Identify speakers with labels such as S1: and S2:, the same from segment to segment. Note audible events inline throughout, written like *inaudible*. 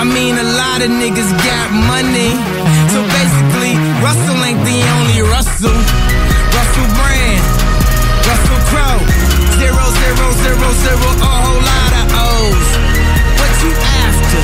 S1: I mean, a lot of niggas got money. So basically, Russell ain't the only Russell. Russell Brand, Russell Crowe. Zero, zero, zero, zero, a whole lot of O's. What you after?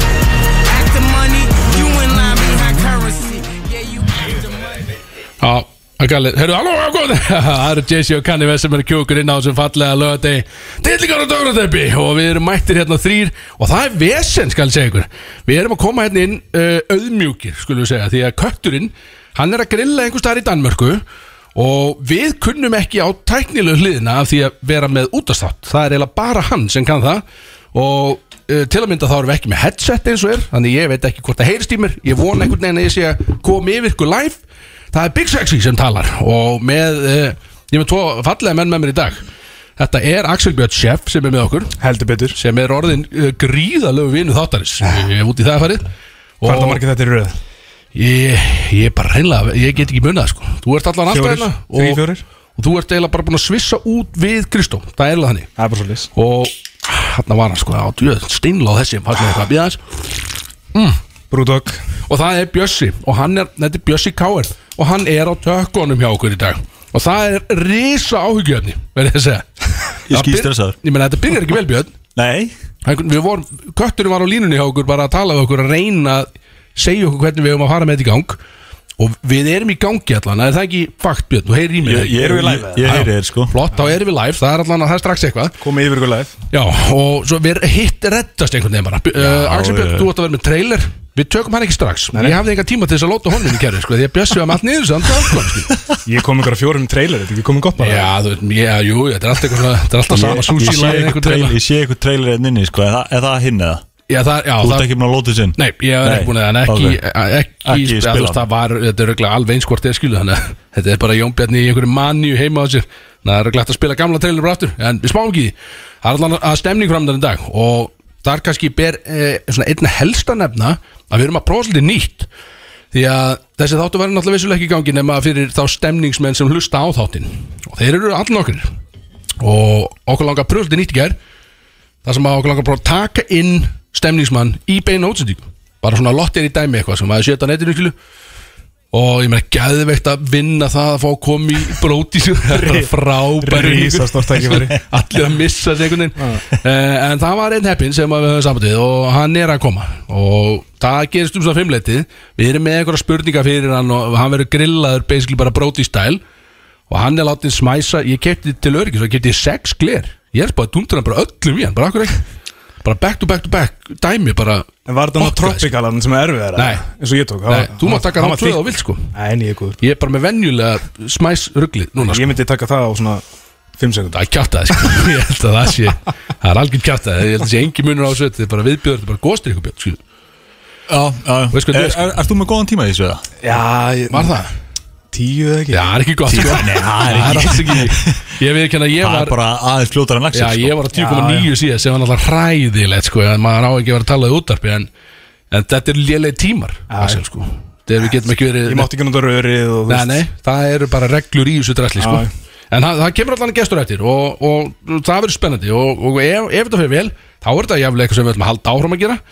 S1: After money, you in line behind currency. Yeah, you after money.
S2: Já, það er galið Herru, halló, halló, góð *laughs* Það eru Jesse og Kanni Vessum eru kjókur inn á þessum fallega lögadegi Dillingar og Dórateppi Og við erum mættir hérna þrýr Og það er vesen, skal ég segja ykkur Við erum að koma hérna inn uh, auðmjúkir, skulum við segja Því að kötturinn, hann er að grilla einhvers staðar í Danmörku Og við kunnum ekki á tæknilegu hliðina Af því að vera með útastátt Það er eiginlega bara hann sem kann það og uh, til að mynda þá erum við ekki með headset eins og er þannig ég veit ekki hvort það heyrist í mér ég vona einhvern veginn að ég sé að koma yfir ykkur live það er Big Sexy sem talar og með, uh, ég er með tvo fallega menn með mér í dag þetta er Axel Björn Sjeff sem er með okkur
S3: Heldur betur
S2: sem er orðin uh, gríðalegu vinu þáttarins ég er út í það farið
S3: Hvað er það margir þetta í röð?
S2: Ég, ég er bara reynlega, ég get ekki munið það sko Þú ert allan alltaf
S3: Fjórir,
S2: hérna
S3: þrír,
S2: og,
S3: fjórir.
S2: og þú ert eiginlega bara búin að svissa út við Kristó Það er eiginlega þannig
S3: Það er bara svolítið
S2: og hérna var hann sko á djöð steinláð þessi fannst mér eitthvað að bíða aðeins.
S3: Brúdog
S2: og það er Bjössi og hann er, þetta er Bjössi Káir og hann er á tökkunum hjá okkur í dag og það er risa áhyggjöfni verður þess að segja.
S4: Ég skýt
S2: Það byr-
S4: stressaður.
S2: ég meina þetta byrjar ekki vel Björn
S4: Nei,
S2: Það er einhvern- við vorum, kötturinn var á línunni hjá okkur bara að tala við okkur að reyna að segja okkur hvernig við erum að fara með þetta í gang og við erum í gangi allan, það er það ekki fakt Björn, þú heyrir í mér
S4: Ég- ég- Erum við live, eða? ég heyri þér, sko.
S2: Flott, þá erum við live, það er allan að það er strax eitthvað
S3: Komið yfir ykkur live
S2: Já, og svo við hitt reddast einhvern veginn bara uh, Axel Björn,
S4: já.
S2: þú ætti að vera með trailer Við tökum hann ekki strax Ég hafði enga tíma til þess að lóta honum í kæri sko, Því að Bjössi var með allt niður samt afkvæm, sko.
S3: Ég kom ykkur að fjórum trailer Þetta er ekki komið gott bara
S2: Já, þú veit, já, jú, þetta er alltaf, eitthvað, svona- þetta er alltaf
S4: ég,
S2: sama
S4: ég,
S2: sushi
S4: sé
S2: lagið
S4: eitthvað
S2: einhvern
S4: trailer,
S2: trailer
S4: ég sé eitthvað trailer einn inni sko, er, það- er það hinn eða?
S2: Já, það, já,
S4: Þú ert
S2: það
S4: ekki búin að lóta sinn
S2: Nei, ég er ekki búin að hann ekki, ekki,
S4: Ekki
S2: ekki
S4: spila
S2: spila Það var, þetta er röglega alveg eins hvort ég skilu Þannig að *laughs* þetta er bara Jón Bjarni í einhverju manju heima á sér Þannig að það er röglega hægt að spila gamla trailer bara aftur En við smáum ekki í því. Það er allan að stemning fram þannig dag Og þar kannski ber e, svona einna helsta nefna Að við erum að prófa svolítið nýtt Því að þessi þáttu verður náttúrulega vissulega ekki í gangi Nefna fyrir þá stemningsmenn sem hlusta á þáttin Og þeir eru allnokkur Og okkur langar að pröfa svolítið nýtt í gær Það sem að okkur langar bara að taka inn stemningsmann í beina útsendingu Bara svona lottir í dæmi eitthvað sem maður setja á netinu skilu Og ég meina gæðveikt að vinna það að fá að koma í bróti *laughs* sig Það er bara frábæri
S3: risastórt tækifæri.
S2: *laughs* Allir að missa sig einhvern veginn uh, En það var einn heppin sem að við höfum samtið og hann er að koma Og það gerist um svona fimmleitið Við erum með einhverja spurningar fyrir hann og hann verður grillaður basically bara bróti stæl og hann er látið smæsa ég kefti til öryggis og kefti ég sex gler ég er bara að tundra hann bara öllum í hann bara akkur ekki bara back to back to back dæmi bara
S3: En var
S2: Fokkaði,
S3: þetta náttúrulega tropicalan sem er erfið
S2: Nei.
S3: En svo ég tók
S2: Nei, þú mátt taka þá tvöð og vilt sko
S3: Nei, en ég er góður
S2: ég er bara með venjulega smæs rugglið núna sko
S3: Ég myndi taka það á svona 5 sekundar
S2: það er kjartaði sko *laughs* ég held að það sé það er algjör kjartaði ég held að sé engin munur á þessu þetta er bara viðbjörn þetta er bara góðstrykk og björn skil
S4: Já, já,
S2: Veist hvað þetta
S4: er,
S2: er, sko?
S4: er, er þú með góðan tíma í þessu eða?
S3: Já, ég,
S2: var það
S3: tíu eða ekki
S2: já það er ekki gott sko
S4: Nei, það er
S2: það er
S4: ekki
S2: alls ekki ég veit ekki að ég
S4: Það er
S2: var
S4: bara aðeins fljótar en sko.
S2: Já,
S4: laxir
S3: sko.
S2: ég var á 10,9 síðan sem var náttúrulega hræðilegt sko, en maður á ekki að vera að tala í útarpi en, en þetta er lélega tímar Axel, sko. þegar við getum ekki verið
S3: Ég mátti ekki nota rörið og þú
S2: Nei, nei, það eru bara reglur í þessu dræsli sko.
S3: Já.
S2: en það, það kemur allan gestur eftir og, og, það verður spennandi og, og ef, ef þetta fyrir vel, þá er þetta jafnilega eitthvað sem við ætlum að halda áfram að gera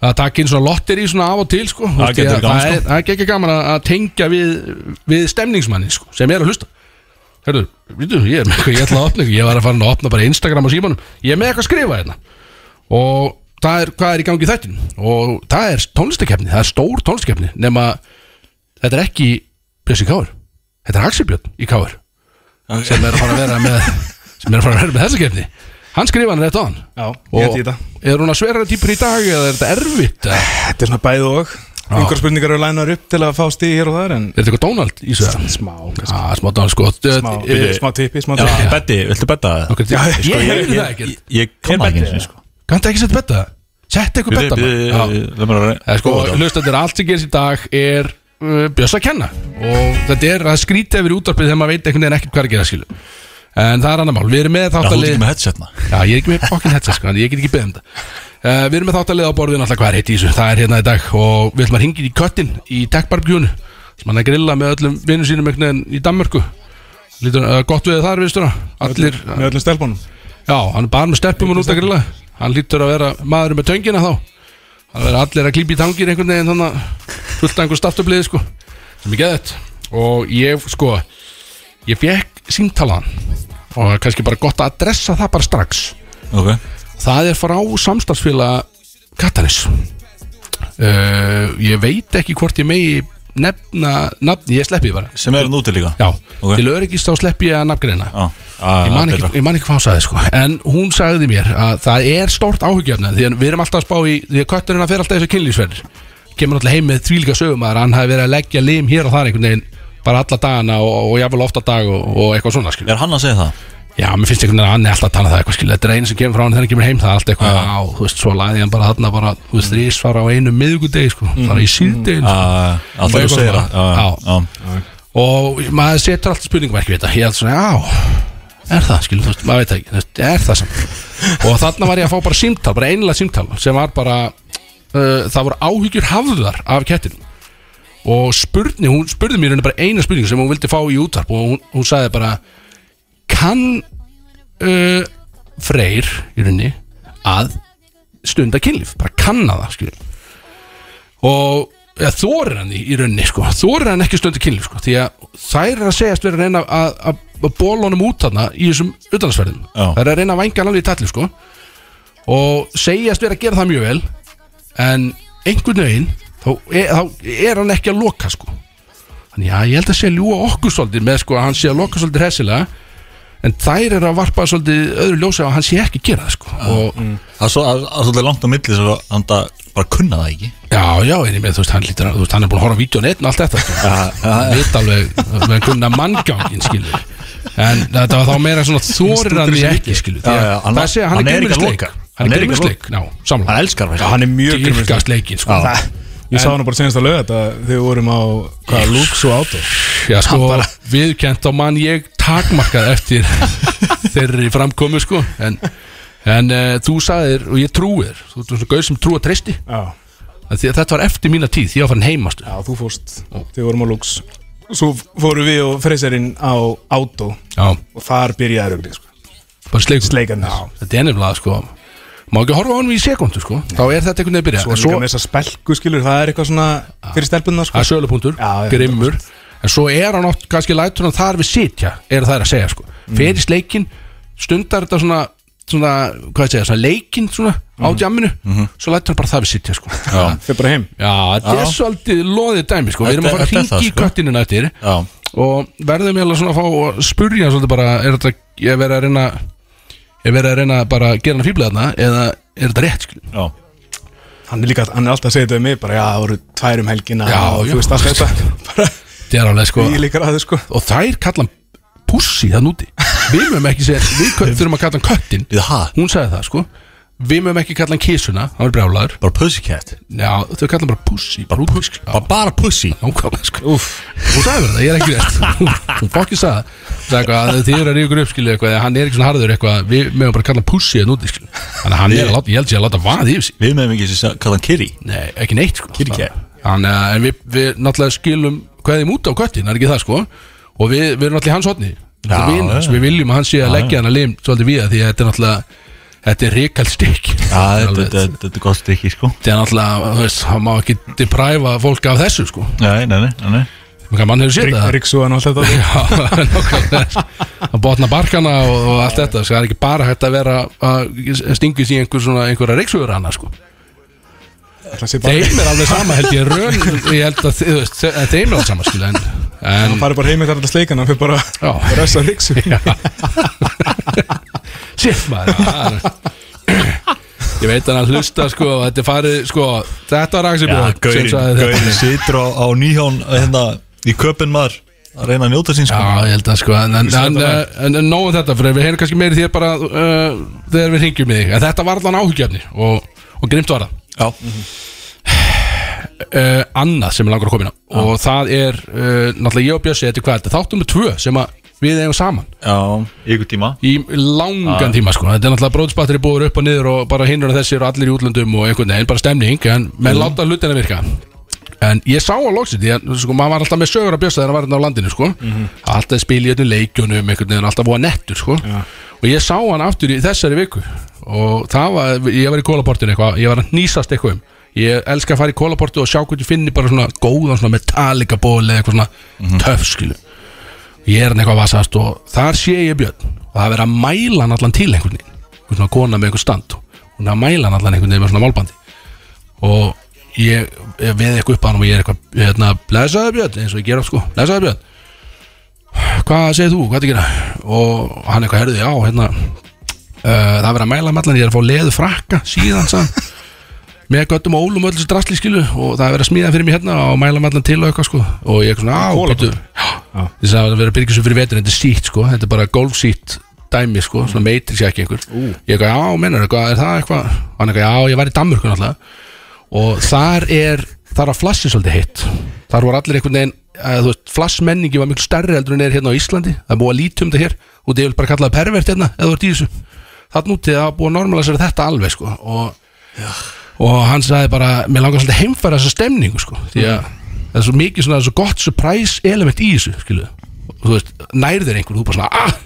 S2: að taka inn svona lottir í svona af og til sko. Þú veist, ég-
S4: getur verið gaman,
S2: það
S4: sko.
S2: er- það er ekki gaman að að tengja við, við stemningsmanni sko, sem er að hlusta Hörðu, vítu, ég er með eitthvað, ég ætla að opna eitthvað Ég var að fara að opna bara Instagram og símanum Ég er með eitthvað að skrifa hérna Og það er, hvað er í gangi í þættin Og það er tónlistakefni, það er stór tónlistakefni Nefn að þetta er ekki Bjössi Káur Þetta er Axel Björn í Káur Sem er að fara að vera
S3: *laughs*
S2: með Sem er að fara að vera með þessa kefni Hann skrifa hann rétt á hann
S3: Já, ég held í þetta.
S2: er hún að svera típur í dag eða er þetta erfitt eða?
S3: Þetta er svona bæð og Einhver spurningar eru lænar upp til að fá stíð hér og þar En
S2: Er þetta eitthvað Donald í svo það?
S3: smá, kannski
S2: Ah, smá Donald sko
S3: Smá,
S2: Smá
S3: byrju, smá tippi, smá
S4: Já,
S3: tippi
S2: *laughs*
S4: Betti, viltu betta það?
S2: Sko, Ég hefði það
S4: Ég,
S2: ekkert
S4: ég kom ekki eins og sko
S2: Kanntu ekki setja betta? Sett eitthvað betta maður. Já. Það er sko, hlustandir, allt sem gerist í dag er uh, bjöss að kenna og þetta er að skrýta yfir útvarpið þegar maður veit einhvern veginn ekkert hvað er að gera skilu en það er annar mál, við erum með
S4: Það er
S2: þáttalið
S4: ekki með headset maður
S2: Já, ég er ekki með fokkin hetsa sko, en ég get ekki beðið um þetta uh, Við erum með þáttalið á borðin alltaf hvað er heitt í þessu Það er hérna í dag og við ætlum að hringið í köttin í techbarbjúnu sem hann er að grilla með öllum vinnum sínum einhvern veginn í Danmörku Lítur, uh, gott við þar, viðstuna Allir,
S3: Með öllum stelpunum
S2: já, hann er bara með steppum og út að grilla Hann lítur að vera maður með töngina þá Það verður allir að klípa í tangir einhvern veginn þannig að fullt af einhver staftöfliði sko sem ég geðið og ég sko ég fekk símtalaðan og kannski bara gott að adressa það bara strax
S4: Ok
S2: það er frá samstagsfélag Katanis uh, ég veit ekki hvort ég megi nefna, nafn, ég sleppi því bara
S4: Sem er hann úti líka
S2: já,
S4: Ok.
S2: til öryggist þá sleppi ég að nafngreina
S4: Já Ah,
S2: ég man, ekki, ég man ekki hvað hún sagði sko En hún sagði mér að það er stórt áhugjefni Því að við erum alltaf að spá í Því að kötturinn að fer alltaf í þessu kynlýsverðir Kemur alltaf heim með þvílíka sögum að hann hafi verið að leggja lim hér og þar einhvern veginn Bara alla dagana og, og jafnvel ofta dag og, og eitthvað svona skil
S4: Er hann að segja það?
S2: Já, mér finnst einhvern veginn að hann er alltaf að tala um það eitthvað skil Þetta er einu sem kemur frá hann þegar hann kemur heim það er allt eitthvað Á, þú veist, svo laði hann bara þarna bara Þú veist, þrísvar á einu miðgudegi sko Bara í síðdegin
S4: Já, já, já
S2: Og
S4: Þegar
S2: eitthvað
S4: þú
S2: svona. Já. og maður
S4: segir það Ah, Já, já, já
S2: setur alltaf spurningverk við þetta ég held svona, já, er það skilur þú veist, maður veit það ekki, þú veist, er það samt og þarna var ég að fá bara símtal, bara einlega símtal sem var bara uh, það voru áhyggjur hafðar af kettinum og spurni, hún spurði mér henni bara eina spurningu sem hún vildi fá í útvarp og hún, hún sagði bara kann uh, Freyr í rauninni að stunda kynlíf, bara kanna það skilur og ja, þorir hann í, í rauninni sko. þorir hann ekki stundu kynlíf sko. því að þær er að segjast vera að reyna að, að, að bóla honum út þarna í þessum utanlandsferðum
S4: Já.
S2: þær er að reyna að vænga hann alveg í talli sko. og segjast vera að gera það mjög vel en einhvern veginn þá er, þá er hann ekki að loka sko. þannig að ég held að sé að ljúa okkur svolítið með sko, að hann sé að loka svolítið hressilega en þær er að varpa svolítið öðru ljósa og hann sé ekki að gera það sko.
S4: Ah,
S2: og
S4: Það er svo- það er það er svolítið langt á milli sem að hann það bara kunna það ekki
S2: Já, já, en ég með, þú veist, hann lítur að- þú veist, hann er búin að horfa á vídjón einn og allt þetta sko.
S4: Ah,
S2: Hann veit alveg, með kunna manngangin, skilur En þetta var þá meira svona þorir hann því ekki, skilur
S4: Já, já, hann-
S2: Það sé að hann,
S4: hann
S2: er
S4: er
S2: grimmur
S4: ekki að
S2: sleik
S4: loka.
S2: Hann er grimmur
S4: að
S2: sleik, já, samlum
S4: Hann elskar það
S3: Já, hann er mjög grimmur
S2: Dýrkast leikin, sko
S4: Já.
S3: Ég sá hann bara senast að löga þetta Þegar við vorum á Hvað, Lux og Auto
S2: Já, sko, viðkjönt á mann ég takmarkað
S4: *laughs*
S2: eftir þeirri framkomu, sko En, en uh, þú sagðir, og ég trúir Þú ert svona gauð sem trú að treysti
S3: Já,
S2: Af því að Þetta var eftir mína tíð, því ég var farin heimastu
S3: já þú fórst Þegar við vorum á Lux Svo fórum við og Freyserinn á Auto
S2: Já,
S3: Og þar byrjaði rugli sko.
S2: bara sleikur
S3: Sleikarnir
S2: Þetta er nefnilega sko Má ekki horfa á hann í sekundu sko Þá er þetta einhvern veginn að byrja
S3: Svo
S2: En
S3: líka með þessa spelku skilur Það er eitthvað svona fyrir stelpunna
S2: Það
S3: sko.
S2: er sölupunktur,
S3: Já, já,
S2: grimmur En svo er hann oft, kannski lætur hann þar við sitja Er það að segja sko Fer í sleikin, stundar þetta svona Svona, hvað ég segja, svona leikinn svona Á djamminu, svo lætur hann bara það við sitja sko Já,
S4: Ah.
S3: Þau bara heim
S2: þetta er
S4: Já.
S2: svolítið loðið dæmi sko Við erum að
S4: Þetta-
S2: fara að
S4: þetta er
S2: hringi
S4: það,
S2: í
S4: sko.
S2: köttinu nættir
S4: Já,
S2: og verðum ég alveg svona að fá að spurja hann svolítið bara, er þetta, ég verið að reyna ég verið að reyna bara að gera hann fíblega þarna eða er þetta rétt skil
S4: já
S3: Hann er líka Hann er alltaf að segja þetta við mig Bara já, það voru tvær um helgina
S2: Já,
S3: og,
S2: já.
S3: Þú veist allt þetta *laughs* Bara
S2: Þetta er alveg sko
S3: Ég líkar að þau sko
S2: Og þær kalla hann pussi þann úti Við mögum ekki segja Við kött- þurfum að kalla hann köttin
S4: Við ha,
S2: Hún sagði það sko Við mögum ekki kalla hann kísuna Hann er brjálaður
S4: bara pussycat
S2: Já þau kalla hann bara pussi Bara pussi Já
S4: Bara, bara pussy
S2: nákvæmlega sko Úf Hún sagði verið það Ég er ekki *laughs* rétt Hún fokkið sagði það. Hún sagði eitthvað að Þið eru að ríkur upp skilu eitthvað eða Hann er ekki svona harður eitthvað Við mögum bara kalla hann pussi þann úti skilu Þannig að hann er að láta Ég held sér að láta vaða yfir sig
S4: Við meðum ekki sem kallar hann Kiri
S2: Nei, ekki neitt sko
S4: Kirkja.
S2: Þannig að en við, við náttúrulega skilum hvað þeim út á köttin, er ekki það sko og við, við erum náttúrulega í hans hotni
S4: Já,
S2: við,
S4: já.
S2: við viljum að hann sé að leggja hann að lim svolítið við að því að þetta er náttúrulega þetta er ríkald stykk
S4: Já, þetta- þetta þetta er gott ekki, sko
S2: þetta er náttúrulega, þú veist, hann má ekki depræfa fólk af þessu sko
S4: Nei, nei, nei, nei, nei.
S2: Hvað mann hefur séð það
S3: Ríksuðan og allt þetta
S2: Já, *laughs* nákvæmlega. að botna barkana og, og allt þetta sko. það er ekki bara hægt að vera að stingis í einhver svona, einhverja reyksugur annars sko
S3: Það sé bara
S2: Þeim er alveg sama held ég rön Ég held að þið- þú veist, þe- þeim er alveg sama skil En, en
S3: Hann farið bara heim eftir alltaf sleikan Hann fyrir bara
S2: já,
S3: Ressa Ríksu
S2: já. Shit maður það er- Ég veit hann að hlusta sko og Þetta er farið sko Þetta var Axel
S4: Já,
S2: Björn sem
S4: Gaurin,
S2: sagði þetta.
S4: Gaurin situr á, á nýjón hérna, í köpinn maður að reyna að njóta sín sko.
S2: Já, ég held að sko En, en, en, en, en nóg um þetta fyrir Við heyrum kannski meiri þér bara uh, Þegar við hringjum í þig En þetta var allan áhugjefni Og, og grimt var það
S4: Já,
S2: uh, annað sem er langar að koma inn á og það er, uh, náttúrulega ég og Bjössi þetta er hvað þetta, þáttum við tvö sem að við eigum saman
S4: já, í ykkur tíma
S2: í langan tíma sko, þetta er náttúrulega bróðspatri búður upp og niður og bara hinnur að þessi eru allir í útlöndum og einhvern veginn, bara stemning en menn láta hlutina virka en ég sá á loksið, því að sko, maður var alltaf með sögur að Bjössi þegar hann var hérna á landinu sko alltaf spil hérna í öllum leikjunum, einhvern veginn alltaf búa nettur sko, og ég sá hann aftur í þessari viku og það var, ég var í kólaportinu eitthvað, ég var að nýsast eitthvað um Ég elska að fara í kólaportu og sjá hvort ég finni bara svona góðan svona metallica ból eða eitthvað svona töff skilu Ég er hann eitthvað að vasast og þar sé ég Björn og það er verið að mæla hann allan til einhvern veginn einhvern svona kona með einhver stand og hún er að mæla hann allan einhvern veginn með svona málbandi og ég, ég veði eitthvað upp á hann og ég er eitthvað hérna, blessaði Björn eins og ég gera sko, blessaði Björn hvað segir þú, hvað er að gera og hann eitthvað herði, já, hérna uh, það er verið að mæla mallan, ég er að fá leðu frakka síðan, sann með göttum og ólum og öll þessu drastli skilu og það er verið að smíða fyrir mig hérna og mæla mallan til og eitthvað sko og ég er svona, á,
S3: Kolabar.
S2: býttu þess að það er verið að byrja svo fyrir vetur, þetta er sítt sko þetta er bara golfsítt dæmi sko svona meitir sér ekki einhver ég eitthvað, já, menur, eitthvað, er það eitthvað hann eitthvað, já, ég var í Danmörku náttúrulega og þar er, þar var flassið svolítið heitt þar voru allir einhvern veginn að, þú veist, flassmenningi var miklu stærri heldur en er hérna á Íslandi, það er búið að lítum þetta hér og það er bara kallaði pervert hérna, eða þú ert í þessu þann úti það var búið að normalisera þetta alveg sko og, og hann sagði bara mér langar svolítið að heimfæra þessa stemningu sko því að það er svo mikið svona svo gott surprise element í þessu, skiluðu og þú veist, nærðir einhvern, þú bara svona ah!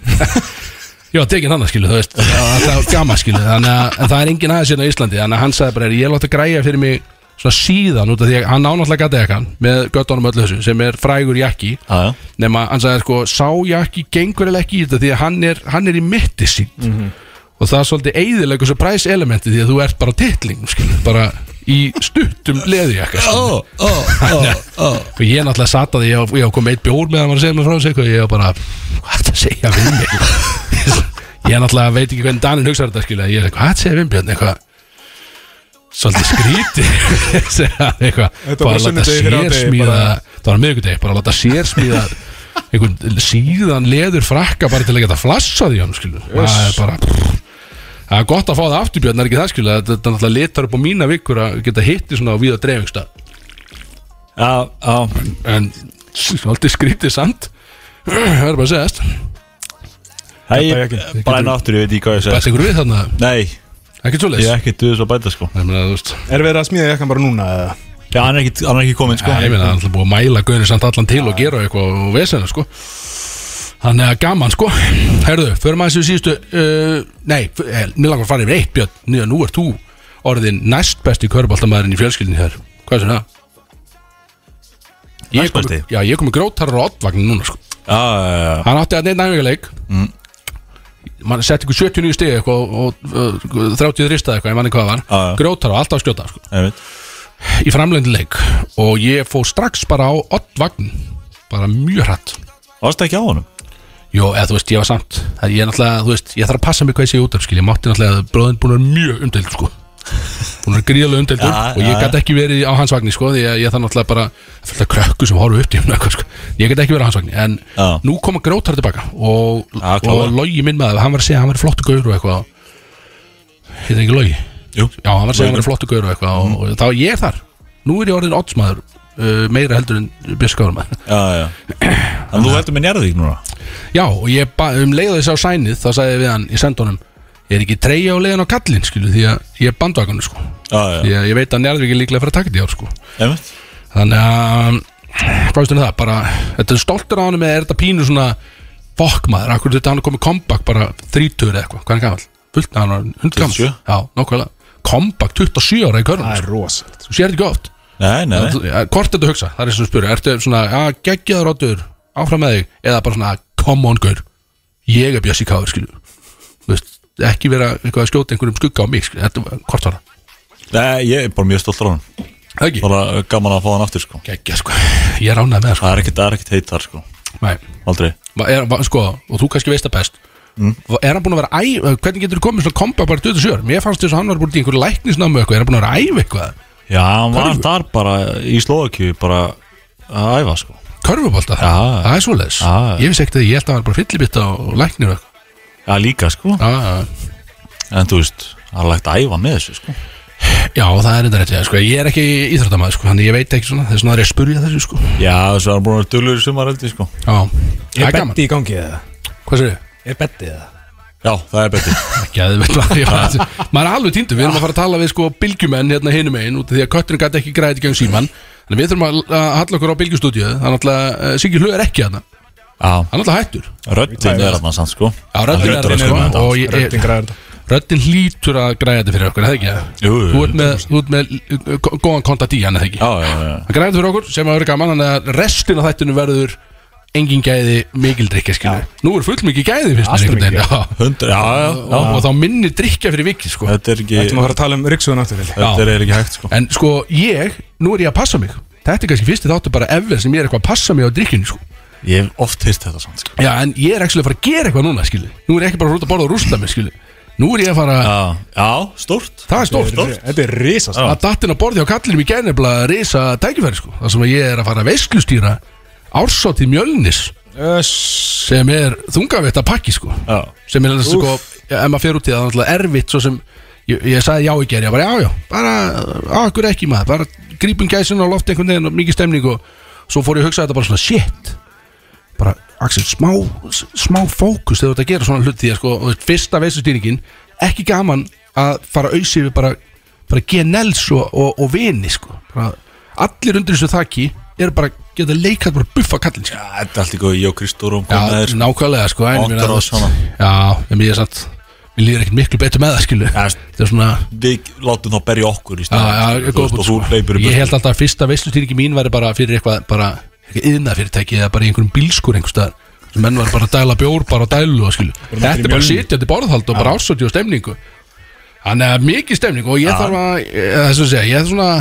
S2: *laughs* Já, tekin hann að skilu, þú veist Það er gama skilu, þannig að en það er engin aðeins hérna á Íslandi, þannig að hann sagði bara ég láta græja fyrir mig svona síðan út af því að hann ánáttúrulega gata ekkan með göttunum öllu þessu sem er frægur jakki
S4: Já, já.
S2: nema hann sagði sko, sá jakki gengur eða ekki í þetta því að hann er, hann er í mitti sín og það er svolítið eiðilegu surprise elementi því að þú ert bara á titling skilu, bara í stuttum leðijakka skilu
S4: Ó, ó, ó, ó
S2: og ég náttúrulega satt að ég, á- ég á kom eitt bjór meðan hann var að segja mér frá þessu eitthvað og ég var bara, hvað er það að segja við mig *laughs* ég náttúrulega veit ekki hvernig Danin hugsaði þetta skilja, ég er eitthvað, hvað segja við björn eitthvað svolítið skríti *laughs* eitthvað, bara
S3: Þetta var bara
S2: að láta
S3: sunnudegi fyrir
S2: sér
S3: hádegi,
S2: smíða
S3: bara-
S2: það var miðvikudegi, bara að láta sér
S3: *laughs*
S2: smíða einhvern síðan leður frakka bara til að geta flassað í hann skilju það er bara það er gott að fá það aftur björn, það er ekki það skilju þetta þetta náttúrulega litar upp á mína vikur að geta hitti svona á víða dreifingstað
S4: *laughs* Já, já
S2: en svolítið skrítið samt það er bara að segja þess
S4: Hei,
S3: Þetta er ekki-
S4: bara enn aftur, ég veit ekki hvað ég
S2: bætt
S4: segi
S2: ykkur við þarna,
S4: Nei,
S2: ekki
S4: ég er
S2: svoleiðis
S4: ekki duðis að bæta sko
S2: ég meina, þú veist,
S3: Er verið að smíða jakkan bara núna eða?
S4: Já, hann er ekki, hann er ekki komin sko
S2: ég meina það er alltaf búið að mæla gauðin samt allan til og gera eitthvað og vesena sko þannig að gaman sko herðu, förum aðeins við síðustu uh, nei, f- eh, mér langar að fara yfir eitt Björn nýja, nú ert þú orðin næst besti körbaltamæðurinn í fjölskyldinni þér hvað er svona? Ég kom,
S4: Næstbesti?
S2: já, ég kom í grótarra á oddvagnin núna sko
S4: Já, já, já
S2: Hann átti að neitt næmingaleik mm. Man setti ykkur 79 stegi eitthvað og, og, og 30 ristaði eitthvað, ég manni hvað það var
S4: Já, já.
S2: Grótar og alltaf að skjóta sko.
S4: Ég veit
S2: Í framlegndi leik Og ég fó strax bara á oddvagn Bara mjög hratt
S4: Varst það ekki á honum?
S2: Jó, eða þú veist, ég var samt Það ég er náttúrulega, þú veist, ég þarf að passa mig hvað ég sé út af skil Ég mátti náttúrulega að bróðin búin að vera mjög umdeild sko Búin að vera gríðalega umdeildur
S4: Já,
S2: Og ég
S4: já,
S2: gæti ekki verið á hans vagni sko Því að ég þarf náttúrulega bara Það er fullt af krökku sem horfa upp til mér, eitthvað, sko. Ég gæti ekki verið á hans vagni En
S4: Já.
S2: nú koma grótar tilbaka Og,
S4: Já, klára.
S2: og logi minn maður, hann var að segja að Hann var flottu gaur og eitthvað Heitir ekki logi?
S4: Jú
S2: Já, hann var að segja að hann var flottu gaur og eitthvað Og,
S4: Mm.
S2: og þá er ég þar Nú er ég orðin oddsmaður uh, Meira heldur en bjöskárum
S4: Já, já En þú heldur með njarðvík núna?
S2: Já, og ég ba- um leiðu þess á sænið þá sagði ég við hann, ég sendi honum ég er ekki treyja á leiðan á kallinn, skilu því að ég er bandvakanur, sko
S4: Já, já,
S2: ég, ég veit að Njarðvík er líklega að fara að taka þetta í ár, sko
S4: ég veit
S2: þannig að, hvað veist um það bara, þetta er stoltur á honum eða er þetta pínu svona fokk maður, akkur þetta hann er komið comeback bara 30 eða eitthvað, hvað er hann gamall? Fullt, hann var 100 gamall
S4: 27?
S2: Já, nokkvæðlega, comeback 27 ára í körnum,
S3: Það
S2: sko.
S3: er rosalt
S2: þú sér þetta ekki oft
S4: Nei, nei, nei
S2: Þú- ja, Hvort ertu að hugsa, það er sem spyrir Ertu svona, að geggjaður áttur Áfram með þig, eða bara svona, come on gaur Ég er Bjössi Káður, skilju Þú veist, ekki vera eitthvað að skjóta einhverjum skugga á mig, skilju, þetta var, hvort var það
S4: Nei, ég er bara mjög stoltur á honum
S2: Það ekki,
S4: Bara uh, gaman að fá hann aftur sko
S2: geggja, sko *laughs* Ég er ánægð með það,
S4: Það er ekkert, það er ekkert heitt þar sko
S2: sko Nei,
S4: Aldrei
S2: Va- er, va- sko, og þú kannski veist það best Va- Er hann búin að vera æ, eh, hvernig getur þú komið svona kompa bara 27 Mér fannst þess að hann var búin í einhverju læknisnámi og eitthvað, er hann búin að vera æf eitthvað
S4: Já, hann var þar bara í Slovakíu bara að æfa sko
S2: Körfubolta það,
S4: Já.
S2: það er svoleiðis
S4: Já.
S2: Ég vissi ekkert að ég held að hann var bara fyllibitta og læknir og eitthvað
S4: Já, líka sko
S2: Já, já, já.
S4: En þú veist, hann er lægt að æfa með þessu sko
S2: Já, það er enda rétt, já, sko, ég er ekki íþróttamaður, sko, þannig ég veit ekki svona, þess vegna er ég að spurja þessu, sko.
S4: Já, þessu er hann búin að dullur í sumar heldur sko
S2: Já, það er
S3: Er
S2: gaman.
S3: betti í gangi eða?
S2: Hvað sér ég?
S3: Er betti eða?
S4: Já, það er betur
S2: Ekki að þið veit hvað, ég var að, maður er alveg týndur, við erum að fara að tala við, sko, bylgjumenn hérna hinum einn, út af því að kötturinn gæti ekki græðið gegn síman, þannig við þurfum að, að halla okkur á bylgjustúdíu, þannig að eh, Siggi Hlöð er ekki hérna,
S4: Já,
S2: hann er alltaf hættur.
S4: röddinn er hann sann sko
S2: Já, röddin er hérna,
S4: Röddin er
S2: sko,
S4: með þetta.
S2: og ég, ég,
S3: Rödding græður þetta
S2: Röddinn hlýtur að græja þetta fyrir okkur, er það ekki?
S4: Jú, jú,
S2: Þú ert með, þú ert með uh, gó- góðan kontakt í hann, er það ekki?
S4: Já, já, já
S2: Það græði fyrir okkur sem að vera gaman Þannig að restin af þættunum verður Engin gæði mikil drikja skilur Nú er full mikið gæði fyrst mér
S3: Alltaf
S2: einhvern veginn já.
S4: Hundra, *laughs* já, já, já
S2: Og þá minni drikja fyrir vikið sko
S4: Þetta er ekki,
S3: Þetta maður að fara að tala um Ríksuðun aftur vel
S4: þetta er ekki hægt sko
S2: En sko ég, nú er ég að passa mig Þetta er kannski fyrsti þáttu bara ever sem ég er eitthvað að passa mig á drikkinu sko
S4: Ég hef oft hýrt þetta samt sko
S2: Já en ég er ekki að fara að gera eitthvað núna skilur Nú er ég ekki bara að fara út að borða og rústa mig skilur Nú er ég að fara,
S4: Já, já, stórt
S2: það er stórt
S4: Stórt.
S3: Þetta er risast
S2: að dattin að borði á kallinum í gæðin er bara að reysa tækifæri sko Það sem að ég er að fara að veislustýra Ársátti Mjölnis
S3: Öss
S2: sem er þungavett að pakki sko
S4: Já,
S2: sem er þess sko, ef maður fer út í það þannig að erfitt svo sem ég, ég sagði já í gerð, ég bara já já bara, á, hver ekki maður, bara grípum gæsin á loft einhvern veginn og mikið stemning og svo fór ég að hugsa þetta bara svona shit bara, Axel, smá s- smá fókus þegar þú ert að gera svona hluti því að sko, og þetta fyrsta veistustýringin ekki gaman að fara auðsig við bara, bara genels og, og, og vini sko, bara, allir undir þessu þakki eru bara, geta leikað bara buffa kallin sko.
S4: Já, þetta er allt í góð, ég og Kristúrum
S2: Já,
S4: komaðir
S2: nákvæmlega sko en ég meina,
S4: Okkar og svona.
S2: Já, en ég er samt Mér líður ekkert miklu betur með það skilu
S4: Já,
S2: Þetta er svona
S4: Við látum þá berja okkur í
S2: Já,
S4: staðinn,
S2: já,
S4: skilur,
S2: góð punktur,
S4: þú veist, Og þú
S2: sko.
S4: hleypur í
S2: Ég
S4: burtu.
S2: held alltaf að fyrsta veistlutýringi mín væri bara fyrir eitthvað bara yðna fyrirtæki eða bara í einhverjum bílskur einhver staðar sem menn var bara að dæla bjór bara að dælu og skilu
S3: Bara
S2: Þetta er
S3: mættir í
S2: bara
S3: mjölni.
S2: sitjandi borðhald og bara ásöndi og stemningu Þannig að mikið stemning og ég þarf að þess að segja, ég þarf svona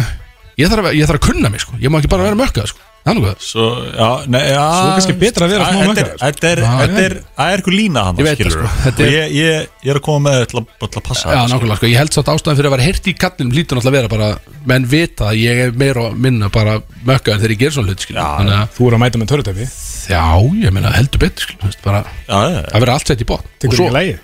S2: ég þarf, að, ég þarf að kunna mig sko, ég má ekki bara vera mökkað sko. Þannig að
S4: Svo, já, nei, já
S3: Svo er kannski betra að vera smá
S4: Þetta er,
S3: mökkaður.
S4: þetta er,
S2: Já, já.
S4: þetta er Það er eitthvað lína hann
S2: Ég veit það, sko, þetta er-
S4: ég, ég, ég er að koma með til að, til að passa
S2: Já,
S4: þetta,
S2: nákvæmlega, sko, ég held satt ástæðan fyrir að vera hirt í kallinum lítur náttúrulega að vera bara, menn vita að ég er meira og minna bara mökkaður þegar ég ger svona hlut, skil
S4: Já,
S2: Þannig að,
S3: Þú er að mæta með törutæfi
S2: já, ég meina heldur betur, skil, þú veist, bara
S4: Já, já, já.
S2: að vera allt sett í bótt
S3: Tekur ekki lægi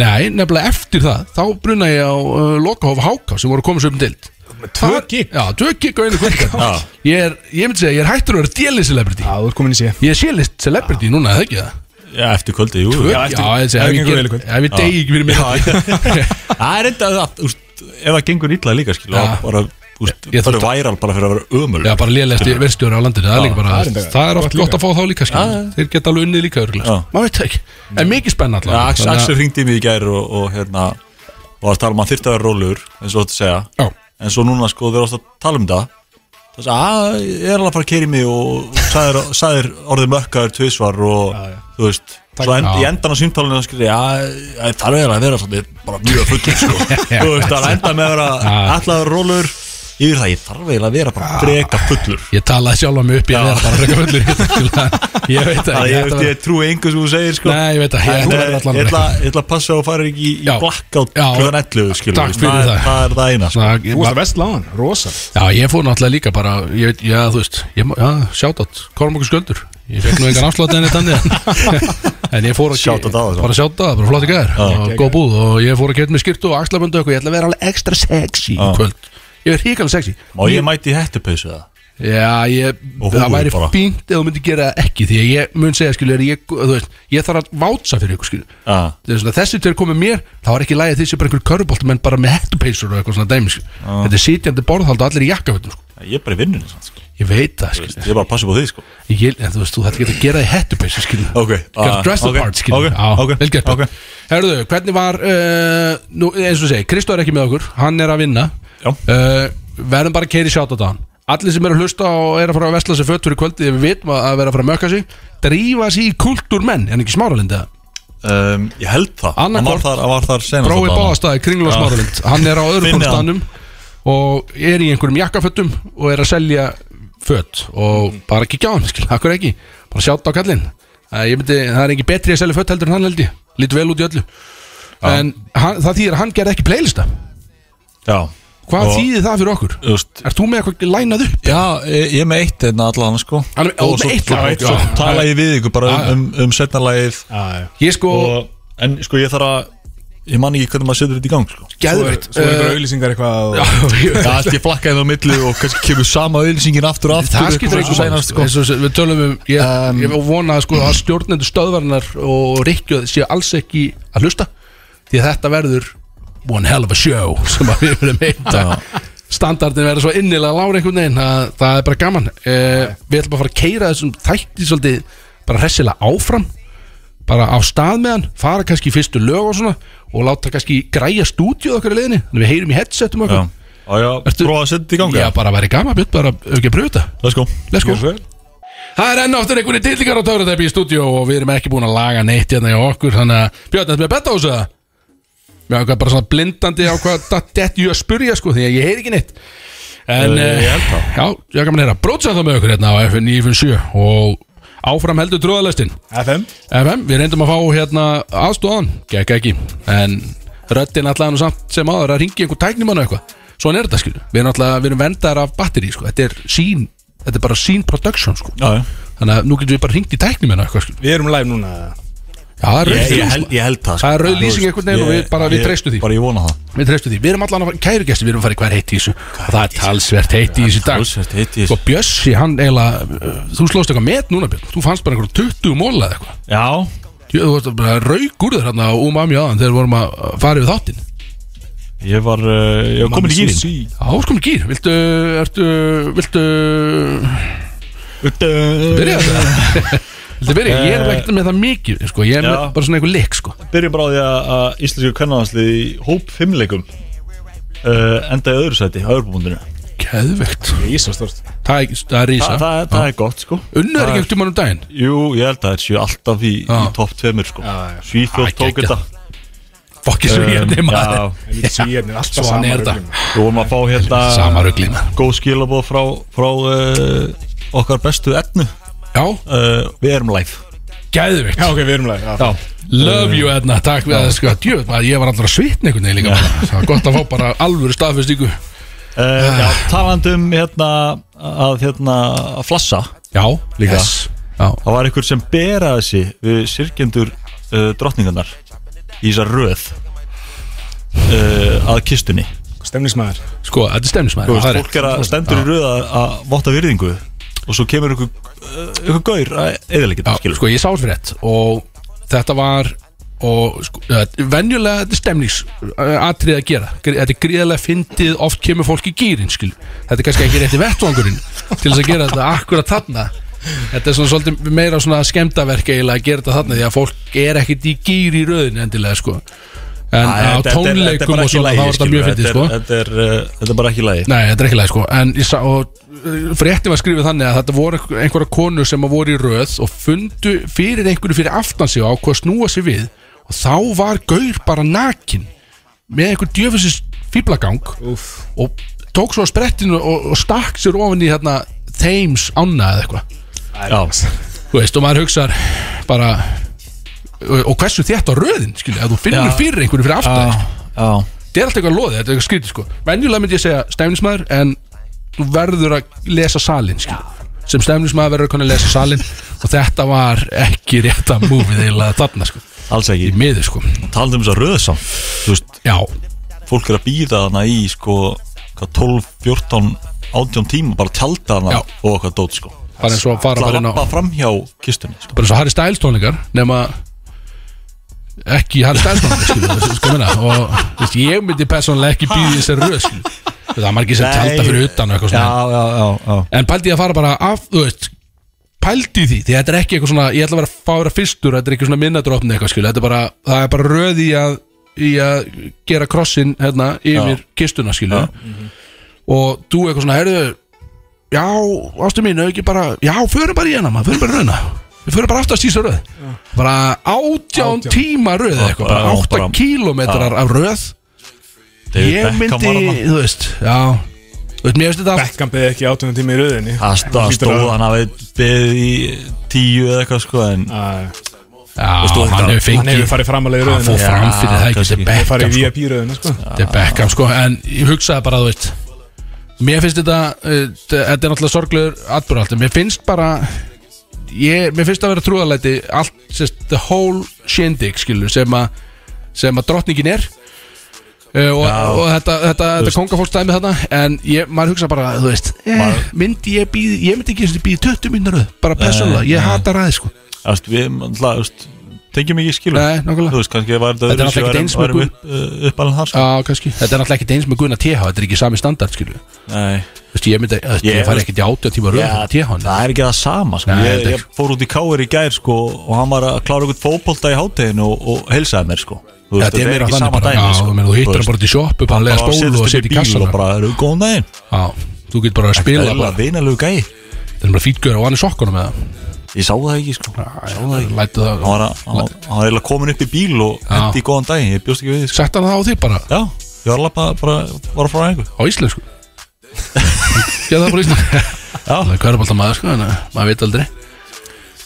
S2: nei, nefnilega eftir það, þá bruna ég á uh, Lokahof Háka sem voru komið svo upp um dild
S3: tvö gig?
S2: Já, tvö gig og einu
S3: *laughs*
S2: kvöld
S4: Já.
S2: Ég er, ég myndi segja, ég er hættur að vera délið celebrity
S3: Já, þú ert komin í sé
S2: Ég er sélist celebrity núna, eða ekki það?
S4: já, eftir kvöldi, jú
S2: Já,
S3: eftir-
S2: ég segi,
S3: það
S2: ef ég
S3: gengur
S2: ger-
S3: vel í kvöld.
S2: ef ég degi ekki fyrir *laughs* mér
S4: Það er enda að, úst, ef það gengur illa líka, skilur
S2: Já.
S4: þá bara, úst,
S2: Ég- ég
S4: það er
S2: þurfti-
S4: væral bara fyrir að vera ömul
S2: Já, bara
S4: *laughs*
S2: lélegasti verðstjóri á landinu Það er líka bara,
S3: það er enda-
S2: það er oft gott
S3: gott líka.
S2: að fá þá líka skil.
S4: Já, já.
S2: Þeir geta alveg unnið líka örgulega
S4: Já.
S2: Maður veit það ekki, en mikið spenn
S4: Já,
S2: allavega
S4: Axel, Axel ringdi mig í gær og, og hérna og var að tala um að hann þyrfti að vera rólegur eins og þetta segja
S2: Já.
S4: en svo núna sko þeir ást að tala um það það sagði að ég er alveg að fara að keiri mig og sagðir,
S2: *laughs*
S4: sagðir orðið mökkaður tvisvar og þú veist svo end,
S2: Já.
S4: í endan á símtálinu það skriði að það er eiginlega að vera svolítið bara mjög
S2: *laughs*
S4: fullur sko þú veist það enda með að vera allavega rólegur yfir það ég þarf eiginlega að vera bara freka fullur
S2: Ég talaði sjálf á mig upp, ég er bara frekar fullur í
S4: *laughs*
S2: þetta, skil. Ég veit það
S4: það
S2: ekki,
S4: ég,
S2: þetta
S4: ég,
S2: var-
S4: ég trúi engu sem þú segir sko
S2: Nei, ég veit það, ég-
S4: En, eh,
S2: þetta
S4: Ég
S2: var
S4: ætla
S2: allan
S4: ég ætla að passa og fara ekki í
S2: Já.
S4: blackout
S2: Já.
S4: klukkan 11 skilur
S2: Takk
S4: við.
S2: fyrir það.
S4: það, er- það er það eina sko.
S2: Svona, ég
S3: Þú
S2: bara-
S3: ert að vestláðan, rosa
S2: Já, ég fór náttúrulega líka bara ég, veit- Já, þú veist, ég, má- já, sjátt Kormokur sköldur, ég fekk nú engan afslátt enni
S4: *laughs*
S2: þannig en- En ég fór að
S4: Shout out á það, svo.
S2: Bara sjátt að, bara flott í gær og Góð búð og ég fór að kemta með skýrtu og axlaböndu og eitthvað, ég ætla að vera alveg ekstra sexy í
S4: Já.
S2: kvöld Ég er híkala sexy
S4: Má ég mæti í hettupausu það?
S2: Já, ég,
S4: Og
S2: það
S4: húfur
S2: væri
S4: bara.
S2: fínt ef þú myndir gera það ekki því að ég mun segja skilur ég, þú veist, ég þarf að vátsa fyrir ykkur skilur
S4: Já.
S2: Þegar svona, þessi tveir komið mér, þá er ekki lægið þessi bara einhver körbolt menn bara með hettupeysur og eitthvað svona dæmi skilur. Þetta er sitjandi borðhald og allir í jakkafötum sko.
S4: Ég er bara í vinnunni samt, sko.
S2: Ég veit það
S4: Þú veist,
S2: skilur
S4: Ég er bara að passa upp á því sko.
S2: ég, En þú veist, þú þetta getur að gera það í hettupeysu skilur
S4: Ok,
S2: Gera
S4: ah,
S2: dress the
S4: ok,
S2: part skilur
S4: ok,
S2: Já,
S4: ok,
S2: vel gert
S4: ok.
S2: Herðu, hvernig var, uh, nú, eins og segi, Kristó er ekki með okkur, hann er að vinna
S4: Já.
S2: uh, verðum bara að keiri sjátt á dagann allir sem eru að hlusta og eru að fara að vesla sér fötur í kvöldi við vitum að að vera að fara að mökka sig drífa sig í kultúr menn en ekki smáralind eða
S4: um, Ég held það
S2: Annað
S4: Hann var
S2: hvort.
S4: þar, hann var þar
S3: Hérna
S4: senast
S2: brói
S4: þarna.
S2: báðastæði kringla smáralind hann er á öðru
S4: Finni hann.
S2: konstanum og er í einhverjum jakkafötum og er að selja fött og
S3: Mm.
S2: bara kíkja á hann skil, akkur ekki, bara sjátt á kallinn það, ég myndi, það er ekki betri að selja fött heldur en hann held ég, lítur vel út í öllu en hann, það þýðir að hann gerði ekki playlista
S4: Já
S2: hvað
S4: Og,
S2: þýðir það fyrir okkur?
S4: þú veist,
S2: Ert þú með eitthvað lænað upp?
S4: Já, ég ég er með eitt hérna allan sko.
S2: Hann er- ó,
S4: Og
S2: með
S4: svo-
S2: eitt
S4: svo-
S2: lag, ok,
S4: Svo
S2: já.
S4: tala ég við ykkur bara
S2: Já, já.
S4: um, um, um setna lagið
S2: Ég sko,
S4: og, En sko ég þarf að Ég man ekki hvernig maður setur þetta í gang
S2: *laughs*
S3: Svo
S4: sko.
S3: er
S2: Gæðveitt
S3: svo er
S2: *laughs*
S3: bara auðlýsingar eitthvað og-
S4: Já, allt ég flakkaði það á milli og kannski kemur sama öðlýsingin aftur og aftur
S2: Það skiptir
S4: eitthvað
S2: ekki
S4: svona,
S2: sænast sko. Eins og Við tölum um, ég, ég vona að, sko, að stjórnendur stöðvarnar og Rikki séu alls ekki að hlusta Því að þetta verður one hell of a show *laughs* sem að við verðum heita Standardin verður svo innilega lára einhvern veginn að það er bara gaman e, Við ætlum að fara að keira þessum þætti svolítið bara hressilega áfram bara á stað með hann, fara kannski í fyrstu lög og svona og láta kannski græja stúdíu okkar í leðinni þannig við heyrum í headsetum
S4: Já,
S2: okkar
S4: já, já
S2: Ertu-
S4: prófa að setja í ganga
S2: Já, bara væri gaman, björn, bara ef ekki að pröfa þetta
S4: Let's go
S2: Let's go Það er enn áttur einhvernig tillingar á Töfratæpi í stúdíu og við erum ekki búin að laga neitt hérna í okkur þannig að Björn, þetta er betta á þessu eða? Mér ákvað bara svona blindandi á hvað *laughs* þetta ég að spurja sko því að ég heyri ekki neitt En
S4: Eh, ég held
S2: það Já, ég kan mann heyra Brótsa það með okkur hérna á FN 957 og áfram heldur trúðalestin
S3: FM
S2: FM, við reyndum að fá hérna aðstóðan, gekk ekki en röddinn allan og samt sem áður að ringi einhver tæknimann og eitthvað Svona er þetta skil, við erum alltaf, við erum vendar af batteri sko. þetta er sín, þetta er bara sín production sko.
S4: Já, já
S2: þannig að nú getum við bara ringt í tæknimann og eitthvað skil
S3: Við erum live núna
S2: Já, það er
S4: Ég,
S2: rauð
S4: ég, held,
S2: ljós,
S4: ég held það sko.
S2: Það er rauð lýsing
S4: Þú veist,
S2: einhvern veginn og
S4: ég-
S2: við bara- við
S4: ég-
S2: treystum því.
S4: Bara ég vona það
S2: við treystum því, við erum allan að fara, kæru gæsti, við erum að fara í hver heitt í þessu og það er talsvert heitt í þessu í dag
S4: Talsvert heitt í þessu.
S2: Sko Bjössi, hann eiginlega uh, þú slóst eitthvað met núna Björn, þú fannst bara einhverjum 20 móla eða eitthvað
S4: Já
S2: Jú, Þú varst bara rauk úr þér hérna á umami aðan þegar við vorum að uh, fara yfir þáttinn
S4: Ég var, uh, ég var komin í gýrin
S3: Sushi.
S2: Já, sko með gýr, viltu, ertu, viltu,
S4: eh,
S2: byrja
S4: *laughs*
S2: þetta? viltu byrja, ég er vegt með það mikið, sko, ég er með
S4: Já.
S2: bara svona einhver leik, sko.
S4: Byrjum bara á því að- að íslensku kvennaðanslið í hóp fimmleikum uh, enda í öðru sæti, á öðrubúndinu
S2: Keðvegt.
S3: Ísastort
S2: Það er, það er
S4: Þa,
S2: rísa.
S4: það, er- það er gott sko
S2: Unnaður
S4: það
S2: ekki
S4: er-
S2: ekkert um hann um daginn?
S4: Jú, ég held að það séu alltaf í, í
S2: Já.
S4: topp tveimur sko
S3: Já, já.
S4: Svíþjóð
S2: Æ,
S4: tók
S2: geggjað.
S4: þetta
S2: Fokk ég svo hérna, ég
S4: Um,
S2: er nema það.
S4: Já,
S3: Svíðarnir hérna alltaf
S2: Svona
S3: sama
S2: er þetta.
S3: ruglið.
S4: við vorum að fá hérna
S2: Sama rugli, maður.
S4: Góð skilabóð frá, frá uh, okkar bestu etnu
S2: Já,
S4: uh, Við erum live
S2: keðvegt.
S3: Já ok, við erum live já.
S2: Love you, Edna, takk við það, sko. Djöfn, maður, ég var allra svitn einhvern veginn líka. bara. Það var gott að fá bara alvöru staðfestingu.
S4: Uh, já, talandum hérna að hérna að flassa
S2: Já, líka.
S4: Yes.
S2: Já,
S4: það var einhver sem beraði sig við sirkjendur uh, drottningarnar í þessar röð uh, að kistunni
S3: Stemningsmaður
S2: sko, þetta er
S4: Þú
S2: stemnismæður.
S4: veist, fólk er að stendur í röð að, að votta virðingu og svo kemur einhver, uh, einhver gaur að eðalegita
S2: Já, sko, ég sá þetta fyrir rétt og þetta var og sko, eh, venjulega þetta er stemnings eh, atriði að gera, Gr- þetta er gríðarlega fyndið, oft kemur fólk í gýrin skil, þetta er kannski ekki rétti vettvangurinn til þess að gera þetta akkurat þarna þetta er svona svolítið meira svona skemmtaverk eiginlega að gera þetta þarna því að fólk er ekkert í gýr í röðin endilega sko en á tónleikum og svona þá er þetta mjög fyndið sko
S4: Þetta er, uh, þetta er bara ekki í lagi
S2: Nei, þetta er ekki læg sko En ég sá, og uh, fréttin var skrifið þannig að þetta voru einhver- einhverja konur sem að voru í röð og fundu fyrir einhverju fyrir aftan sig og ákvað að snúa sig við og þá var gaur bara nakin með einhver djöfisins fýblagang
S3: Úff.
S2: og tók svo að sprettinu og, og stakk sér ofin í hérna Thames ána eða eitthvað
S4: Já,
S2: Þú veist, og maður hugsar bara og og hversu þétt á röðin, skilja, að þú finnur
S4: Já.
S2: fyrir einhverju fyrir aftan þig,
S4: já, já
S2: þetta er alltaf eitthvað loðið, þetta er eitthvað skrítið sko venjulega myndi ég segja stefnismæður en þú verður að lesa salin skil. sem stefnismæður verður að kunna lesa salin og þetta var ekki rétt að múfið eiginlega þarna sko
S4: Alls
S2: í
S4: ekki,
S2: miður sko,
S4: talandum um þess að röðsam Þú veist,
S2: já,
S4: fólk er að býða hana í sko, hvað, 12, 14, 18 tíma bara tjálta hana
S2: Já.
S4: og hvað dót sko
S2: bara eins og að fara
S4: Það
S2: bara inn á
S4: lappa fram hjá kistunni sko.
S2: bara eins og Harry Styles tónleikar nema ekki Harry Styles tónleikar skil, þessu, sko minna og þú veist, ég myndi persónulega ekki býði þessi röð skil það er margir sem tjálta fyrir utan og eitthvað svona
S4: Já, já, já, já
S2: En pældi ég að fara bara af, þú veist Pældi í því, því þetta er ekki eitthvað svona Ég ætla að vera að fá að vera fyrstur, þetta er ekki svona minnadrópni eitthvað skil Þetta er bara, það er bara röð í að Í að gera krossin hérna Yfir kistuna skil
S4: Mhm.
S2: Og þú eitthvað svona, heyrðu Já, ástu mín, auðvitað bara Já, förum bara í hana, maður, förum bara í röðina Við förum bara aftast í þessu röð Bara átján tíma röð eða eitthvað Bara
S4: Já,
S2: átta
S4: bara-
S2: kílómetrar af röð
S4: David
S2: Ég
S4: Beckham var
S2: myndi,
S4: þarna.
S2: þú veist, já Þú veist, mér veist þetta
S3: Beckham beði ekki átunum tími í röðinni
S4: Það st- það
S3: Hlýtur að-
S4: stóð hann að við beðið í tíu eða eitthvað sko en
S3: Æ,
S2: Já,
S4: þetta-
S2: hann hefur
S3: Hann hefur
S2: fengið
S3: farið framalega í
S2: hann fór
S3: röðinni
S2: fram
S4: Já,
S2: fyrir það ekki
S4: kannski.
S2: þetta er
S3: Hann
S2: Beckham
S3: farið í
S2: sko,
S3: VIP röðinni sko
S2: þetta er Beckham sko en ég hugsaði bara þú veist mér finnst þetta uh, þetta er náttúrulega sorglegur atbúr allt mér finnst bara ég, mér finnst að vera trúðalæti allt sérst, the whole shindig skilur sem að sem að drottningin er uh, og, og þetta, þetta, þetta kongafólkstæmi þarna en ég, maður hugsa bara þú veist eh,
S4: Maður-
S2: myndi ég býð ég myndi ekki einu sinni býð 20 mínútur röð, bara persónulega ég hata ræði sko
S4: þú veist, við náttúrulega, þú veist, tengjum ekki skilur
S2: Nei, nákvæmlega.
S4: Þú veist, kannski var þetta
S2: Þetta er náttúrulega ekki
S4: öðruvísi og værum-
S2: eins með
S4: værum upp- uh, uppalinn þar sko
S2: Já, kannski. Þetta er náttúrulega ekki eins með Gunnar TH, þetta er ekki sami standard, skilju.
S4: Nei,
S2: Þú veist, ég myndi, þú veist,
S4: Ég-
S2: ég fari ekkert í átjá tíma röð
S4: Já,
S2: til hann
S4: það er ekki það sama sko.
S2: Nei,
S4: ég,
S2: þetta er-
S4: ég fór út í Káir í gær sko, og hann var að klára einhvern fótbolta í háteginu og, og heilsaði mér sko. Þú veist,
S2: Þetta er meira þannig bara, já,
S4: sko.
S2: þú meina, þú hittir
S4: veist,
S2: hann bara út í sjoppu, bara lega
S4: bara
S2: spólu og
S4: setjast
S2: setja
S4: upp
S2: í
S4: í bíl
S2: kassan
S4: og bara eru góðan daginn
S2: Já, þú getur bara að
S4: Það
S2: spila
S4: er bara
S2: bara,
S4: vinalegu gæi
S2: þetta er bara fítgöður og hann er sokkunum með það
S4: Ég sá það ekki sko
S2: Lætu það,
S4: Hann var, að- hann var- hann var eiginlega komin upp í bíl og hendi í góðan daginn Ég bjóst ekki við því sko.
S2: sett hann það á því bara,
S4: Já, ég var alveg bara, bara var frá einhver
S2: á íslensku Já, það er bara
S4: *laughs*
S2: íslensku Það er kvörbálta maður, sko, en eh, maður veit aldrei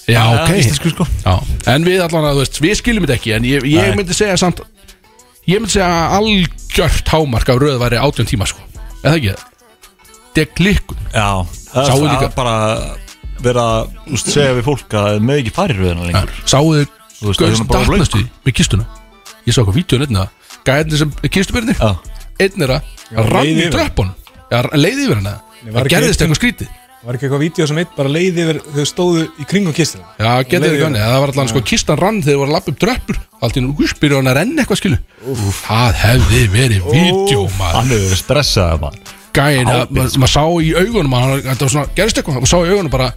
S2: Já, ok
S4: Íslensku sko
S2: Já, en við allan að, þú veist, við skiljum þetta ekki En ég, ég
S4: Nei.
S2: myndi segja samt Ég myndi segja að algjört hámark af röð væri átjón tíma, sko Eða ekki það? Þetta er klikkun
S4: Já, það
S2: Sáu
S4: er
S2: líka-
S4: það bara vera að úst, segja við fólk að þau með ekki farið röðina lengur
S2: Sáuðu
S4: Þú veist, það
S2: gauð
S4: er
S2: sem
S4: svona bara blöð,
S2: datnast í með kistuna Ég sá eitthvað vídeo nefna Gæðin sem kistubyrnir
S4: Já,
S2: Einn er að rann
S3: leið
S2: í
S3: yfir.
S2: tröppun Já, leiði yfir hana
S3: Nei, var
S2: Það
S3: ekki
S2: gerðist
S3: einn-
S2: eitthvað skrítið
S3: Var ekki eitthvað vídeo sem eitt bara leiði yfir þau stóðu í kringum kistina
S2: Já, getur
S3: Leið
S2: þið
S3: yfir.
S2: gönni Það var allan sko kistan rann þegar það var að lappa upp tröppur Allt í nú byrja hann að renna eitthvað skilu Það hefði verið vídeo maður
S4: hann hefur verið stressað maður
S2: Gæin, að-
S4: Ábyrgð,
S2: maður ma sá í augunum að hann, Þetta var svona, gerðist eitthvað Maður sá í augunum bara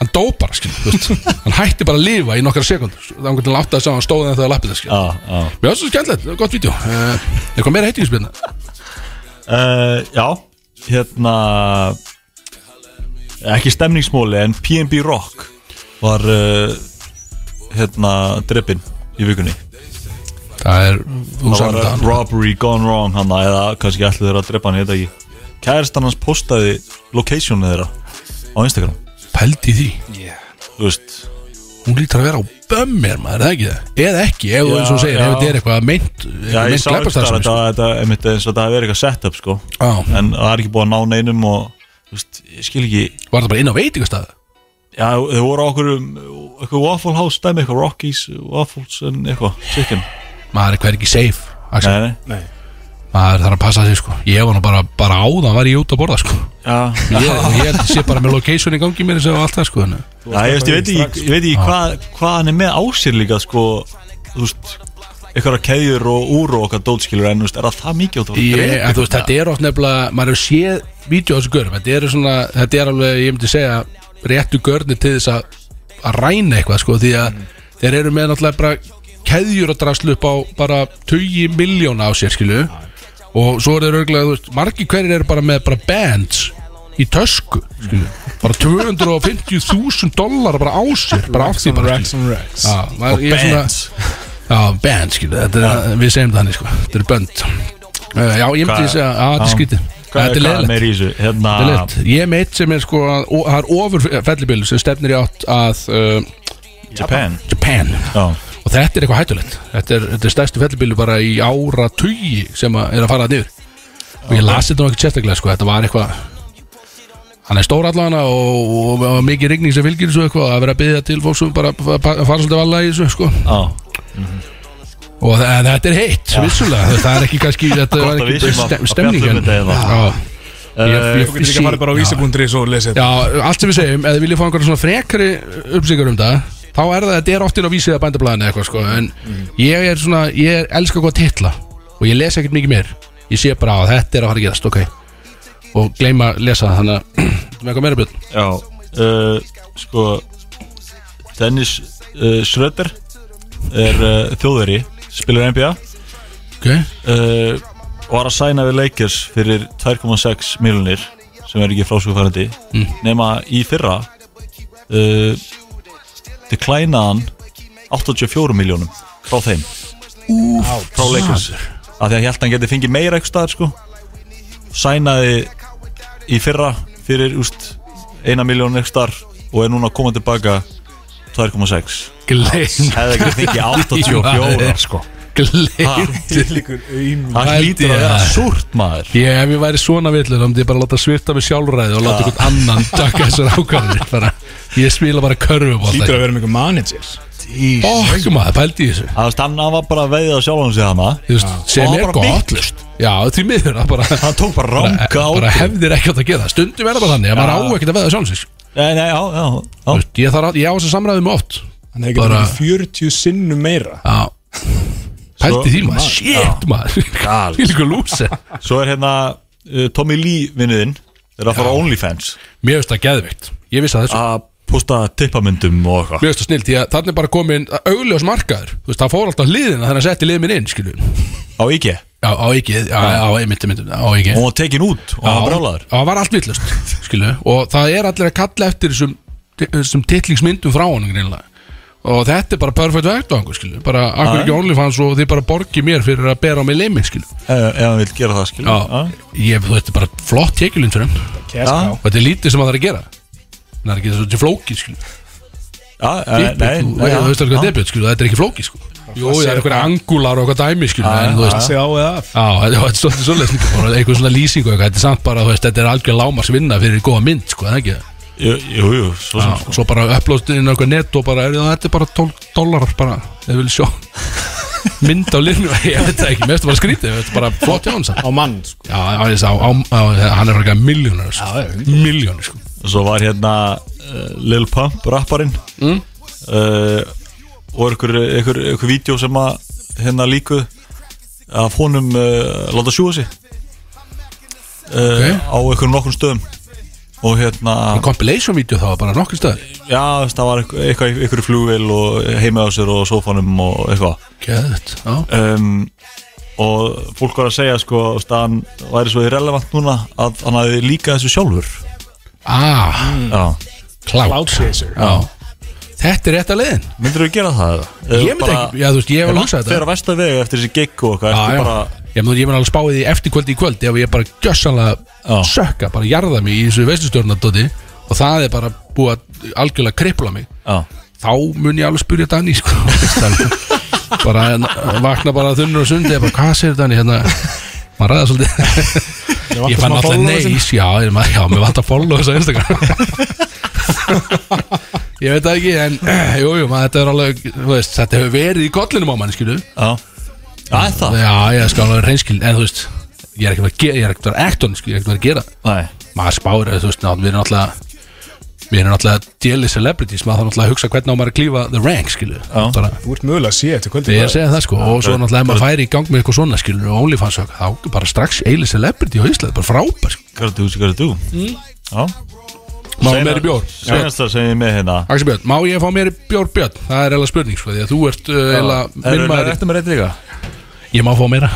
S2: Hann dó bara skilu, þú veist Hann hætti bara að lifa í nokkra sekund Það var hvernig látt að sá hann stóði þegar það lappið það skilu
S4: Já, já
S2: Mér finnst það skemmtilegt, gott vídeo uh, Eitthvað meira heitingspilna
S4: uh, Já, hérna ekki stemningsmåli en PNB Rock var uh, hérna dreppin í vikunni
S2: Það er, þú
S4: það
S2: sagði
S4: var
S2: þetta
S4: robbery gone wrong hann eða kannski allir þeirra að drepa hann ég veit það ekki kærastan hans postaði location þeirra á Instagram
S2: Pældi í því
S4: þú veist
S2: Hún lítur að vera á bömmir maður, er það ekki það? Eða ekki, ef þú
S4: Já,
S2: eins og þú segir,
S4: já.
S2: ef þetta er eitthvað meint
S4: já
S2: eitthvað
S4: ég
S2: meint
S4: sá ekki það
S2: glæpastarfsemi,
S4: þetta þetta er mitt eins og þetta hefur verið eitthvað setup sko
S2: sko. Já,
S4: en það er ekki búið að ná neinum og þú veist ég skil ekki
S2: Var það bara inn á veitingastað
S4: já þau voru á okkur um eitthvað Waffle House dæmi eitthvað Rockies Waffles en eitthvað chicken
S2: Maður er hver ekki safe Axel.
S4: nei nei
S3: Nei
S2: Maður þarf að passa sig sko Ég var nú bara, bara áðan var ég út að borða sko
S4: *laughs* já
S2: Ég, ég held að sé bara með location í gangi mér og allt það sko en,
S4: Já, ég, veist, ég veit ekki, ég veit ekki
S2: sko.
S4: hvað, hvað hann er með á sér líka sko, þú veist eitthvað keðjur og úr og okkar dótskilur en þú veist, er það það mikið og það
S2: ég, en, þú veist, Þetta er oft nefnilega, maður hefur séð Vídeó á þessu görn, þetta eru svona Þetta er alveg, ég myndi segja, réttu görni Til þess að, að ræna eitthvað sko Því að þeir eru með náttúrulega bara Keðjur að draslu upp á bara 20 miljóna á sér skilu Og svo eru þeir örgulega, þú veist, margir hverjir eru bara með bara bands í tösku, skilu, bara 250.000 dollara bara á sér, bara af því bara, skilu.
S3: Rex and Rex
S2: Já, maður, og
S4: bands.
S2: Já, band, skilu, þetta er, við segjum það þannig, sko, þetta er bönd uh, Já, ég myndi
S4: Hvað-
S2: segja, að þetta er
S4: já.
S2: skrítið
S4: hvað
S2: Þetta er
S4: hvað er
S2: leðilegt,
S4: meir í þessu hérna,
S2: þetta er leðilegt Ég er meitt sem er, sko, að- ó- það er ofur fellibylur sem stefnir í átt að uh,
S4: Japan
S2: Japan
S4: já,
S2: Og þetta er eitthvað hættulegt Þetta er, þetta er stærstu fellibylur bara í ára tugi sem að, er að fara niður Og ég lasi þetta nú ekkert sérstaklega, sko, þetta var eitthvað Hann er stór allan og, og, og mikið rigning sem fylgir þessu eitthvað að vera að byggja til fólk sem bara fa- fa- fara svolítið valla í þessu, sko
S4: já,
S2: og þa- þetta er heitt, vissulega Þú veist, það er ekki
S4: *laughs*
S2: kannski, þetta
S4: Gott
S2: var
S4: að við
S2: ekki
S4: séum að-
S2: stem-
S4: að
S2: stemning
S4: fjalla um
S2: en-
S4: þetta hérna.
S2: Já. Ég- ég-
S3: Þú getur líka
S2: sí-
S3: að fara bara á
S2: já.
S3: vísapuntri svo og lesa þetta
S2: Já, allt sem við segjum, eða viljum fá einhverja svona frekari uppsýkur um það þá er það, þetta er oft inn á vísið að bændablaðinu eitthvað sko, en
S4: Mhm.
S2: ég er svona, ég elska hvað titla og ég les ekkert mikið mér ég sé bara að þetta er að fara að gerast, ok og gleyma að lesa það, þannig að *clears throat* með eitthvað meira björn
S4: já uh, sko Dennis uh, Schröder er uh, þjóðveri spilur NBA
S2: okay.
S4: uh, var að sæna við Lakers fyrir 2,6 miljonir sem er ekki frásugufærandi mm. nema í fyrra uh, deklænaðan 84 miljónum frá þeim
S2: Úf,
S4: frá Lakers af því að ég held að hann geti fengið meira eitthvað staðar sko sænaði í fyrra fyrir úst, eina miljón eitthvað staðar og er núna að koma tilbaka 2,6
S2: gleym,
S4: hefði ekki fengið
S2: *laughs*
S4: 84 sko
S2: gleym
S3: Líkur auðvitað
S4: það
S2: Held
S4: hlýtur að
S2: ég.
S4: vera súrt maður
S2: Ég, ef ég væri svona villur, þá myndi ég bara láta svirta mig sjálfræði og láta einhvern
S4: *laughs*
S2: annan taka þessar ákvæðanir bara, Ég spila bara
S3: Lítur að
S2: körfubóll
S3: vera mjög manager
S2: Bokk maður, pældi í þessu
S4: Það veist, hann var bara að veiða sjálf hans í hana
S2: Þú veist,
S4: Og
S2: sem
S4: hann
S2: er
S4: bara
S2: gott
S4: vitlaust.
S2: Já, því miður það bara,
S4: Hann tók bara ranga á
S2: bara hefðir ekki átt að gera það Stundum er það bara þannig að maður á ekkert að veða sjálfsins
S4: Nei, nei, já, já, já
S2: Þú veist, Ég, þarf að- ég á þess að samræðum oft
S3: Hann hefði getað
S2: Bara-
S3: fengið 40 sinnum meira
S2: Já Pældi
S4: Svo-
S2: því maður, shit maður *laughs*
S4: Gal.
S2: Fylgur lúse
S4: Svo er hérna uh, Tommy Lee vinniðinn Þeir eru að fara á OnlyFans
S2: Mér finnst það geðveikt, ég vissi að þessu
S4: Að posta tippamyndum og eitthvað
S2: Mér finnst það snill, því að þannig er bara komin augljós markaður Þú veist, það fór alltaf hliðina þannig að setja liðin minn inn, skilur
S4: Á IG
S2: Já, á ekki, já, á einmitt, einmitt, á ekki
S4: Og hún var tekin út
S2: Já,
S4: og hann var brálaður
S2: Já, það var allt vitlust, skilur Og það er allir að kalla eftir þessum, þessum titlingsmyndum frá honum greinlega Og þetta er bara perfect vektvangur, skilur Bara, akkur ekki OnlyFans og þið bara borgi mér fyrir að bera á mig liðin, skilur
S4: Ef ef hann vil gera það skilur
S2: Já, ég, þú veist, þetta er bara flott tekjulind fyrir hann
S3: Kæská
S2: Og þetta er lítið sem það er að gera Það er ekki þessu til flókið, skilur
S4: Já, eh, nei,
S2: Debut,
S4: nei,
S2: þú- þú
S4: já,
S2: veist alveg hvað
S4: já.
S2: debut, skilur, þetta er ekki flóki sko. Jú,
S3: það
S2: það
S3: sé-
S2: er einhverja angúlar og eitthvað dæmi skilur, en þú
S3: Það
S2: veist
S3: sé á eða af
S2: Já, þetta þetta er svolítið svolítið sko, bara einhver svona lýsing og eitthvað, þetta er samt bara, þú veist, þetta er algjör lámars vinna fyrir góða mynd, sko, það ekki Já,
S4: Jú, jú, jú, svo sem sko.
S2: og svo bara upplóðst inn á eitthvað net og bara, er, þetta er bara 12 dólarar bara, ef við *laughs* viljum sjá mynd á linu, *laughs* ég veit það ekki, mér finnst það bara skrítið, mér finnst það bara flott hjá hans Já,
S3: Á mann sko
S2: á, á, á, á, hann er frækka miljónar, sko, miljónar, sko
S4: Svo var hérna uh, Lil Pump, rapparinn mm. Og einhver, einhver, einhver vídeo sem að hérna líku Af honum uh, láta sjúa sig uh,
S2: Ok.
S4: Á einhverjum nokkrum stöðum Og hérna
S2: Compilation-vídeó þá, bara nokkur stöð
S4: Já, þú veist, það var eitthvað, eitthvað, eitthvað flugvél og heima á sér og sófanum og eitthvað
S2: Gæðið, já,
S4: um, og fólk var að segja sko, þú veist, að hann væri svo irrelevant núna að hann hafi líka þessu sjálfur
S2: ah,
S4: Já,
S2: klátt
S3: Outchaser
S2: Já Þetta er rétt að leiðin
S4: myndir þú gera það? eða?
S2: Ég myndi ekki, já þú veist, ég hef
S4: Ef
S2: alveg
S4: langt
S2: hugsað
S4: fyrir
S2: þetta
S4: að versta vegu eftir þessi gig og eitthvað
S2: Já,
S4: ertu
S2: já,
S4: bara,
S2: ég mun, ég mun alveg spáði því eftir kvöldi í kvöld ef ég bara gjössanlega
S4: Já.
S2: sökka bara jarða mig í þessu veistustjórnardóti og það er bara búið að algjörlega kripla mig
S4: já,
S2: þá mun ég alveg spyrja Dani sko, *laughs* veist það alveg. bara hérna, vakna bara þunnur og sundi bara, hvað segir Dani hérna maður ræða
S4: *laughs*
S2: svolítið ég fann alltaf neis, já, ég- ma- já, mér vant að follow þessu á Instagram *laughs* ég veit það ekki en *clears throat* jú, jú, maður, þetta er alveg þú veist, þetta hefur verið í kollinum á manni, skilu
S4: já Já, er það?
S2: Já, sko, ég skal alveg reynskil En þú veist, ég er ekki að gera Ég er ekki að ekta hann, ég er ekki að gera
S4: Nei,
S2: Maður spáir, þú veist, ná, við erum alltaf Við erum alltaf djelið celebrities Maður þarf alltaf að hugsa hvernig á maður að klífa the rank, skilu Bara,
S3: Þú ert mögulega að sé eftir kvöldi
S2: Ég er að segja það, sko Og svo náttúrulega ef maður færi í gang með eitthvað svona, skilu Og OnlyFans, og eitthvað, þá bara strax eilið celebrity á Íslandi Bara frábær, sko. skilu
S4: hvað er þú, hvað er þú? Já
S2: Hmm? Má meiri bjór Sveinn,
S4: Seinast það sem ég er með hérna
S2: Axel Björn, má ég fá meiri bjór Björn? Það er eða spurning, sko, því að þú ert uh, eða minn
S4: maður
S2: maður
S4: Ertu með rétt líka?
S2: í- Ég má fá meira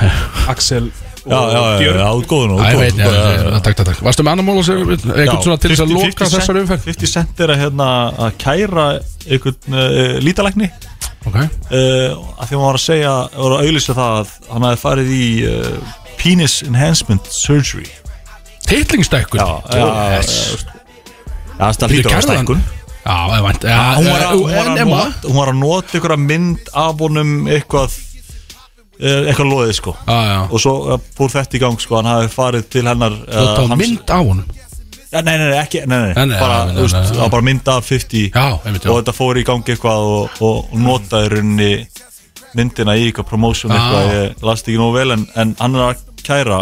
S3: Axel
S4: Já, já, já, já, já, góður nú
S2: Æ, ég veit, já, já, já, takk, takk, takk Varstu með annar mál að segja, eitthvað svona til þess að loka þessar umferð?
S4: 50 cent er að, hérna, að kæra einhvern uh, lítalækni
S2: Ok,
S4: uh, að því að maður var að segja var að auðlýsa það að hann hafi farið í uh, penis enhancement surgery
S2: teitlingstækkun eh,
S4: já,
S2: yes.
S4: já það
S2: Bíddu,
S4: hlýtur að
S2: kærðu hann?
S4: stækkun
S2: já, ég vant já,
S4: hún var, að, Eh, hún, var
S2: en
S4: að
S2: Emma
S4: not, hún var að nota einhverja mynd af honum eitthvað uh, eitthvað loðið sko
S2: Já, já.
S4: og svo uh, fór þetta í gang sko hann hafi farið til hennar uh,
S2: þú tóð
S4: hans-
S2: mynd á honum
S4: ja, nei, nei, nei, ekki nei, nei,
S2: Nei, nei,
S4: bara,
S2: nei, nei,
S4: þú veist,
S2: nei, nei.
S4: það var bara mynd af 50
S2: Já, einmitt, já.
S4: og þetta fór í gangi eitthvað og, og notaði runni myndina í eitthvað promotion eitthvað,
S2: Já.
S4: ég las þetta ekki nógu vel en, en hann er að kæra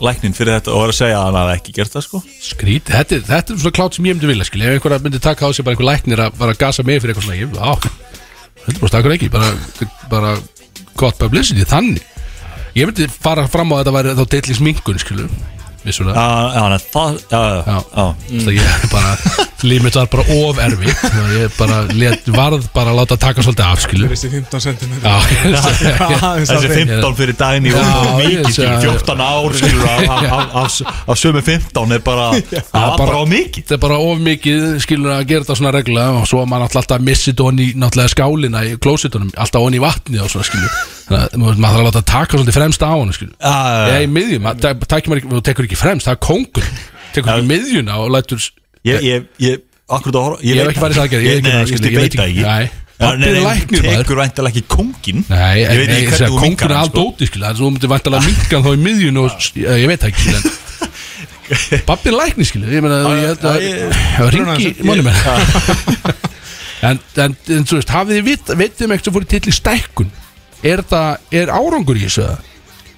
S4: læknin fyrir þetta og er að segja að hann hafi ekki gert það sko
S2: skrít, þetta, er- þetta er svona klátt sem ég myndi vilja skilja, ef einhverja myndi taka á sig bara einhver læknir að bara gasa mig fyrir eitthvað svona, ég á, þetta bara stakur ekki bara, bara gott publicity þannig, ég myndi fara fram á að þetta væri þá teitlingsminkun skilju vissulega,
S4: Já, já, Ah, hann er það, ah, já, já,
S2: Já.
S4: já
S2: það ég
S4: *laughs*
S2: bara límit var bara of erfitt og ég bara let, varð bara að láta taka svolítið af skilju,
S3: Þessi 15 cm
S2: *laughs* já, ég veist
S3: *laughs*
S4: Þessi 15 fyrir daginn í
S2: Já, ég
S4: mikið,
S2: sé
S4: skilur,
S2: að-
S4: 14 ár skilur, af- af- af- af af sömu 15 er *laughs* bara, það var bara á mikið
S2: þetta er bara of mikið skilur að gera þetta svona reglulega og svo að maður náttúrulega alltaf missið þetta onni náttúrulega skálina í klósitunum, alltaf onni í vatni og svona skilur, þannig að maður maður þarf að láta taka svolítið fremst á hann skilur
S4: Já, já, já.
S2: ég í miðjum, það- það- tækir maður ekki, þú tekur ekki fremst, það er kóngur tekur ekki miðjuna og lætur
S4: Ég, ég, ég, akkurat að horfa Ég,
S2: hef ekki farið í þessa aðgerð, ég
S4: ég,
S2: veit ekki það,
S4: nei, ég,
S2: skilur,
S4: ég veit það ekki
S2: Nei.
S4: Já, Nei,
S2: Pabbi er
S4: nei,
S2: læknir,
S4: hún
S2: maður.
S4: tekur væntalega ekki kóngin
S2: Nei,
S4: ég veit ekki hvernig þú
S2: kóngur
S4: minkar
S2: er
S4: hann sko.
S2: aldóti skilur, þannig að þú myndir vantalega minkan þá í miðjun
S4: *laughs*
S2: og s- ég ég veit það ekki skilur en- Pabbi er læknir skilur, ég meina ég held að- það ringi manni með *laughs* En, en, en þú veist, hafið þið vit, vitið um eitthvað fór í til í stækkun er, það, er árangur í þessu eða?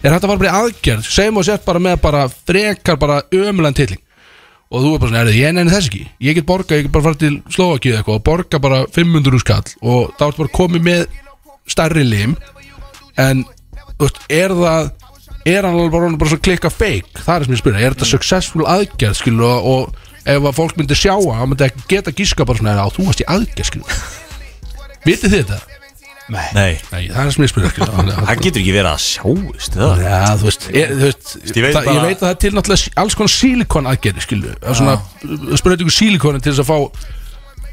S2: er þetta bara bara aðgerð segjum og sett bara með bara frekar bara ömulegan tilling og þú er bara svona, er ég nefnir þess ekki ég get borga, ég get bara fara til Slovakíu eða eitthvað og borga bara 500 úr skall og þá ertu bara komið með stærri lim en þú veist, er það er hann alveg bara, orðinn bara svona klikka fake það er sem ég spyrir, er þetta successful aðgerð skilur og, og ef að fólk myndi sjá að hann myndi ekki geta gíska bara svona "Já, þú varst í aðgerð skilur vitið þið þetta?
S4: sko.
S5: Nei,
S2: Nei, það er sem ég spyrir skilur Þannig að-
S5: það getur ekki verið að sjáist það.
S2: Já, þú veist, ég, þú veist
S5: ég
S2: ég,
S5: veit
S2: veit
S5: bara-
S2: ég veit að það er til náttúrulega sí- alls konar sílikon aðgerði, skilu Það er svona spröytingu sílikonin til þess að fá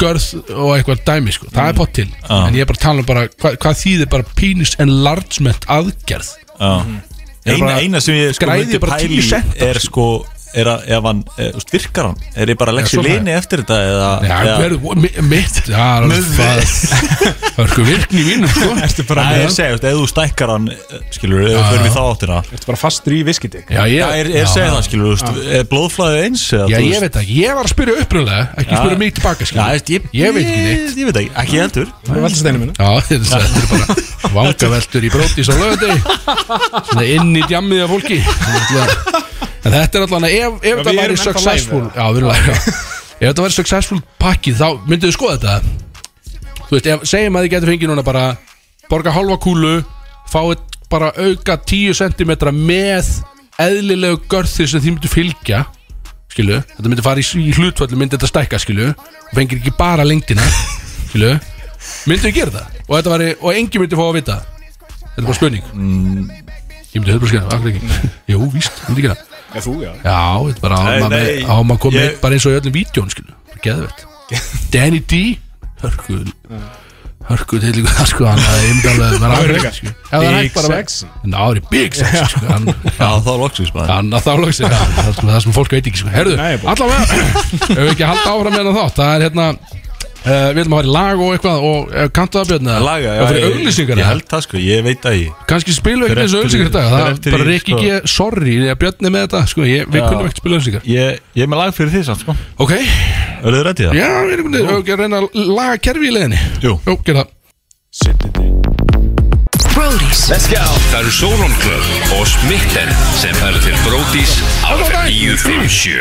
S2: görð og eitthvað dæmi, sko
S5: Mm.
S2: Það er pott til, en ég er bara að tala um bara hva, hvað þýðir bara penis enlargement aðgerð Mm-hmm.
S4: Já.
S2: Er
S4: eina,
S2: bara-
S4: eina sem ég sko
S2: græði
S4: myndi
S2: bara
S4: pæli
S2: 10 sent,
S4: í er sko er að, ef hann, e, úst, virkar hann er ég bara að leggja
S2: svona
S4: lini eftir þetta eða,
S2: Já, ja.
S4: eða,
S2: verð, mi- mitt Já, það er alveg- það *laughs* það er sko virkni í mínum, sko Ertu
S4: Nei, ég segi, úst, ef þú stækkar hann eh, skilur, ef þú fyrir við þá áttina
S3: Þetta er bara fastur í viskiti
S2: Já, ég,
S4: Já, er, er segið það skilur, úst, er blóðflæðið eins eða,
S2: Já,
S4: þú
S2: ég
S4: veist-
S2: veit það, ég var að spyrja upprunlega Ekki
S4: Já.
S2: spyrja mig tilbaka,
S4: Já,
S2: skilu
S4: veist, ég,
S2: Ég veit ekki neitt.
S4: Ég veit ekki, ekki heldur
S3: Það er veltasteinu minna
S2: Já, þetta er- þetta er bara vangaveltur í brótis á lögadegi Svona inn í djammiði af fólki Þannig að- En þetta er alltaf ef, ef þetta
S3: við
S2: væri
S3: erum ennþá
S2: successful
S3: live,
S2: Já, við erum live, já Ef þetta væri successful pakki þá mynduðu skoða þetta Þú veist, ef, segjum að þið getur fengið núna bara borga halva kúlu fáið bara auka 10 cm með eðlilegu görði sem þið myndu fylgja skilu, þetta myndi fara í, í hlutfallu myndi þetta stækka, skilu og fengir ekki bara lengdina, skilu myndu þið gera það og, þetta væri, og engin myndi fá að vita það. þetta er bara spurning ég myndi höfðu bara skilja, ekki jú, víst, myndi gera það
S3: Já, þú, já
S2: Já, þetta bara á
S4: Nei,
S2: maður
S4: nei,
S2: á maður komið
S4: ég-
S2: bara eins og í öllum vídjón, skilu Geðvett Danny D Hörku Hörku til líka það, sko Hann hafði einmitt alveg Það er alveg
S3: líka
S2: hægt, sko Ef það er hægt bara veg
S3: sexy.
S2: Ná, það er big sex, sko Hann
S4: Já, þá loksins maður
S2: Þannig að þá lóksir það, það, sko, það sem fólk veit ekki sko. Herðu,
S3: Nei, bú.
S2: allavega Ef við ekki að halda áfram með hann þátt Það er hérna Uh, við ætlum að fara í lag og eitthvað og uh, kantu það björna
S4: Laga,
S2: og fyrir auglýsingar
S4: Ég held það sko, ég veit það ég
S2: kannski spilum við
S4: Fer
S2: ekki þessu
S4: eftir-
S2: auglýsingar í dag
S4: fer
S2: það er
S4: eftir
S2: bara
S4: í,
S2: Rikki
S4: sko.
S2: G, sorry, ég er björni með þetta sko, ég, við
S4: Já.
S2: kunnum ekkert spila auglýsingar
S4: Ég, ég er með lag fyrir því samt sko
S2: ok,
S4: Ölluðu rættið það?
S2: Já, við erum myndið að reyna að laga kerfi í leiðinni
S4: Jú.
S2: Jú, gera það
S6: Brody's
S7: Það eru Sóron Club og Smitten sem færðu til Brótis á FM 957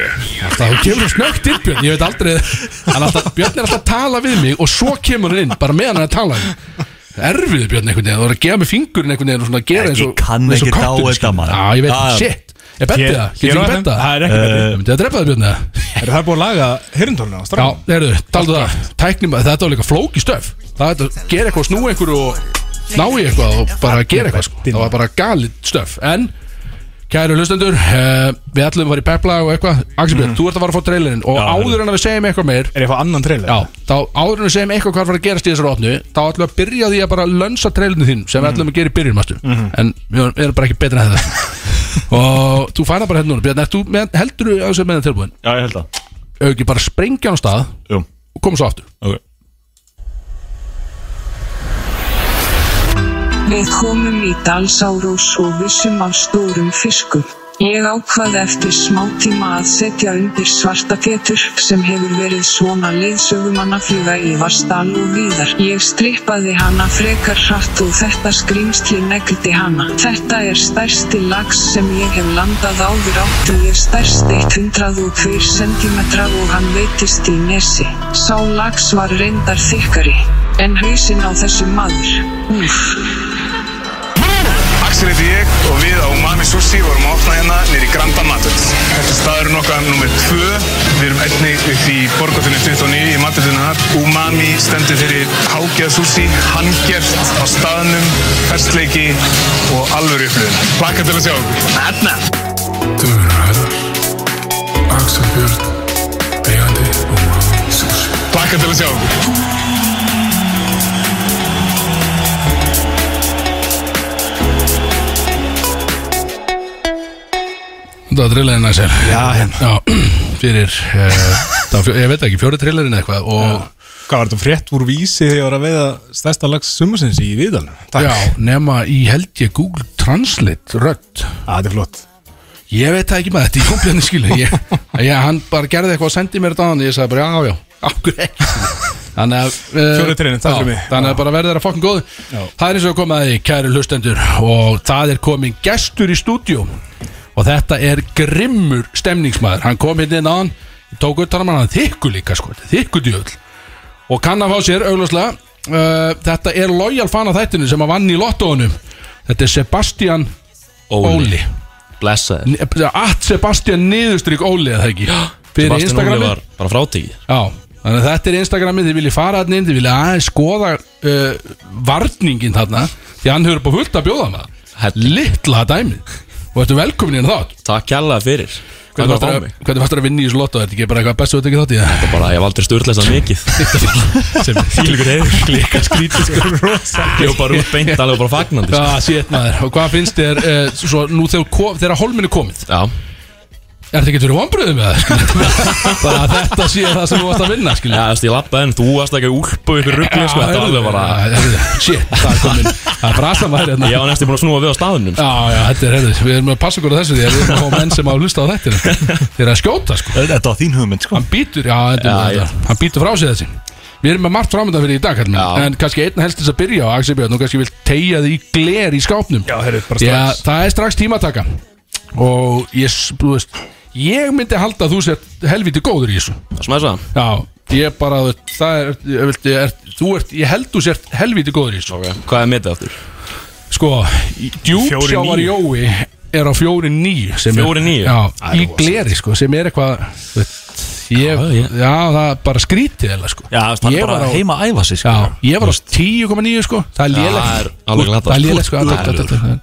S2: Alltaf, þú kemur svo snöggt inn Björn, ég veit aldrei hann alltaf, Björn er alltaf að tala við mig og svo kemur hann inn, bara meðan hann er að tala við mig. Erfiður Björn einhvern veginn, þú voru að gefa mig fingurinn einhvern veginn og svona að gera
S4: Ég
S2: eins og
S4: kann
S2: eins og
S4: ekki dá
S2: köttur,
S4: þetta,
S2: skilur.
S4: maður. Ah,
S2: Já, ég veit,
S4: Það-
S2: shit, ég beti það, getur ekki betta
S3: Það
S2: það
S3: er ekki betið
S2: Myndið að drepa það Björn eða?
S3: Er það búið að laga hirndólina á
S2: Já,
S3: strafn?
S2: heyrðu, taldu það, tæknum að þetta var líka flóki stöf Það er þetta að gera eitthvað, snú einhverju og ná í eitthvað og bara gera eitthvað sko. Það var bara galið stöf En, kæru hlustendur, uh, við ætlum að fara í pepla og eitthvað Axel Björn, þú ert að fara að fá trailin Og áður en að við segjum eitthvað meir
S3: Er ég að fá annan trailer?
S2: Já, þá áður en við segjum eitthvað hvað var að gerast í þessar opnu Þá ætlum við að byrja á því að bara lönsa trailinu þín Sem við ætlum að gera í byrjun, mástu En við erum bara ekki betra en þetta Og þú fæna bara hérna núna Björn, ert þú með- heldurðu að þú sért með þetta tilbúin?
S4: Já, ég held það
S2: Ef ekki bara sprengja hann á stað
S4: Jú,
S2: og koma svo aftur
S4: ok
S8: Við komum í Dalsárós og vissum af stórum fiskum. Ég ákvaði eftir smá tíma að setja undir svarta Pétur sem hefur verið svona leiðsögumannafluga í Vastal og víðar. Ég strippaði hana frekar hratt og þetta skrýmsli negldi hana. Þetta er stærsti lax sem ég hef landað áður átti. Ég stærst 102 cm og hann veitist í nesi. Sá lax var reyndar þykkari en hausinn á þessu maður. Úff.
S9: Axel heiti ég og við á Umami Sushi vorum að opna hérna nýri Granda Matvöld. Þetta er staðurinn okkar nummið 2. Við erum einnig upp í Borgotunni 29 í matvöldinu þar. Umami stendur fyrir hágeð sushi, handgjert á staðnum, festleiki og alvöru upplöðin. Plakka til að sjá okkur. Hérna!
S10: Du ræður Axel Björn Eigandi og mann Sushi
S9: Plakka til að sjá okkur.
S2: Það var trillerinn að sér Já, *clears throat* hérna Fyrir, uh, *laughs* það, var fjó- ég veit ekki, fjóri trillerinn eitthvað og
S3: Hvað var þetta frétt úr vísi þegar ég var að veiða stærsta lags sumusins í Viðalunum?
S2: já. nema í held ég Google Translate rödd
S3: Það Ah, er flott.
S2: Ég veit það ekki maður, þetta er jónbjörni skilu ég,
S3: *laughs*
S2: ég, Hann bara gerði eitthvað og sendi mér þetta á hann Ég sagði bara, já, já, ákveð ekki Þannig að uh,
S3: Fjóri trillin, takk
S2: já,
S3: fyrir mig.
S2: Þannig að bara verður þeirra fokkin góð Það er eins og komaði, kæru hlustendur Og það er komin gestur í stúdíu Og þetta er grimmur stemningsmaður Hann kom hérna inn á hann Tók utan um hann, hann er þykku líka sko Þykku djöfull og kann að fá sér augljóslega eh, uh, þetta er lojal fan af þættinu sem að vann í lottóinu þetta er Sebastian Óli
S6: Blessa þér
S2: At Sebastian niðurstryk Óli eða ekki Fyrir
S6: Sebastian Óli
S2: Instagrami
S6: var bara frátíki
S2: Já Þannig að þetta er Instagramið, þið viljið fara hann inn, þið viljið aðeins skoða uh, varningin þarna Því hann hefur upp á fullt að bjóða maður Littla dæmið Og þetta er velkomin inn þátt
S6: Takk kjallaði fyrir Hvað
S2: Hvernig
S6: var
S2: varstu
S6: það á
S2: að,
S6: mig?
S2: hvernig varstu að vinna í þessu lotto, er þetta ekki bara eitthvað bestu þetta ekki þátt í það?
S6: *laughs* Bara ég hef aldrei styrlað það *laughs* mikið
S2: *laughs*
S6: Sem sko. þýlugur hefur Líka skrítið sko Ég var bara út beint alveg bara fagnandi sko.
S2: Já, sétt Ah, maður, og hvað finnst þér, uh, svo nú þegar, ko- þegar holmin er komið
S6: Já
S2: Er þetta ekki fyrir vonbröðum með það? *laughs* bara að þetta sé það sem þú varst að vinna,
S6: Já,
S2: skilja
S6: þú veist, ég lappaði en þú varst ekki að úlpa ykkur ruggli, sko, þetta var alveg bara
S2: Shit, það er komin, það er brasa maður hérna
S6: Ég var næstu búin að snúa við á staðunum, sko
S2: Já, já, þetta er hefðið, við erum að passa okkur á þessu því að við erum að fá menn sem að hlusta á þetta Þeir eru að skjóta, sko
S4: Þetta var þín hugmynd sko
S2: Hann býtur, já, þetta,
S6: Já,
S2: já,
S6: já.
S2: hann býtur frá sig þessi Við erum með margt framöndan fyrir í dag, kallum
S6: Já.
S2: En kannski einn helst þess að byrja á Axel Björn Nú kannski vil tegja því gler í skápnum
S3: Já, herru, bara
S2: Já,
S3: strax
S2: það er strax tímataka Og ég, s- þú veist Ég myndi halda að þú sért helviti góður í þessu
S6: Smæði svo það?
S2: Já, ég bara, þú veist, það er, ég vildi, er, þú ert, ég held þú sért helviti góður í þessu
S6: Ok, hvað er metið aftur?
S2: Sko, djúpsjávar
S3: 4-9.
S2: Jói er á 4-9 sem er-
S6: 4-9?
S2: Já,
S6: Það er
S2: í
S6: rosa.
S2: gleri sko, sem er eitthvað þú veist, ég,
S6: Já, ég-
S2: Já, það er bara skrítið eða sko
S6: Já, þú veist, hann
S2: Ég
S6: er bara
S2: var á-
S6: heima að æfa sig, sko
S2: Já, ég var á 10,9 sko Það er lélegt
S6: það er alveg glatað,
S2: Það er
S6: sko.
S2: lélegt sko það
S6: Það er
S2: er- það er- það er-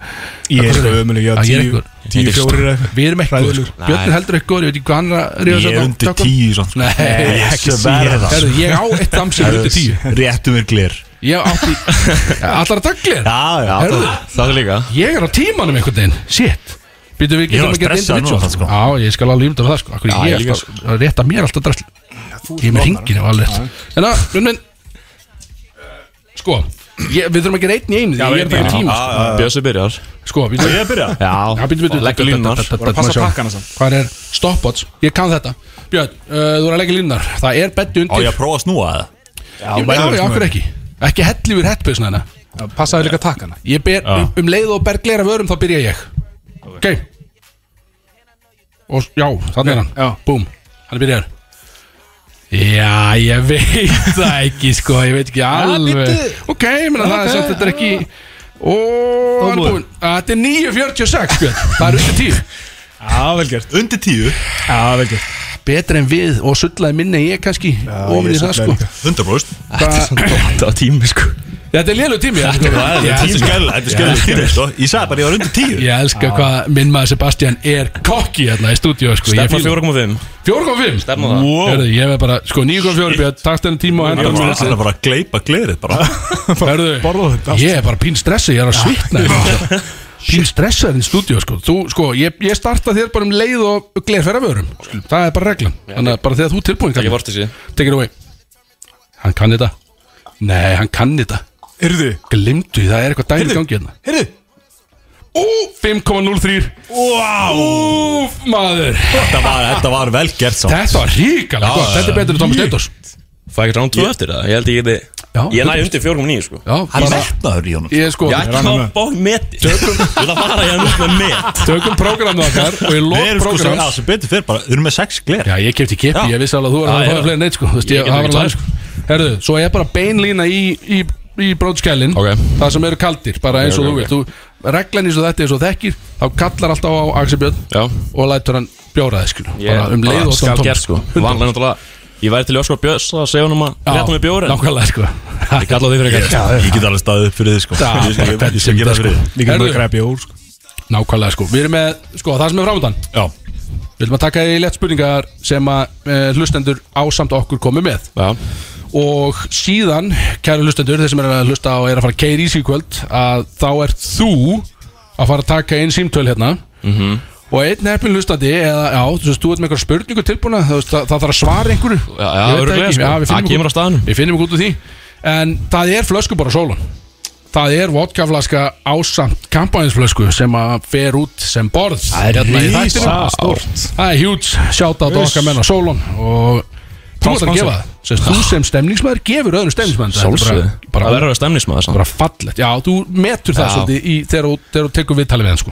S3: Ég er eitthvað ömuleg,
S2: Já, ég er
S3: já,
S2: eitthvað.
S3: tíu fjórir eða eitthvað
S2: Við erum ekki góður sko Björn er heldur ekki góður, ég veit ekki hvað hann er að ríða
S4: Ég er undir tíu samt sko.
S2: Nei,
S4: Ég
S2: ekki
S4: sverða,
S2: síðan
S4: sko.
S2: Herðu, ég á eitt dams sem er undir 10
S4: Réttu mér glir
S2: Ég átti
S6: *laughs*
S2: Allar að daglir
S4: Já, já
S2: Herðu.
S4: það-
S6: Það er líka
S2: Ég er á tímanum einhvern veginn Shit Býtum við
S4: Ég
S2: getum
S4: var
S2: að gera
S4: stressaður
S2: individual
S4: núna, sko.
S2: Já, ég skal alveg ímynda með það sko Akkur
S6: Já,
S2: ég
S6: ég
S2: er
S6: líka,
S2: alltaf að rétta mér alltaf drasl Ég er með hringin og alveg En að, menn, menn Sko, ég, við þurfum að gera einn í einu Því ég er það í tíma sko.
S6: Bjössi byrjar
S2: Sko, býtum
S4: Ég byrja
S6: Já,
S2: Já, býtum við
S6: Leggja línunar
S3: Bara að passa pakkana samt
S2: Hvað er stoppbots? Ég kann þetta Björn, uh, þú er að leggja línunar Það er beddi
S4: Á ég
S2: undir
S4: að prófa að snúa það
S2: Já, já, okkur ekki Ekki helli við hettbjörsna hennar
S3: Já, Passaðu líka takkana
S2: Ég ber, um, um leið og ber glera vörum þá byrja ég Ok, og, Já, þannig er hann
S3: Já.
S2: Búm, hann er byrjar Já, ég veit *laughs* það ekki sko Ég veit ekki alveg Ok, ég meina það er samt þetta er ekki Ó, hann er búinn Þetta er 9.46 Björn. Það er undir 10
S3: Já, vel gert
S4: Undir tíu
S3: Já, vel gert
S2: Betra en við og sullaði minna en ég kannski Ofin í það sko
S4: Undarbrúst
S6: Þetta var tími, sko
S2: Þetta er lélu tími Þetta
S4: Þetta er skell Þetta er skell tími sko. Ég sagði bara ég var undir tíu
S2: Ég elska hvað minn maður Sebastian er kokki hérna í stúdíu sko. Ég
S6: Stefna
S2: fíla-
S6: 4.5
S2: 4.5
S6: Stefna það
S2: Hörðu, ég verð bara, sko 9.4 Björn, takst þennan tíma og
S4: Ég
S2: hendan
S4: var alltaf bara að gleipa glerið
S2: *laughs*
S4: bara
S2: Hörðu,
S3: Borðaðu þetta
S2: ég er bara pín stressa, ég er að svitna hérna. Pín stressa þinn stúdíu, sko Þú, sko, ég, ég starta þér bara um leið og glerferða vörum Það er bara reglan Þannig að bara þegar þú ert tilbúin
S6: Ekki
S2: kallar.
S6: vort þessi
S2: Take it away Hann kann þetta Nei, hann kann þetta
S3: Yrðu
S2: Glimtu, því, það er eitthvað dæmi í gangi hérna
S3: Yrðu
S2: Ú, 5.03 Vá Úf, maður
S4: Þetta var, þetta var vel gert samt
S2: Þetta var ríkalega gott, þetta er betur en Thomas Steindors
S6: Fæ ekki rán 2 eftir það Ég held ég
S2: Já,
S6: geti Ég næði undir 4.9, sko
S2: Já,
S4: Hann
S2: bara,
S4: metnaður í honum
S2: ég sko
S6: Ég ekki
S3: annað
S6: að bá meti Tökum Það fara ég að nút með met
S2: Tökum prógramið okkar og í
S4: Við
S2: lók
S4: erum sko sem,
S2: prógrams
S4: já, sem betur fyrir bara Við erum með sex gler
S2: Já, ég kefti kippi,
S4: Já.
S2: ég vissi alveg að þú er að
S6: Já,
S2: fara
S6: já.
S2: fleiri neitt sko Þú veist,
S6: Ég
S2: ég
S6: get
S2: hafa
S6: ekki
S2: alveg
S6: tvær,
S2: sko Herðu, svo ég er bara beinlína í, í, í brótskælin
S6: Ok.
S2: Það sem eru kaldir, bara eins og
S6: ok,
S2: þú vilt Þú reglan eins og þetta er svo þekkir Þá kallar alltaf á Axel Björn
S6: Já
S2: og lætur hann bjóraði sko
S6: Ég
S2: Bara um leið og
S6: skal gert, sko Vanlega náttúrulega Ég væri til Öskar Björns að segja honum að rétta mig bjóri
S2: Nákvæmlega sko
S6: Ég kalla á því fyrir
S4: Ég,
S6: eitthvað
S4: ég get alveg staðið upp fyrir þið sko
S2: Já,
S4: Ég, ég, ég, ég skal gera það fyrir þið
S3: Líka
S2: Heyrðu.
S3: með að græpa í úr sko
S2: Nákvæmlega sko, við erum með, sko, það sem er framöndan
S4: Já,
S2: Við viljum að taka í lett spurningar sem að e, hlustendur ásamt okkur komu með
S6: Já
S2: og síðan, kæru hlustendur, þeir sem er að hlusta og er að fara að keira í sig í kvöld að þá ert þú að fara að taka einn símtöl hérna
S6: Mhm.
S2: -hmm. og einn heppin hlustandi eða, já, þú veist, þú ert með einhver spurningu tilbúna það, það, það þarf að svara einhverju
S6: Já, já,
S2: Ég veit
S6: örugglega,
S2: ekki,
S6: sko.
S2: já, við
S6: Það
S2: finnum
S6: kemur
S2: okkur-
S6: á staðnum.
S2: Við finnum okkur út úr því en það er flösku bara sólan Það er vodkaflaska ásamt kampanjinsflösku sem að fer út sem borð Það er
S3: stórt.
S2: Það er huge, shout out okkar menn á Solon og þú ert að gefa það Sest, þú sem stemningsmæður gefur öðrum stemningsmæður Þetta er
S6: Ah. Sjálfsögðu
S2: bara,
S6: Það
S2: bara,
S6: verður að vera stemnismæður samt
S2: bara fallegt já, þú metur það
S6: Já.
S2: svolítið í, þegar, þú- þegar þú tekur viðtalið við hann sko.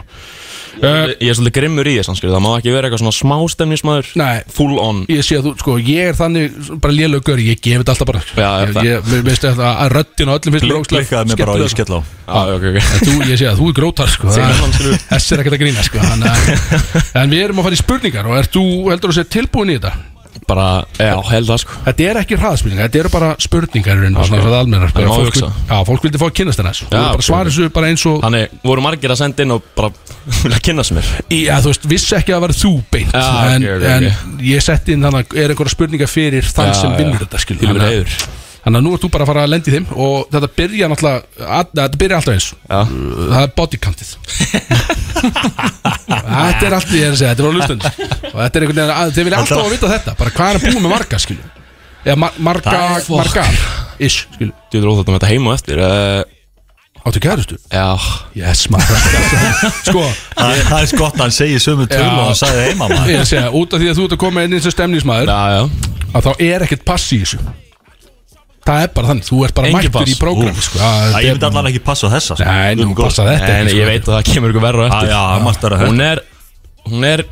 S2: Uh,
S6: Ég er svolítið grimmur í þess anskjöld Það má ekki vera eitthvað svona smástemnismæður
S2: Nei
S6: Full on
S2: Ég sé að þú, sko, ég er þannig bara lélögur, ég gefi þetta alltaf bara Já, ég,
S6: það-
S2: ég, mér veist þetta að röddin á öllum
S6: Blik-
S2: fyrstum
S6: blikkaði mig bara og
S2: sko.
S6: ég skell á.
S2: Já, ok, ok Þú, ég sé að þú er grótar, sko
S6: Segir
S2: það-
S6: hann, skilur.
S2: Þess er ekkert að grína, sko hann,
S6: *laughs*
S2: eh, En við erum að fara í spurningar og ert þú, heldur þú að segja tilbúin í þetta?
S6: Bara, já, held það sko
S2: Þetta er ekki hraðspurningar, þetta eru bara spurningar í raun og svona, svona almennar
S6: Það má
S2: Fólk
S6: hugsa.
S2: vil- Já, fólk vildi fá að kynnast hennar
S6: Já,
S2: bara
S6: ok,
S2: svara
S6: ok.
S2: þessu bara eins og
S6: Þannig voru margir að senda inn og bara *laughs* vilja kynnast mér
S2: Já, þú veist, vissi ekki að það var þú beint
S6: Já, ok,
S2: en,
S6: ok, ok.
S2: en ég setti inn þannig er einhverja spurningar fyrir þann
S6: Já,
S2: sem
S6: já.
S2: vinnur þetta skilur.
S6: Þvílíkur
S2: Þannig að-
S6: heiður.
S2: Þannig að nú ert þú bara að fara að lendi þeim og þetta byrja náttúrulega að, þetta byrja alltaf eins já. það er
S6: *laughs*
S2: bodycountið Þetta er allt því ég er að segja, þetta er á hlustund og þetta er einhvern veginn að þeir vilja alltaf að vita þetta bara hvað er að búa með marga skilur eða mar marga,
S6: Það er fólk.
S2: margar ish skilur
S6: Þú er óþátt um þetta heima á eftir uh,
S2: Áttu kærustu?
S6: Já
S2: Yes maður *laughs* Sko
S4: Það það er skott að hann segi sömu tölu og hann sagði heima
S2: Ég er
S4: maður
S2: að segja, út af því að þú ert að koma inn eins og stemningsmaður
S6: já,
S2: já. að þá er ekkert pass í þessu það er bara þannig, þú ert bara
S6: Engin
S2: mættur
S6: pass.
S2: í prógram
S6: Ú.
S2: sko. Já,
S6: Æ,
S2: þetta
S6: Ég
S2: er
S6: myndi allan ekki passa á þessa sko.
S2: Nei,
S6: Við
S2: nú
S6: erum góð.
S2: passa þetta
S6: Nei,
S2: ekki,
S6: nei,
S2: sko.
S6: Ég veit að það kemur ykkur verra á
S4: Já,
S6: eftir
S4: já, það mást vera
S6: Hún er Hún er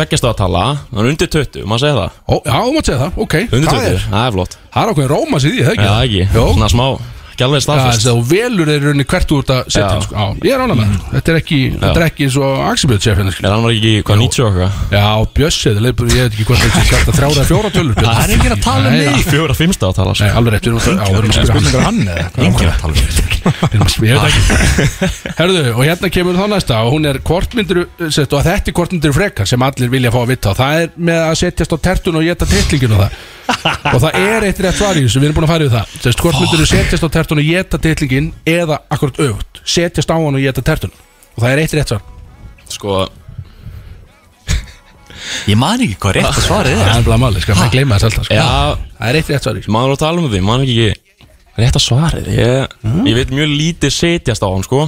S6: Tveggjast á að tala Hún er undir 20, maður segja það
S2: Ó, Já, þú mátt segja það, ok
S6: Undir
S2: Það
S6: 20,
S2: er,
S6: það er flott
S2: það er okkur rómas í því, það
S6: Já, það
S2: ekki?
S6: ekki
S2: Jó.
S6: Svona smá Ekki alveg
S2: Já,
S6: staðfest
S2: þess að þú velur þeir rauninni hvert þú ert að setja
S6: Já. Mm.
S2: hann, sko. Já, ég er ánægð með það. þetta er ekki, þetta er ekki eins og Axibjörn séf hérna,
S6: Er hann var ekki, hvað, 90 og eitthvað?
S2: Já, Bjössi, það leipur, ég veit ekki hvort það er þetta þrjára eða fjóra tölur Björn.
S6: Það er enginn að tala um
S2: Nei,
S6: mig Fjóra fimmsta að tala sko.
S2: Nei, alveg rétt, við erum að- já, við erum að spyrja hann.
S6: Enginn að tala um mig
S2: Við erum að spyrja- ég veit ekki. *laughs* Herðu, og hérna kemur þá næsta og hún er kortmyndur og þetta er kortmyndur frekar sem allir vilja fá að vita og það er með að setjast á tertun og geta titlingin og það og það er eitt rétt svar í þessu, við erum búin að fara í það Sest, kortmyndur setjast á tertun og geta titlingin eða akkurat aukt, setjast á hann og geta tertun og það er eitt rétt svar
S6: Sko
S4: Ég man ekki hvað rétt að svara
S2: það er bara máli, skal maður gleyma þess alltaf sko.
S6: Já,
S2: það er eitt rétt svar í þessu
S6: maður er að tala um því Maður er ekki rétt að svara því ég, ég veit mjög lítið setjast á hann, sko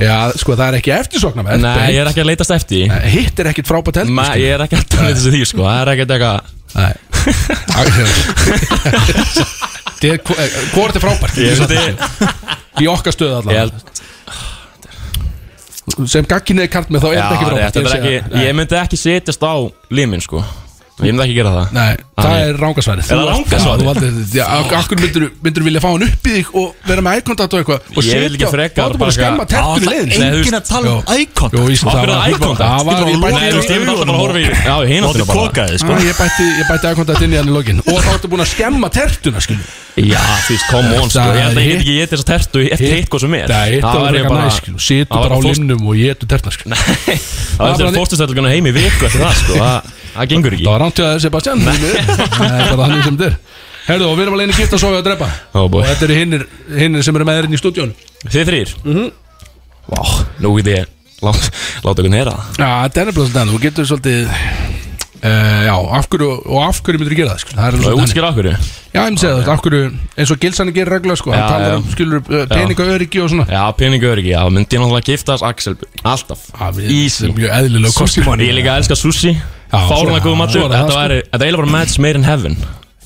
S2: Já, sko, það er ekki eftirsokna með
S6: Nei, ég er ekki að leitast eftir því.
S2: hitt er ekkit frábært heldur
S6: Ma,
S2: sko.
S6: Ég er ekki að tala um þessu því, sko Það er ekkert eitthvað
S2: Nei
S6: hérna.
S2: *laughs* Þetta er- eh, Hvor er þetta frábært?
S6: Ég veit
S2: Í okkar stöðu
S6: Ég
S2: allavega
S6: held-
S2: Sem gagginni er kart með þá er
S6: Já,
S2: þetta ekki frábært
S6: rétt, þetta er
S2: segi
S6: ekki-
S2: það. Nei.
S6: Ég myndi ekki setjast á limin, sko Ég myndi ekki gera það
S2: Nei, það
S6: Þannig-
S2: er rángasværið
S6: Er það rangasvarið?
S2: Akkur myndur, myndur vilja fá hann upp í þig og vera með ækontakt og eitthvað og
S6: Ég vil ekki
S2: sitja-
S6: frekar
S2: Þá ertu bara að
S6: bara
S2: skemma
S6: eitthvað-
S2: tertinu
S6: Á,
S2: leiðin
S6: Nei, þú
S4: Enginn
S6: veist-
S4: að tala um
S2: Jó.
S4: eye
S2: Jó,
S4: contact
S2: ég sem það
S6: Af hverju
S2: var
S6: eye contact?
S2: Það var,
S6: Getur
S2: ég
S6: þú
S2: bætti
S6: lokað
S2: við-
S6: augunum og bara horfið í- Já, í hina áttina
S4: Láttu
S6: bara.
S4: klokka þig,
S2: Æ,
S4: sko
S2: Ég bætti, ég bætti ækontakt inn í hann í lokin Og þá ertu búin að skemma tertuna, skilju
S6: Já, þú veist, come on, sko
S2: Það
S6: Ég
S2: er-
S6: held að ég get ekki getið þess að tertu eftir hitt hvað sem er
S2: Það er
S6: var ég
S2: eitthvað
S6: bara-
S2: næsk Situ
S6: það var
S2: bara á
S6: fórst-
S2: limnum og getu tertna skilur.
S6: *laughs* Það var eftir
S2: bara-
S6: fórstuðstæðlugana heim í viku eftir það, sko Það- Það gengur ekki
S2: Það var rántið að þessi bara sjann Það er bara þannig sem þetta er Herðu og við erum alveg einu gift að sofa og drepa
S6: Ó, boy.
S2: Og þetta eru hinnir, hinnir sem eru með þér inn í stúdjónu Já,
S6: Þið þrýr? Mhm Vá, nú get ég lát, Láta ykkur neyra það
S2: þetta er nefnilega svolítið þannig, Þú getur svolítið uh, Já, af hverju og af hverju myndir gera það sko. Það er alveg
S6: Það er
S2: svolítið þannig.
S6: útskýr af hverju
S2: Já, ég myndi segja það, af hverju eins og Gilsanni gerir regla sko,
S6: Já,
S2: Hann talar
S6: já.
S2: um skilur uh, peninga öryggi og svona
S6: Já, peningu öryggi Já, myndi ég náttúrulega giftast Axel Alltaf
S2: Já, við-
S6: Easy
S2: þetta er Mjög eðlilega
S6: Sushi money Ég líka elska sushi Fárna
S2: svo-
S6: góð
S2: svo er
S6: matur
S2: það,
S6: Þetta
S2: sko.
S6: væri Þetta er eiginlega bara match made in heaven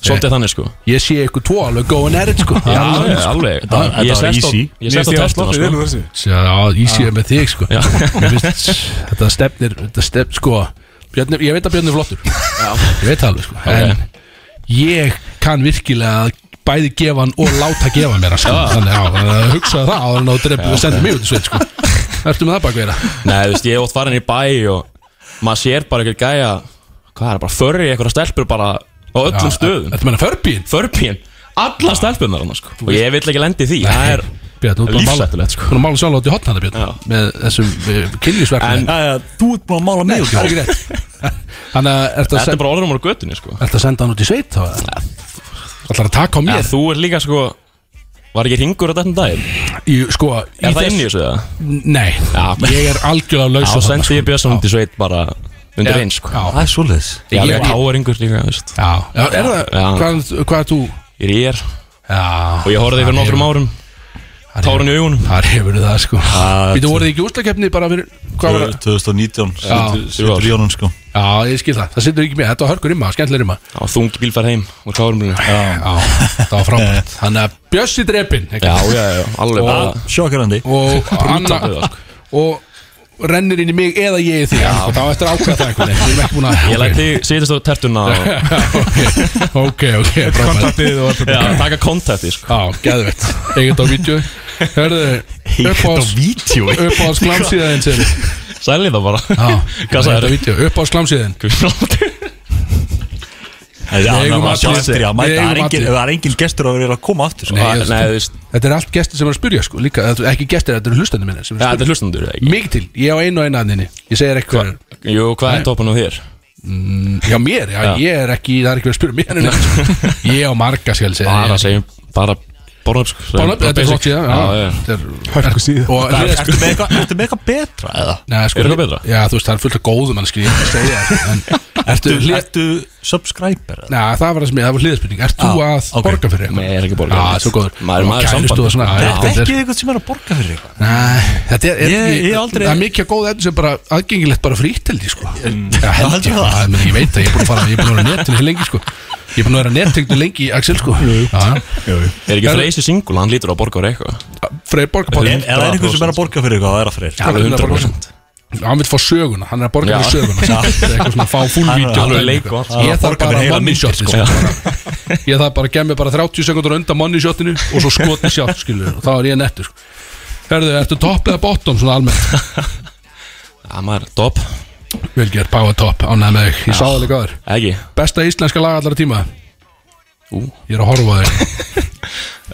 S6: Svolítið þannig sko
S2: Ég sé ykkur tvo alveg góðan erinn sko.
S6: Já,
S2: Það er alveg-
S6: alveg, alveg Þetta
S4: þetta var easy.
S6: Ég sest á tertuna sko
S3: hérna þessu
S2: Já, Ísið er með þig sko
S6: Já.
S2: Mér finnst, Þetta stefnir, þetta stefnir sko Björn, er- Ég veit að Björn er flottur Ég veit það alveg sko En ég kann virkilega að bæði gefa hann og láta gefa mér hann, sko. Þannig já, þannig að hugsaðu það áður en þú drefnir og sendir mig út í sveit sko Ertu með það bakveira?
S6: Nei, þú veist, ég er oft farin í bæ og maður sér bara eitthvað gæja Hvað er það, bara förri eitthvað stelpur bara á öllum stöðum
S2: Ertu meina förbíin?
S6: Förbíin, alla stelpunar hann sko Og ég vill ekki lendi því Það er
S2: Björn, þú erum að mála
S6: lífsættulegt, sko.
S2: Þú erum að mála sjálf átt í hotn hana Björn
S6: Já.
S2: Með þessum kynlísverkni
S6: En-
S4: Já, já, Þú ert búin að mála mig
S2: Það er ekki rétt Þannig að ertu að
S6: Þetta er
S2: senda-
S6: bara orðum á götunni sko
S2: ertu að senda hann út í sveit þá? Ætlar að taka á
S6: Já,
S2: mér?
S6: þú er líka sko Var ekki ringur á þetta dag
S2: Í, sko,
S6: Er það inn í þessu eða?
S2: Nei,
S6: Já.
S2: ég er algjörlega laus
S6: Já,
S2: á þarna,
S6: sendi ég
S2: sko.
S6: Björnsson út í sveit bara Undir
S2: Já,
S6: eins sko
S2: já.
S4: Það er svoleiðis
S6: Ég er
S2: Ég-
S6: líka háaringur líka, þú veist
S2: Já, já, er það,
S6: Já.
S2: hvað, hvað er þú?
S6: Ég er ég
S2: Já
S6: Og ég horfði fyrir nokkrum árum Tárun í augunum
S2: Þar hefur það sko Býtu,
S4: þú-
S2: voruð þið ekki úslakefni bara fyrir Hvað var það?
S4: 2019 situr-
S6: þrjú ár.
S4: Situr í honum sko
S2: Já, ég skil það, það sittur ekki mér, þetta var hörkur rimma, skemmtileg rimma
S6: Það var þungi bílfær heim Úr kárumlunum Já,
S2: Já, það var *laughs* frábært Þannig að Bjössi drepin
S6: *laughs* já, já, já, alveg bara
S2: *laughs*
S4: Sjokkarandi
S2: Og Anna
S6: það,
S2: Og rennir inn í mig eða ég í þig og þá eftir að ákveða það einhvern veginn Við erum ekki búin að
S6: Ég læt þig setjast á tertuna og
S2: *laughs* Ok, ok, frábært.
S6: Kontaktið og allt þetta. Já, taka kontaktið,
S2: sko Já, geðvett, eigin á vídeo Hörðu,
S6: Eigið á vídeói?
S2: Uppáhalds glamsíðaðin sér
S6: Sæli það bara
S2: Hvað sagði þetta vídeo? Uppáhalds glamsíðaðin
S4: Það
S2: Við
S4: er
S2: eigum
S4: annað að sjá
S2: allir-
S4: eftir í að mæta.
S2: við
S4: Það er
S2: eigum
S4: engin-
S2: allir.
S4: það er engin gestur að vera að koma aftur sko.
S2: Nei, nei, Þetta er allt gestir sem er að spyrja sko líka, þetta er Ekki gestir, þetta eru hlustandi minni
S6: Já, þetta er hlustendur, eða ekki?
S2: Mikið til, ég á einu og einu aðninni Ég segir eitthvað
S6: Jú, hvað er topan á þér?
S2: Já, mér, já,
S6: Já.
S2: ég er ekki, það er ekki verið að spyrja um mér en
S6: *laughs*
S2: neitt. Ég á marga skal segja
S6: Bara segjum, bara borðum sko
S2: Born Up, Eh. þetta er flott, já, já. Þetta er- *laughs* Hörku síða. Og-
S4: Ertu með eitthvað- ertu með eitthvað betra eða?
S2: Nei, sko,
S6: Er það betra?
S2: Já, þú veist, það er fullt af góðum mannskri Ég er ekki að segja það
S6: *laughs*
S2: en Ertu,
S4: Ertu-
S2: hlið-
S4: Ertu subscriber eða?
S2: Nei, það var það sem ég, það var hliðspurning Ert þú
S4: Já,
S2: að
S4: Ah, ok.
S2: borga fyrir eitthvað?
S6: Nei, ég er ekki
S2: Já,
S6: borgar
S2: það er svo góður
S6: Maður er maður
S2: Kælustu og svona, já,
S4: Þetta er
S2: þetta er-
S4: sko. ekki eitthvað sem er að borga fyrir eitthvað
S2: Nei, þetta er, er
S4: Ég- ég aldrei-
S2: Það er mikið að góða efni sem bara aðgengilegt bara frítt held ég sko Já, held
S4: Mm. heldur
S2: ég,
S4: það?
S2: það, menn, ég veit það, ég er búin að fara Ég er búin að vera netinu hér lengi sko Ég er búin að vera netinu lengi, Axel sko Já,
S6: Er ekki Freysi singul, hann lítur að borga fyrir eitthvað
S2: Freyr
S4: Er
S2: borgarpáll
S4: er það einhver sem er að borga fyrir eitthvað? Það sko. er að
S2: Hann
S4: fyrir
S2: er að borga
S6: 100%.
S2: Hann vil fá söguna, hann er að borga
S6: Já.
S2: fyrir söguna sko. Þetta er eitthvað svona að fá full
S4: Hann er
S2: video
S6: alveg leik og allt.
S4: Hann er
S2: Ég
S4: að
S2: þarf
S4: borga
S2: bara
S4: fyrir heila
S2: money
S4: myndir,
S2: shotið sko bara. Ég þarf bara að gemja bara 30 sekundur undan money shotinu og svo skotið shot skilur og þá er ég nettur sko Herðu, ertu topp eða bottom svona almennt?
S6: Já, maður, top
S2: Vilgerð, power top, ánæg með þig Ég sá það líka aður
S6: Ekki
S2: Besta íslenska lag allara tíma
S6: Ú.
S2: Ég er að horfa á þig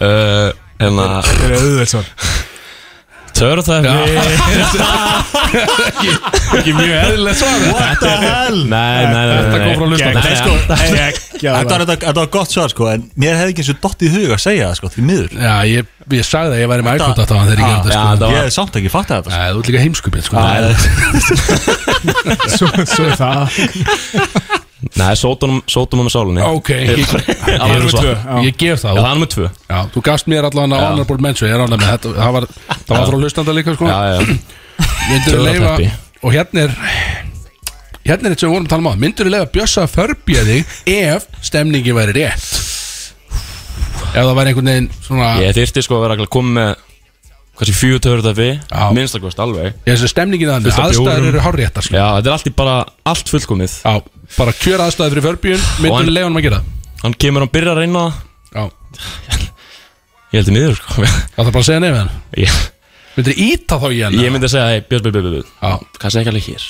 S6: Uh, Hérna
S3: *laughs* Það er auðvelt
S2: *laughs*
S3: svar
S6: Törðafni Ekki mjög eðlilegt svar
S4: What the hell?
S6: Nei, nei, nei
S2: Þetta kom frá hlustanum.
S6: Nei,
S4: Sko,
S6: sko
S4: hey, Þetta var- þetta var gott svar sko En mér hefði ekki eins og dott í hug að segja það sko Því miður
S2: Já, ég, ég sagði að ég væri með
S4: Þetta-
S2: ægkvönd á það þegar ég gerði
S6: Já,
S2: það sko
S6: þetta
S4: Ég
S6: var
S4: hef samt ekki fatt að þetta sko.
S2: Nei, þú ert líka heimskupið sko
S6: Nei, þetta-
S3: Svo, svo er það
S6: Nei, sótunum, sótunum með sálinni
S2: Ok, ég,
S6: Það var nummer tvö Já,
S2: ég gef það
S6: það er nummer tvö
S2: Já, þú gafst mér allan að
S6: Já.
S2: honorable mention Ég er ánægð með þetta Það var, það var frá hlustanda líka sko
S6: Já, já
S2: Myndur
S6: Töfrateppi.
S2: leifa Og hérna er Hérna er þetta sem við vorum að tala um á Myndur leifa bjössa að förbja þig Ef stemningi væri rétt Ef það væri einhvern veginn svona
S6: Ég þyrfti sko að vera að koma með Kansi fjú törðafi
S2: Já.
S6: Minnstakost alveg
S2: Ég þessi stemningin þannig
S6: Fullt af
S2: Aðstæður
S6: bjórum.
S2: eru hárréttar sko.
S6: um- Já, þetta er allt í bara Allt fullkomið
S2: Já, bara kjör aðstæður fyrir förbjun
S6: Og
S2: Myndur
S6: hann-
S2: leifa hann að gera það?
S6: Hann kemur, hann byrjar að reyna það
S2: Já,
S6: Ég heldur miður sko *laughs*
S2: það þarf bara að segja nefn hann
S6: Ég,
S2: Myndur íta þá í hann
S6: ég myndi að segja, hei, Björn, Björn, Björn,
S2: Já,
S6: Björn Kansi ekki alveg hér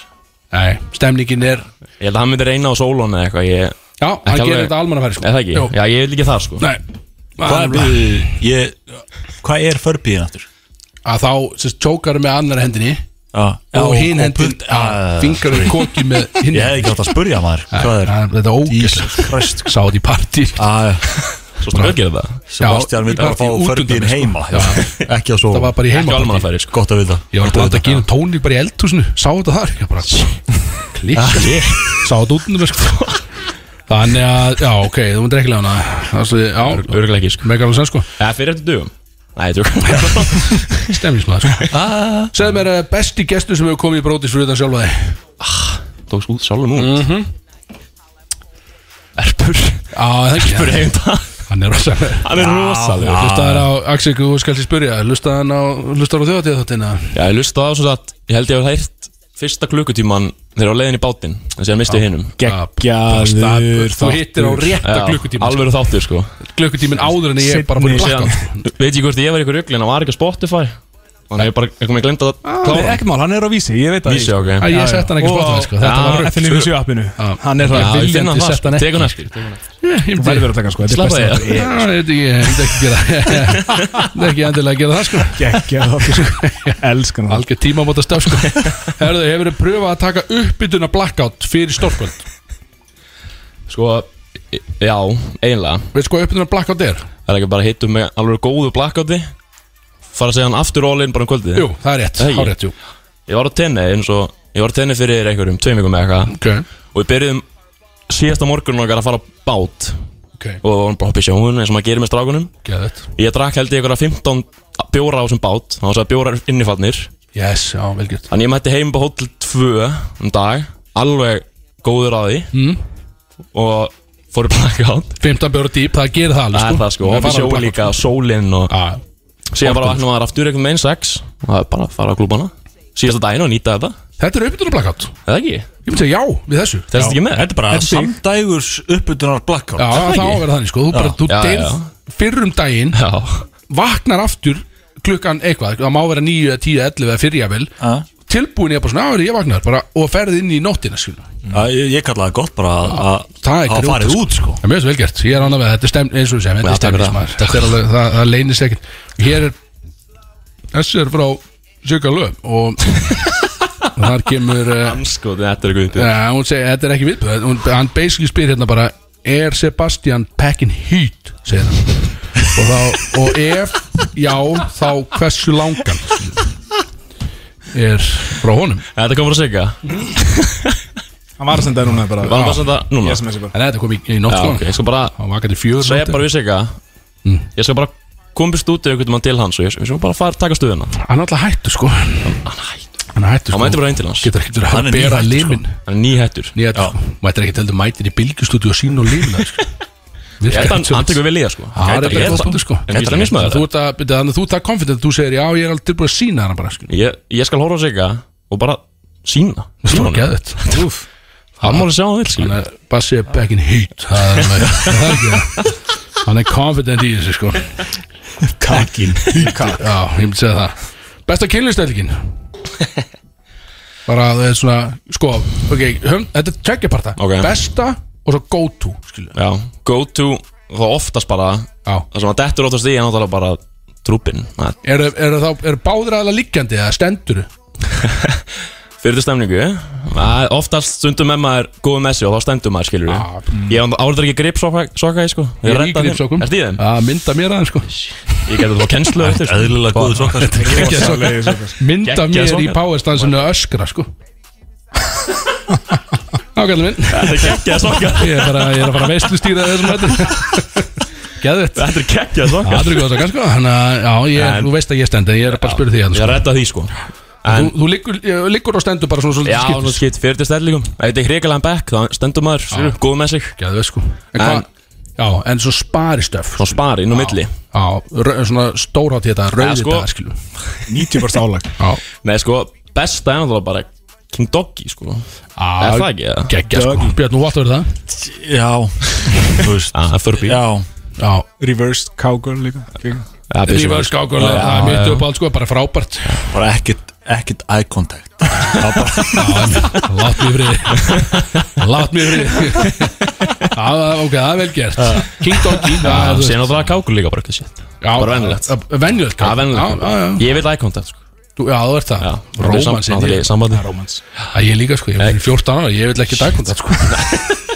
S2: nei, stemningin er
S6: Ég held að hann myndi reyna á sólun eða eitthvað Ég
S2: Já, hann
S6: alveg-
S2: gerir þetta almannafæri sko
S6: Er það ekki?
S2: Jú.
S6: Já, ég vil ekki það sko
S2: Nei
S4: Hvað er við- ég- Hvað er förbíðin aftur?
S2: að þá sérst, tjókar með annar hendinni
S4: Já,
S2: og hinn hendin
S4: pult- Ah,
S2: fingar við kokið með hinn
S4: Ég hefði ekki átt að spurja maður Hvað er?
S2: Það- þetta er ógæslega
S4: Jesus Christ
S2: sá þetta í partí sko. *laughs*
S4: Ah,
S6: Svo stóð ekki það
S4: Sebastian vil
S2: í
S4: bara fá
S2: partí, út
S4: förbíðin
S2: undan, sko.
S4: heima
S2: Já.
S4: *laughs* Ekki að svo
S2: það var bara í
S6: Ekki
S2: heima
S6: almannafæri sko
S4: Gott að vita
S2: ég var búin að gera tónlík bara í eldhúsinu sá þetta þar ég bara klikka sá þetta út um sko. þannig að já ok þú myndir ekki lega hana það er svo já
S6: Örgulega ekki sko
S2: megar alveg sann sko
S6: Eða fyrir eftir dugum Nei, ég tjók *laughs*
S2: stemningsmaður sko segð mér eh, besti gestur sem hefur komið í brótis fyrir þetta sjálfa þig Mhm.
S6: Tóks út sjálfum út Erpur
S2: á það ekki
S6: Erpur heimta
S2: hann er rosalega
S6: Hann er rosalegur
S2: Lustaðar á, Axel, þú skal til spyrja Lustaðar á, lustaðar á þjóðatíða þáttina
S6: Já, ég lusta á svo að Ég held ég hef hægt Fyrsta klukkutíman Þeir á leiðin í bátinn En síðan misti hinum
S3: Gjaður
S2: Þú hittir á rétta klukkutíma Alveg
S6: Alveg þáttur sko
S2: klukkutímin áður en ég er bara búin að
S6: Síðan
S2: blakka
S6: Veit ég hvort ég var í ykkur ruggli En hann var ekki á Spotify Þannig að ég bara Ég kom að glemta það
S3: Nei,
S6: Klára
S3: Ekki mál, hann er á vísi, ég veit að
S6: Vísi, ok
S2: Æ, ég sett hann ekki spotað sko. Þetta var
S3: Þetta er líka appinu Hann er
S6: Já,
S3: það
S6: ég finn hann
S3: viljandi
S6: það
S3: sett
S6: sko
S3: hann
S6: Tekur hann eftir
S2: Ég
S3: Þú verður að taka hann, sko, þetta er
S6: Slappa
S3: besta
S6: þig
S2: Já, ég veit ekki, ég myndi ekki gera *laughs* Ég myndi ekki endilega að gera það sko
S3: Gekkja það Elskan það
S2: Algjör tímamóta staf sko Herðu, hefur þið pröfað að taka uppbytuna blackout fyrir stórkvöld
S6: Sko Já, eiginlega
S2: Veit sko uppbytuna blackout er?
S6: Það er ekki bara að hittum með alveg góðu blackouti Fara að segja hann aftur all in bara um kvöldið
S2: Jú, það er rétt,
S6: Æi.
S2: hárétt, jú
S6: Ég var á tenni eins og Ég var á tenni fyrir einhverjum Tveim vikum með eitthvað
S2: Ok,
S6: Og við byrjuðum síðasta morgun okkar að fara á bát
S2: ok,
S6: Og við vorum bara að hoppa í sjóun eins og maður gerir með strákunum
S2: geðið
S6: Ég drakk held ég ykkur 15 bjóra á þessum bát Þannig að bjóra er innifarnir
S2: Yes, já, vel gert
S6: Þannig ég mætti heim på hótel 2 um dag Alveg góður á því
S2: Mm.
S6: Og fór í blackout
S2: 15 bjóra dýp, það gerir það alveg
S6: Það er það sko Og við sjóum líka sólinn og
S2: Já,
S6: Síðan bara vaknaði maður aftur einhvern veginn sex og það er bara að fara á klúbana síðasta daginn og nýta þetta
S2: Þetta er uppbytunar blackout
S6: Eða ekki?
S2: Ég myndi segja já við þessu
S6: Það er ekki með
S4: Þetta er bara
S2: Þetta er stig.
S4: samdægurs uppbytunar blackout
S2: Já,
S4: Er
S2: það á
S4: ekki?
S2: að vera þannig sko Þú, bara,
S4: Já.
S2: þú
S4: Já,
S2: deyrð fyrr um daginn
S6: já.
S2: Vaknar aftur klukkan eitthvað Það má vera 9, 10, 11 eða fyrja vel
S4: Já.
S2: Tilbúin er bara svona, já, heyrðu, ég vaknar bara, Og ferð inn í nóttina skilur
S4: Já, ég, ég kalla það gott bara að-
S2: Það
S4: að
S2: er
S4: hafa
S2: grjót,
S4: farið
S2: sko.
S4: út sko
S2: Það er mjög svo vel gert, ég er annað með þetta er stemn, eins og við segjum, þetta er
S6: Já, takk fyrir
S2: stemnismar
S6: það.
S2: Þetta er alveg, það, það leynist ekkert Hér er, þessi er frá Sjöka lög og *laughs* og þar kemur uh,
S6: Sko, þetta er eitthvað
S2: ja, hún segir, þetta er ekki viðbjöð hún, hann basically spyr hérna bara er Sebastian packing heat segir hann og, þá, og ef, já, þá hversu langan er frá honum
S6: Þetta kom bara að segja
S3: Hann var að senda þér núna bara
S6: Var hann bara að senda núna?
S3: Ég sem þessi bara
S2: en þetta kom í, í
S6: Já,
S2: nótt sko.
S6: ok, ég skal bara
S2: hann vakandi fjör
S6: segja bara við segja
S2: Mm.
S6: Ég skal bara koma upp stúdíu einhvern veginn til hans og ég við skal bara fara taka stöðuna
S2: hann er alltaf hættu sko hann hættu
S6: Hann
S2: sko
S6: mætir bara einn til hans
S2: getur ekkert verið að
S4: Hann er
S2: bera
S4: nýhættur,
S2: limin
S6: Hann er nýhættur
S2: nýja mætir ekkert heldur mætir í bylgjustúdíu og sín og limin
S6: *laughs*
S2: sko.
S6: Ég held að hann- hann tekur vel í það sko
S2: Það er bara góð punktur sko
S6: En ég er mismæður
S2: Þú ert að, byrja, þannig að þú ert að confident Þú segir já, ég er aldrei búin að sína hana bara sko. skilur.
S6: ég, ég skal horfa á sigga og bara sína
S2: Það er bara
S6: Sína honum.
S2: geðvett
S6: Hann má alveg sjá hann vil skilja
S2: Þannig að Bassi er back in heat Það er alveg- það er
S6: *laughs*
S2: ekki það. Hann er confident í þessu sko Já,
S4: Kakkin
S2: ég myndi segja það Besta
S6: *laughs*
S2: kynlistælgin Bara það er svona Sko, ok, höfum, þetta er tveggjaparta
S6: Ok.
S2: Besta og svo go to skilur.
S6: Já, go to þá oftast bara
S2: Já
S6: Það sem að dettur oftast í er náttúrulega bara trúpin
S2: Eru er þá, eru báðir aðla liggjandi eða stendur
S6: Fyrir til stemningu að Oftast stundum með maður góðu með sig og þá stendur maður skilur
S2: Já. mm.
S6: Ég áður ekki grip soka, soka sko
S2: Ég er í
S6: redda þeim.
S2: gripsokkum
S6: Ertu í þeim?
S2: Að mynda mér aðeins sko
S6: Ég geti þá kennslu eftir sko.
S4: Eðlilega góðu sokkar
S3: Rosalegi sokar.
S2: Mynda
S6: Geggjaði
S2: mér í
S6: svangar.
S2: powerstansinu að öskra
S6: *laughs*
S2: sko Ákvæðan minn
S6: Þetta er geggjað soka
S2: Ég er bara ég er að fara að veistlustýra þessum hættu
S6: *laughs*
S2: Geðvitt
S6: Þetta er geggjað soka
S2: Aðri góða svo sko Þannig að já, ég,
S6: En-
S2: þú veist að ég stend En ég er bara að spyrja því
S6: Ég
S2: hérna sko
S6: redda því sko
S2: Þú,
S6: En
S2: þú liggur, ég, liggur og stendur bara svona
S6: Já,
S2: svolítið
S6: svona skipt fyrir til stellingum Ef þetta er hrigalega back, þá stendur maður, skilur, góð með sig
S2: Geðvitt sko En
S6: En-
S2: hvað Já, en svo spari stöf
S6: Svo spari inn á milli
S2: Já, rau- svona stórhátt í þetta Rauði
S6: sko.
S2: dagar skilur
S3: 90% álag
S2: Já,
S6: Nei, sko, besta er náttúrulega bara King Doggy, sko Er það ekki, eða?
S2: Geggja sko Björn, þú vatnur það
S4: Já Þú veist
S6: Já, það er Furby
S4: Já
S2: Já,
S3: Reversed cowgirl líka Fín.
S6: Já, byssu.
S2: Rífur skákur Það er mitt upp allt sko, bara frábært *laughs*
S4: Bara ekkert Ekkert eye contact Það var bara
S2: Látt mér friði *laughs* Látt mér friði *laughs* Já, það- ok, það er vel gert King Doggy
S6: Já,
S2: það er-
S6: Sér náttúrulega kákur líka bara, ekki sétt
S2: Já,
S6: bara venjulegt.
S2: já, Venjulegt
S6: Já,
S2: kall.
S6: venjulegt
S2: Já, já, já.
S6: Ég vil eye contact, sko
S2: Þú- Já, þú ert það
S6: Já,
S2: Rómans
S6: Það er sambandi
S3: Romance
S2: Ég líka sko, ég er 14 ára Ég vil ekki dagkvönda sko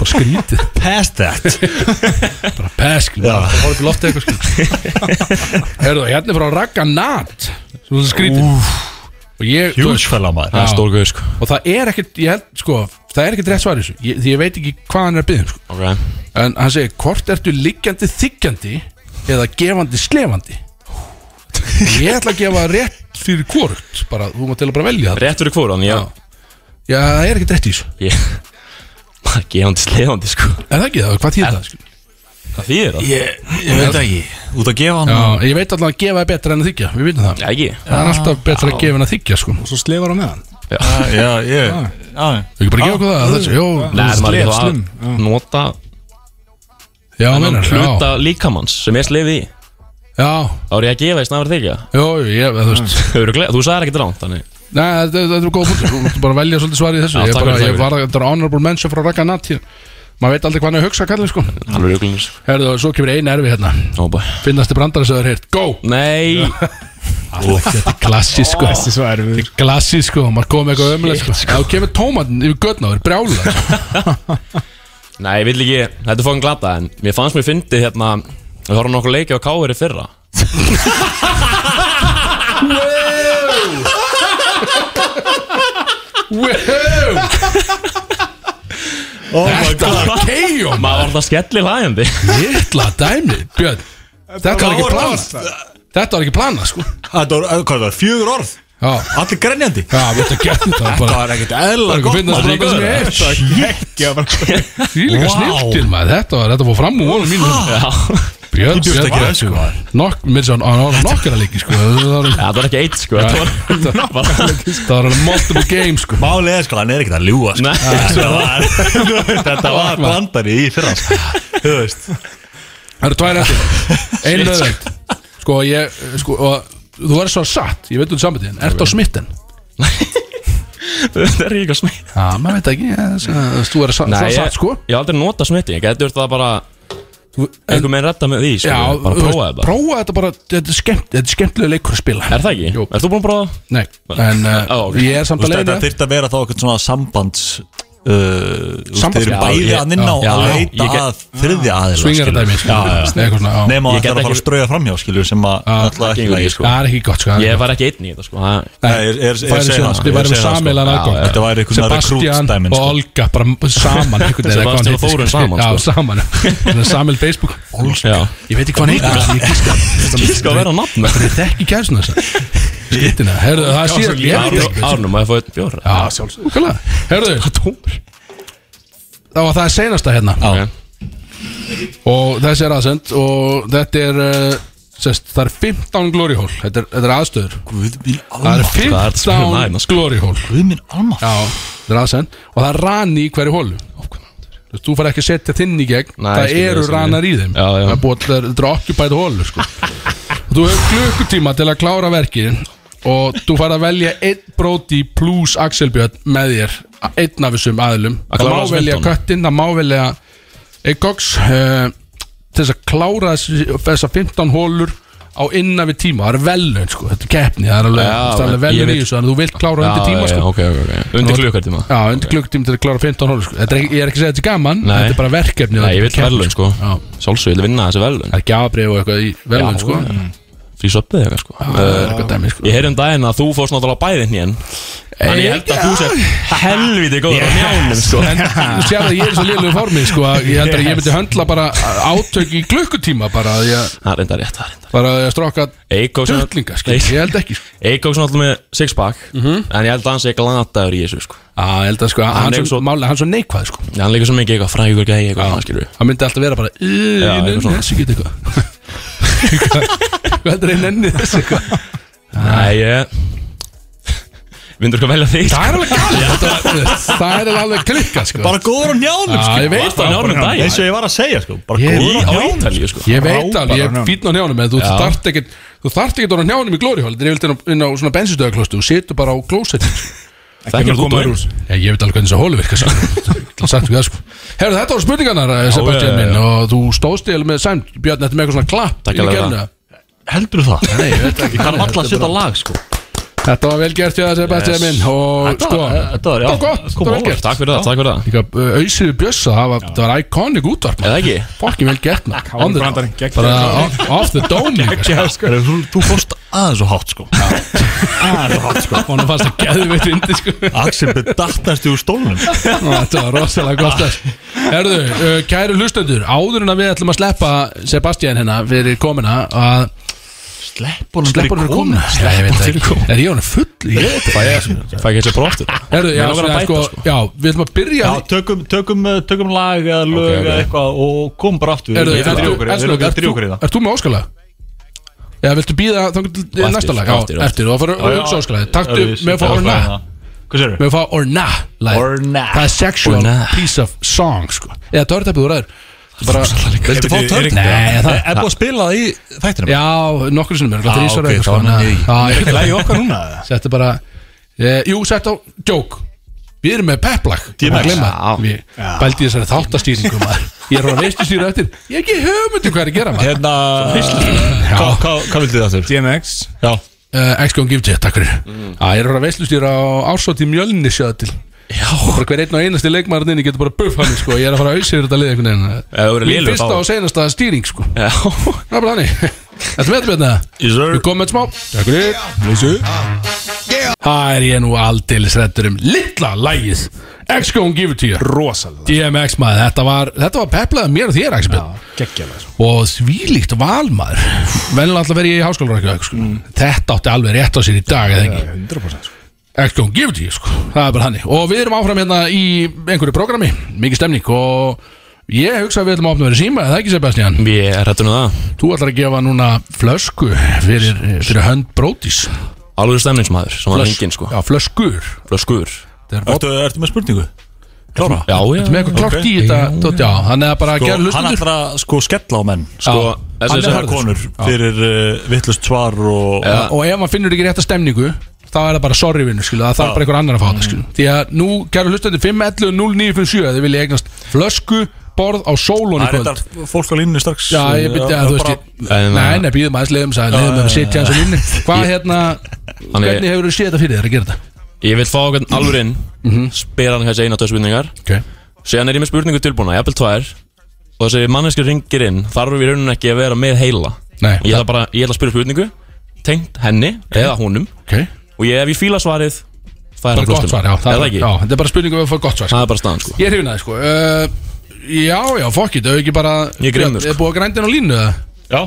S2: Og skrítið
S4: past that
S2: *laughs* Bara pesk Bara horf í loftið eitthvað sko Herðu, hérna er frá Ragga Nat Svo það skrítið Og ég, þú veist,
S4: Huge fella maður
S6: Það er stór guð, sko
S2: og það er ekkert, ég held, sko Það er ekkert rétt svar í þessu ég- Því ég veit ekki hvað hann er að byggja um sko
S6: Ok
S2: En hann segir, hvort ertu liggjandi þiggjandi eða gefandi slefandi? Ég ætla að gefa rétt fyrir hvort bara, þú maður til að bara velja það
S6: Rétt fyrir kvóran, já
S2: Já, það er ekkert rétt í þessu
S6: Ég *laughs* Bara gefandi slefandi, sko
S2: Er það ekki það? Hvað þýðir það? skilur?
S6: Það þýðir það
S4: Ég, ég veit ekki Út að gefa hann
S2: Já, ég veit alltaf að gefa er betra en að þykja, við vitum það
S6: Já, ekki
S2: Það er alltaf betra að gefa en að þykja, sko
S3: Og svo slefar hann með hann
S4: Já, ég Já,
S2: Þau ekki bara gefa okkur það, þessu, jó
S6: Nei, það er
S3: slef,
S6: ekki
S3: slum,
S6: þá að nota
S2: Já, meinar, já,
S6: hluta líkamanns sem er slefið í
S2: já,
S6: Þá er ég að gefa í snafur
S2: *laughs*
S6: þykja
S2: jó, ég, þú veist
S6: Örugglega, Þú sagði ekki dránt, þannig
S2: Nei, þetta þetta eru góð punktur, þú mátt bara velja svolítið svar í þessu
S6: Já,
S2: Ég
S6: takk
S2: bara,
S6: fyrir, takk
S2: ég
S6: fyrir.
S2: var, þetta er honorable mention frá Ragga Natt Maður veit aldrei hvað hann er að hugsa, kallið, sko
S6: Alveg rugglunir
S2: Herðu, svo kemur einu erfi hérna
S6: Ó, bæ
S2: Finnast þið brandari sem það er heyrt Go!
S6: Nei
S2: Þetta er klassísk sko
S3: Þessi svo erfið
S2: Þetta er klassísk sko Maður kom með eitthvað ömulega sko Þá kemur tómatinn yfir götna Það er brjála
S6: *laughs* Nei, ég vil ekki Þetta er fókin glata En mér fannst mér fyndið hérna Við horfum nokkuð leikið á káir í fyrra
S2: Wow! Þetta var keio
S6: Maður var það skellir hlægjandi
S2: *laughs* Littla dæmi Björn Þetta var ekki planað Þetta var ekki planað sko
S4: Þetta var, hvað var, fjögur orð
S2: Já
S4: Allir grenjandi
S2: Já, við ættum að gera þetta var
S4: Það
S2: bara
S4: var ekkert
S2: Það
S4: eðla
S2: er ekki að finna það brandari sem er heyrt
S3: Ekki að bara
S2: Því líka
S4: Vá.
S2: sniltil maður Þetta var, þetta fór fram úr vonum mínu
S6: Já
S2: Ég
S6: bjóst ekki við þessu, maður.
S2: Nokk, mér svo, hann var nokkara líki sko Það
S6: var ekki eitt sko
S2: Já.
S6: Það var *laughs*
S2: Það var alveg multiple game sko
S5: Málið er sko, hann er ekkert að ljúa sko. Þetta var,
S2: *laughs*
S5: þetta var blandari í fyrra sko. Þú veist
S2: Það eru tvær eftir Einu
S5: Shit.
S2: öðvöld Sko ég sko, og, Þú verður svo satt Ég veit um samvitiðin Ertu á smitten?
S6: Það er ekki að smita
S2: Já, maður veit ekki ég- þess- Þú verður svo
S6: ég,
S2: satt sko
S6: ég hef aldrei nota smitting Þetta er það bara Einhver meginn redda með því sko,
S2: Já,
S6: Bara
S2: þú veist,
S6: prófa þetta
S2: prófaðu þetta bara Þetta er skemmt Þetta er skemmtilega leikur að spila
S6: Er það ekki? Jú. Er þú búin að prófa?
S2: Nei, en uh,
S6: Ó, ok.
S2: ég er samt
S5: Þú
S2: að
S5: veist,
S2: leiða
S5: Þetta þurft að vera þá eitthvað svona sambands uh,
S2: Sambands-
S5: Sambands Þeir eru
S2: Já,
S5: bæði
S2: ég-
S5: að nynna á
S2: já,
S5: að
S2: já,
S5: leita
S2: ég get-
S5: að þriðja aðeins
S2: Swingar dæmi, sko, veist, eitthvað svona, já.
S5: Nefn að
S6: Ég
S5: það
S6: get
S5: er að fara
S6: ekki-
S5: að strauja framhjá skilur sem að alltaf ekki
S6: gengur
S5: lægi
S6: ekki, sko.
S5: sko
S2: Það er ekki gott sko
S6: Ég var ekki einn í þetta sko Það-
S5: Nei, er- er-
S2: Færi
S5: er- segir
S2: síðan,
S5: hann, sko,
S2: við
S5: ég
S2: værum
S5: segir hann, sko.
S2: sameiginlegan
S5: Já,
S2: aðgang.
S5: já. Þetta væri einhvern veginn
S2: Sebastian
S5: recruit-dæmin,
S2: og
S5: sko.
S2: Olga bara saman einhvern veginn, eða hvað hann
S6: Sebastian
S2: heitir,
S6: og Þórunn
S2: sko.
S6: saman,
S2: Já,
S6: sko.
S2: saman Þannig að samil Facebook
S6: Já.
S2: Ég veit ekki hvað hann
S6: *laughs*
S2: heitir Ég gíska
S6: Gíska að vera á nafn.
S2: Þetta er ekki kæðsuna þess Skittina Herðu, það sé Ég veit
S6: Árnum-
S2: ekki
S6: Árnum, maður fóðið bjór
S2: Já, sjálfsög Herðu Það var það senasta hérna
S6: Ok.
S2: Og þessi er aðsend Og þetta er eh, sest, Það er 15 glory hole Þetta er, þetta er aðstöður
S5: Guð minn
S2: Það er
S5: almátt
S6: það er að spila með
S2: 15
S6: hérna, sko.
S2: glory hole
S5: Guð minn almátt
S2: Já, þetta er aðsend Og það er rani í hverju hólu Þú veist, Þú fær ekki að setja þinn í gegn
S6: Nei, ég
S2: Það
S6: skil
S2: eru
S6: það sem
S2: ranar í
S6: ég-
S2: þeim
S6: Já, já.
S2: Það er búið að þetta er occupied hólu
S6: *laughs*
S2: sko. Og Þú hefur klukkutíma til að klára verkin Og þú fær að velja Einn bróti plus Axel Björn Með þér, einn af þessum aðlum
S6: Að
S2: Það
S6: klára
S2: má
S6: þessi
S2: velja
S6: 15.
S2: köttin Það má velja Eikoks uh, Til þess að klára þessi- þessar 15 hólur Á innan við tíma, það er velun sko. Þetta er keppni, það er alveg,
S6: Já,
S2: það er alveg
S6: ég
S2: velun í
S6: veit-
S2: þessu Þannig að þú vilt klára undir tíma sko.
S6: ok, ok, ok Undir klukkartíma
S2: Já, undir klukkutíma til að klára 15 hólu sko. Þetta er, ekki- Ég er ekki að segja þetta er gaman
S6: Nei.
S2: Þetta er bara verkefni
S6: Nei,
S2: þetta
S6: ég
S2: er
S6: vil
S2: keppni,
S6: verðlun sko
S2: Já.
S6: Sjálfsög, ég vil vinna þessi verðlun
S2: Það er gjafabrif og eitthvað í velun sko.
S6: Frí söpbið eitthvað sko
S2: Það
S6: Eh,
S2: er eitthvað dæmi sko.
S6: Ég heyri um daginn að þú fórst náttúrulega bæðið nýjan Þannig ég held að þú sér helviti góður á njánum sko
S2: En þú sér að ég er í svo lélugu formi sko, að Ég heldur að ég myndi höndla bara átök í klukkutíma bara að ég,
S6: Það er reyndar rétt, það er reyndar
S2: bara að ég stróka
S6: Eikóks
S2: dörlinga sko. Ég held ekki sko.
S6: Eikóks náttúrulega með sixpack En ég held að hann sé glataður í þessu sko
S2: Á, ég held að sko, hann,
S6: er
S2: hann, svo,
S6: svo-
S2: máli, hann svo neikvað sko.
S6: Hann leikur svo mikið eitthvað frægur gæi eitthvað hann skilur
S2: Hann myndi alltaf vera bara "Ú, Ég
S6: Já, eitthvað
S2: nenni
S6: svona.
S2: þessu geta eitthvað Hvað heldur ég nenni þessu eitthvað
S6: Nei, ég Vindur þú að velja þig?
S2: Það er alveg galið þetta- Það er alveg klikka sko.
S5: Bara góður á njánum
S2: Já, ég
S5: sko
S2: veit
S6: Það er njánum um daginn
S5: Eins og ég var að segja sko Bara
S2: Ég-
S5: góður á
S6: Á
S5: njánum
S6: Ítalíu sko
S2: Ég veit alveg, ég
S3: á
S2: er
S3: hnjánum.
S2: fín á njánum en þú
S6: Já.
S2: þarft ekkert þú þarft ekkert að vera á njánum í glórihól þetta er yfirleitt inn á- inn á svona bensinstöðaklostu þú setur bara á sko. glósetin
S6: Þekkir þú
S3: koma
S6: dóin?
S3: úr.
S2: ég, ég veit alveg hvernig þessi hólu virka sagt við það sko Herðu þetta voru spurningarnar eh, Sebastian
S6: já, já,
S2: minn og þú stóðst eða með sæmt Björn þetta með eitthvað svona klapp
S6: Takk
S2: inn í
S6: alveg
S2: kjölnu.
S6: það.
S5: Heldur það?
S2: Nei, ég veit ekki
S6: Ég kann
S2: Nei,
S6: alltaf
S2: þetta
S6: að
S2: er
S6: setja
S2: bara-
S6: lag sko
S2: Þetta var vel gert hjá það Sebastian minn og
S5: Þetta
S2: sko
S5: var-
S6: eh,
S5: þetta var, já,
S2: þetta gott,
S5: kom
S2: þetta var
S5: á
S2: vel
S5: óvart.
S2: gert
S6: Takk fyrir það, takk fyrir það
S2: Líka auðsýðu bjössa, það var, það var iconic útvarp
S6: Eða ekki?
S2: Fokkin vel gert maður On the-
S3: brandari, geggjað.
S2: Bara off- off the dome líka sko.
S5: Herru, þú- Þú fórst aðeins og hátt sko
S2: Honum fannst það geðveitt vindi sko
S5: Axel bedattast úr stólunum
S2: Ó, Þetta var rosalega gott þess Herðu, uh, kæru hlustendur Áður en að við ætlum að sleppa Sebastian hérna fyrir komina að
S5: Sleppunum
S2: Sleppa hann fyrir komina Já, ég veit það ekki. Er ég honum full? Ég veit það ekki.
S6: Fæ ekki þessi bróftur
S2: Herðu, já,
S6: Mér langar að
S2: svona,
S6: bæta,
S2: sko,
S6: sko.
S2: já, við ætlum að byrja
S5: Já, tökum, tökum, eh, tökum lag eða lög
S6: Ok, ok.
S5: eða eitthvað og kom bara aftur
S2: Herðu,
S5: Við erum
S2: ert
S5: að
S2: þú-
S5: drífa okkur í- við
S2: Elslög,
S5: erum að
S2: ert
S5: drífa okkur í
S2: þú-
S5: það
S2: Ert þú með óskalag? Já, viltu býða þannig til
S6: Og eftir,
S2: næsta lag?
S6: og
S2: Já,
S6: eftir, og eftir.
S2: eftir, og það fyrir
S5: Já,
S2: að
S5: já.
S2: hugsa óskalag Taktu
S5: Herðu,
S2: með að fá
S5: já,
S2: orna
S5: já. Hvað sér
S2: Með að fá orna
S5: Or Nah.
S2: Það er sexual
S6: Or Nah.
S2: piece of song sko. Eða törtæpið úr aður Bara,
S5: Viltu fá törn?
S2: Nei, það
S5: Er búið að spila það í þættinum?
S2: Já, nokkur sinnum er
S5: Já, ok, þá er hann í-
S2: Það
S5: Ekki lagi okkar núna
S2: Settu bara e, Jú, settu á Joke Við erum með peplag
S5: DMX.
S2: Við bældi þessari þáttastýringu maður Ég er að veistu síra eftir Ég er ekki höfmyndi hvað er að gera maður
S5: Hérna Hvað hva, hva vildu það aftur?
S3: DMX
S5: Já
S2: uh, XCOM Give Jet, takk fyrir
S6: Mm.
S2: Já, Ég er að veistu síra á ársótt í mjölni sjáðu til Já Bara hver einn og einasti leikmaður inni getur bara buff hann sko Ég er að fara að auðsýra þetta lið einhvern
S6: Ef
S2: veginn
S6: þú
S2: eh.
S6: verður
S2: Mín
S6: lélegur,
S2: fyrsta
S6: þá-
S2: og senasta stýring sko
S6: Já
S2: Það er bara þannig *laughs* Þetta með þetta með þetta
S5: Is there
S2: Við komum með smá Takk fyrir Blísu Það er ég nú aldeilis reddur um litla lægið XCO hún gefur tíu
S3: Rosalega
S2: DMX maður, þetta var, þetta var peplaðið mér og þér Axel
S3: Gekkjala sko.
S2: Og þvílíkt valmaður Venlega alltaf verið ég í háskólarækju sko.
S6: Mm.
S2: Þetta átti alveg rétt á sér í dag eða ekki
S3: 100% sko.
S2: XCO hún gefur tíu, sko. það er bara þannig Og við erum áfram hérna í einhverju programmi Mikið stemning og Ég hugsa að við ætlum að opna verið síma eða ekki Sebastian
S6: Ég er hættu nú um það
S2: Þú ætlar að gefa núna flösku fyrir, fyrir hönd brótis
S6: Alveg stemningsmaður sem var
S2: Flösk-
S6: hengin sko
S2: Já, flöskur
S6: Flöskur
S4: Ertu, ertu með spurningu? Klára?
S6: Já, já
S2: Þetta er með eitthvað klárt í
S6: Ok.
S2: þetta Tótt, já, þannig að bara
S4: Sko,
S2: gera
S4: hann
S2: hlustundur
S4: ætlar að sko skella á menn
S6: Sko, þessi
S4: Hann
S6: er
S4: er
S6: sem-
S4: það konur fyrir uh, vittlust svar og
S6: Já.
S2: sko. Og ef hann finnur ekki rétta stemningu þá er það bara sorry vinnu, skilu, það þarf bara einhver annar að fá þetta, skilu Því að nú, kæru hlustundur, 511 0957 þið vilja eignast flösku, borð á sólun í
S4: Það er
S2: kvöld
S4: þetta fólk á línni strax
S2: Já, ég byrja að þú veist ég,
S6: En,
S2: Nei, nei, býðum aðeins, leiðum sæði, leiðum að sitja hans og vinni Hvað hérna, hvernig hefur þú séð þetta fyrir þér að gera þetta?
S6: Ég vil fá okkur alveg inn
S2: Mhm.
S6: Spyr hann kannski eina tveið spurningar
S2: Okay.
S6: Síðan er ég með spurningu tilbúna, jafnvel tvær Og þessi manneski ringir inn Þarf við raunin ekki að vera með heila
S2: Nei,
S6: Ég ætla bara, ég ætla að spyrja spurningu Tengt henni eða honum
S2: ok
S6: Og ég, ef ég fíla svarið Það er
S2: bara
S6: hann
S2: gott svar, já, það er,
S6: ekki
S2: já, þetta er bara spurning um að fá gott svar sko.
S6: Það er bara staðan sko
S2: Ég er hifnaði, sko uh, Já, já, fokk it, þau ekki bara
S6: Ég er grimmur, sko.
S2: Er búið að grændin á línu eða?
S4: Já,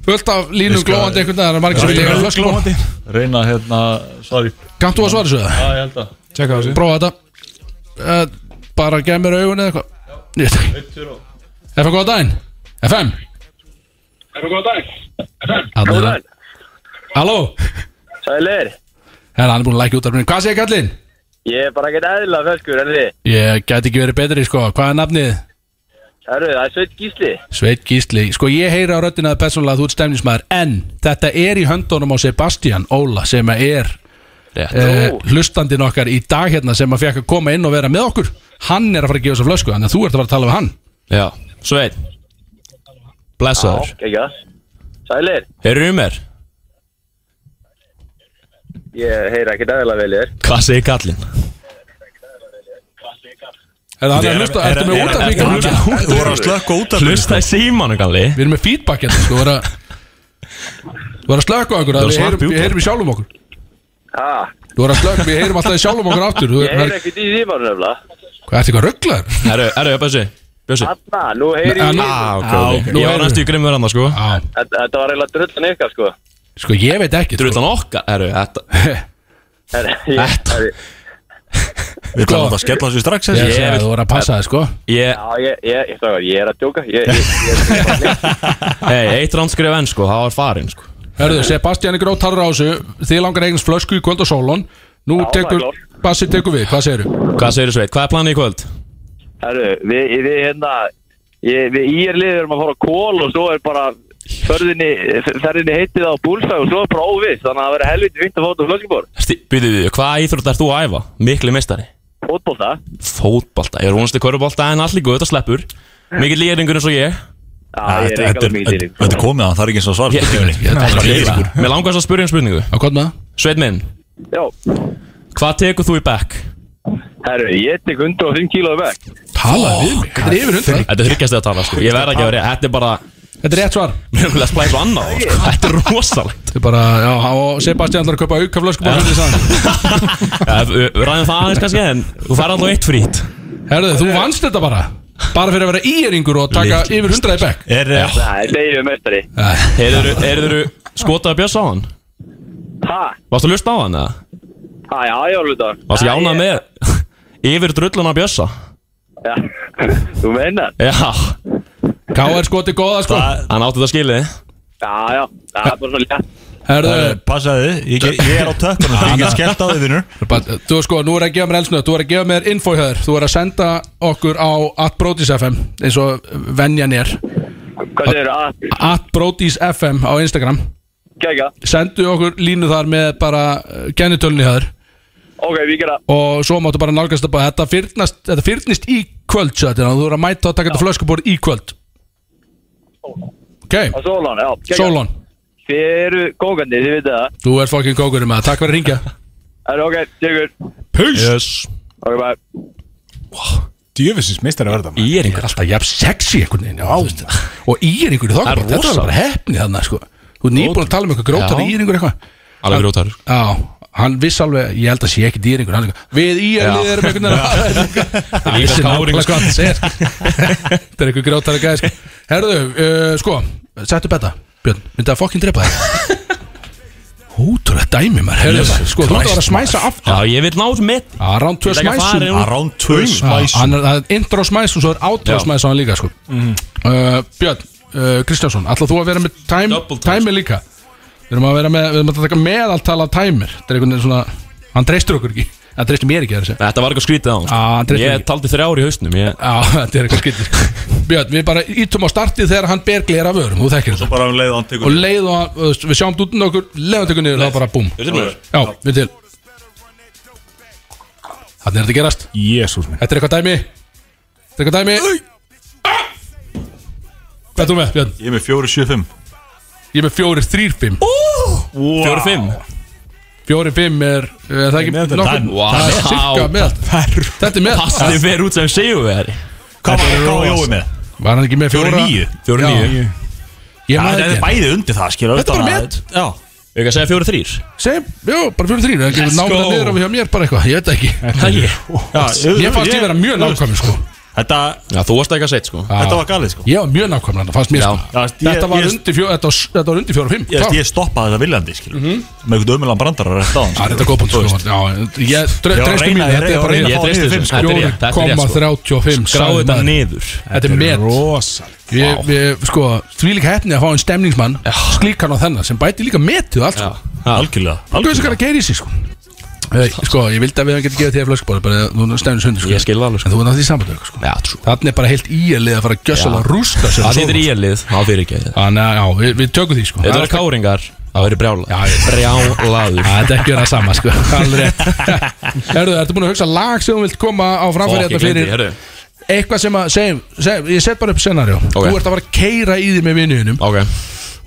S2: Fullt af línum glóandi einhvern veginn Það er margir sem vilja eiga flösku glóandi
S4: reyna hérna Svar í
S2: Kannt þú að svara þessu það?
S4: Já, ég held að
S3: Tjekka þessi
S2: Prófa þetta uh, Bara gef mér augun eða eitthvað Ég veit ekki. FM, góða daginn FM FM, góða daginn Halló
S11: Sælir,
S2: Herra, hann er búin að lækja út af mér Hvað segir kallinn?
S11: ég er bara ekkert eðla feskur, en þið?
S2: Ég gæti ekki verið betri, sko Hvað er nafnið?
S11: Herru, það er Sveit Gísli.
S2: Sveit Gísli, sko ég heyra á röddina að persónulega þú ert stemnismæður en þetta er í höndunum á Sebastian Óla sem að er eh, hlustandinn okkar í dag hérna sem að fekk að koma inn og vera með okkur hann er að fara að gefa sér flösku þannig að þú ert að fara að tala við hann
S6: Já, Sveit Blessaður
S11: Ekki það? Sælir,
S6: Heyrðu um mér
S11: ég heyra ekkert eðla vel ég er.
S6: Hvað segir kallinn?
S2: Er það að hlusta, ertu með út af
S6: er- er-
S2: því
S4: Þú voru að slökka út af
S6: Hlusta í símanu kalli
S2: Við erum með feedback hérna, sko vera, Þú er að slöka okkur,
S6: var
S2: við heyrum,
S6: svart í
S2: við
S6: útvarpinu.
S2: heyrum í sjálfum okkur
S11: Ha,
S2: Þú er að slöka, við heyrum alltaf í sjálfum okkur áttur Þú
S11: ég
S2: er
S11: heyra ekkert í símanum nefnilega.
S2: hvað ertu eitthvað rugglaður?
S6: Herru, herru, Bjössi Bjössi
S11: Hanna, nú heyri ég í
S2: Ah,
S11: símanum.
S6: ok, ok
S2: Nú
S6: Ég var
S2: heyrðu.
S6: næstu í grimmur hann sko
S2: Já,
S11: Þetta þetta var eiginlega drullan ykkar, sko.
S2: sko ég veit ekki sko.
S6: Þú veist
S2: *laughs*
S6: hann okkar, herru, þetta
S11: Herru, ég-
S6: Þetta-
S11: herru,
S4: Við ætlum að skella þessu strax
S2: Ég
S4: þessi
S2: segi að þú voru að passa það sko
S6: Ég,
S11: Já, ég, ég, ég, ég, ég er að djóka. Ég, ég, ég,
S6: hei, eitt rannskrif enn sko, það var farinn sko
S2: Herðu, Sebastian er grótt harra á þessu Þið langar eignast flösku í kvöld og sólun Nú
S11: Já,
S2: tekur,
S11: það er klárt.
S2: Bassi tekur við, hvað segirðu?
S6: Hvað segir Sveit, hvað er planið í kvöld?
S11: herru, við, við, hérna, ég, við í er liður erum að fara á kól og svo er bara ferðinni, ferðinni heitið á búlstæð og svo er bara óviss, þannig að það verður helviti fint að fóta flöskibor.
S6: Býðu við, hvað íþrótt ert þú að æfa? Mikli mistari
S11: Fótbolta,
S6: Fótbalta, ég er vonast í körfubolta en allir góð, þetta sleppur Mikið lýringur eins og ég
S11: já,
S4: Þetta-
S11: ég er
S4: Þetta
S11: eitthvað
S4: er-
S11: mikið í sko.
S4: þetta- þetta er komið að það er ekki eins og svar
S6: Ég-
S4: spurningunni.
S6: Mér langast að spyrja um spurningu
S2: Á hvað með það?
S6: Sveit minn,
S11: Já,
S6: hvað tekur þú í bekk?
S11: herru, ég tek 105 kílóðu vekk.
S2: Talaði við mig, þetta er yfir hundra
S6: Þetta er þryggjast að tala sko Ég verð ekki að vera, þetta er bara
S2: Þetta er rétt svar
S6: Mér er að splæsa á annað sko. Þetta er rosalegt
S2: Þetta er bara, já, og Sebastian ætlar að kaupa auka flösku bara hundið sann
S6: ja, Við við ræðum það aðeins kannski En þú fær alltaf eitt frít
S2: Herðu, þú vannst þetta bara Bara fyrir að vera íringur og taka yfir hundra í bekk
S4: Er, eh,
S11: Það er degið mestari.
S6: Heyrður þú skotað að bjösa á hann?
S11: Ha,
S6: Varstu að lusta á hann eða?
S11: ha, já, já, hluta.
S6: Varstu jánað með Yfir drullun að bjösa?
S11: Já, þú meinar.
S6: Já
S2: K.R. skoti góða sko
S6: Hann átti þetta skilið
S11: Já, já, það er bara svona létt.
S2: Herðu,
S4: eh, Passaðu, þig, ég, ég, ég er á tökkunum Ég get skellt á þig vinnur
S2: Bara, Þú veist sko, nú er að gefa mér elsnöð Þú er að gefa mér info hjá þér Þú er að senda okkur á atbrotis.fm eins og venjan er
S11: Hvað Ah, segir það?
S2: atbrotis.fm á Instagram
S11: Kækja.
S2: sendu okkur línu þar með bara eh, kennitölunni þar
S11: Ok, við gera.
S2: og svo máttu bara nálgast að bara þetta fyrnast, þetta fyrnist í kvöld svo þetta er, þú eru að mæta og taka þetta flöskuborð í kvöld ok,
S11: Á Solon, já. kækja.
S2: Solon
S11: Þið eru kókandi, þið vitið það.
S2: þú er fokkin kókurinn með það, takk fyrir að ringja
S11: Það er ok, tegur.
S2: Peace.
S11: Ok, bye.
S3: Djöfisins meistari verða maður.
S2: Ég er einhver alltaf jafn sexy einhvern veginn já, þú veist. og í er einhverju
S6: Það er
S2: þokkabót, þetta er
S6: rosa.
S2: bara hefni þannig sko. þú er nýbúin að tala um eitthvað grótar
S6: Já.
S2: í er einhverju eitthvað
S6: Alveg grótar
S2: Já, hann viss alveg, ég held að sé ekki dýringur hann, er eitthvað, Við í að liðið erum einhvern veginn að- Hann vissi nákvæmlega hvað hann segir Þetta er einhver grjótari gæði sko. Herðu, uh, sko, settu betta Björn, myndi að fokkin drepa þig Ótrúlega dæmi maður, herðu
S6: Jesus
S2: maður Sko, þú ætti að vera að
S6: Christ,
S2: smæsa
S6: maður.
S2: aftur
S6: Já, ég vil náðu með
S2: Já, round 2
S6: Ég vil ekki
S2: smæsum
S6: fara í hún. Round two smæsum.
S2: Hann er- það er intro smæs og svo er outro
S6: Já.
S2: smæs á hann líka sko. uh, Björn, uh, Kristjánsson Ætla þú að vera með time, time líka Við erum að vera með, við erum að taka meðaltal af timer Þetta er einhvern veginn svona Hann treystir okkur ekki, *laughs* hann treystir mér ekki að þessi
S6: Ah, Þetta var eitthvað skrítið á hann sko.
S2: Já, hann treystir
S6: Ég taldi þrjár í hausnum ég...
S2: Já, *laughs* þetta er eitthvað sko. skytið Björn, við bara ítum á startið þegar hann ber glera vörum Þú þekkir þetta
S4: bara um leið og hann tekur
S2: Og leið og hann- þú veist, við sjáum dútin okkur Leið og tekur niður, þá bara búm
S4: Er þetta niður?
S2: Já, við til Þannig er þetta að gerast
S3: Jésús minn
S2: Þetta er eitthvað dæmi Þetta er eitthvað dæmi Ah! Hvað er þú með, Björn?
S4: Ég er með 475
S2: Ég er með fjórir, þrýr, fimm
S4: wow.
S6: Fjórir, fimm?
S2: Fjórir, fimm er Er það ekki
S6: Meðaltal.
S2: nokkuð?
S6: Wow.
S2: Það er cirka
S6: Wow.
S2: með Þetta er með
S6: Passið fyrir út sem segjum við þær
S4: Hvað var- hvað var Jói með?
S2: Var hann ekki með
S4: Fjórir,
S2: fjóra?
S4: níu.
S6: Fjórir,
S2: Já.
S6: níu.
S2: Ég
S6: Já,
S2: maður
S6: þetta
S2: ekki.
S6: er bæði undir það, skilur
S2: Þetta er bara met.
S6: Já Ég ekki að segja fjóri þrýr
S2: Segjum, jú, bara fjóri þrýr Það getur
S6: Let's
S2: námið
S6: go.
S2: að niður á hjá mér bara eitthvað Ég veit það ekki
S6: Það ég
S2: Ég fannst ég vera mjög nákvæmur sko
S4: Þetta
S6: Já, þú varst ekki að segja sko
S4: Þetta var galið sko
S2: Ég var mjög nákvæmur þetta fannst mér
S4: Já.
S2: sko
S4: Já, ég-
S2: Þetta var
S4: ég-
S2: undir fjó- þetta var- þetta var undir fjóra og fimm
S4: Ég,
S2: klárt.
S4: ég stoppaði þetta viljandi skilur Með einhvern ömulegan brandara rétt á hann
S2: Já, þetta er góð punkt sko Já, ég
S4: Ég var að
S2: treystu
S4: reyna-
S2: mínu, þetta er
S4: ég var að
S2: bara
S4: reyna að fá niður fimm, sko. Þetta er rétt, þetta er rétt, sko.
S2: 4,35
S4: Skrá
S2: sagði
S4: þetta
S2: maður.
S4: niður.
S2: Þetta er met
S3: rosalegt.
S2: Ég- við- Sko, því líka hefni að fá einn stemningsmann Slíkan á þennan sem bæti líka metið og allt sko
S4: Algjörlega
S2: Þú veist hvað það gerir í sig sko Eh, Sko, ég vildi að við hefum getið gefið þér flöskbóla bara þú stefnir sundur sko.
S6: Ég skil það alveg,
S2: En þú er náttúrulega í sambandi við okkur, sko. Já, Þannig er bara heilt íalið að fara að gjössal að rústa sér sko.
S6: Það þýttir í elið, á fyrir ekki
S2: Þannig að, já, við, við tökum því sko
S6: Þetta eru káringar, það verður brjálaður Brjálaður
S2: Já, Þetta er ekki verið að sama sko Alveg rétt Herðu, ertu búin að hugsa lag sem þú vilt koma á framfæri
S6: Fokk, ég
S2: hérna
S6: gleymdi
S2: fyrir
S6: því, herðu.
S2: Eitthvað sem að, segjum, segjum Ég set bara upp scenarjó
S6: Ok.
S2: Þú ert að fara að keira í því með vinnuðinum
S6: Ok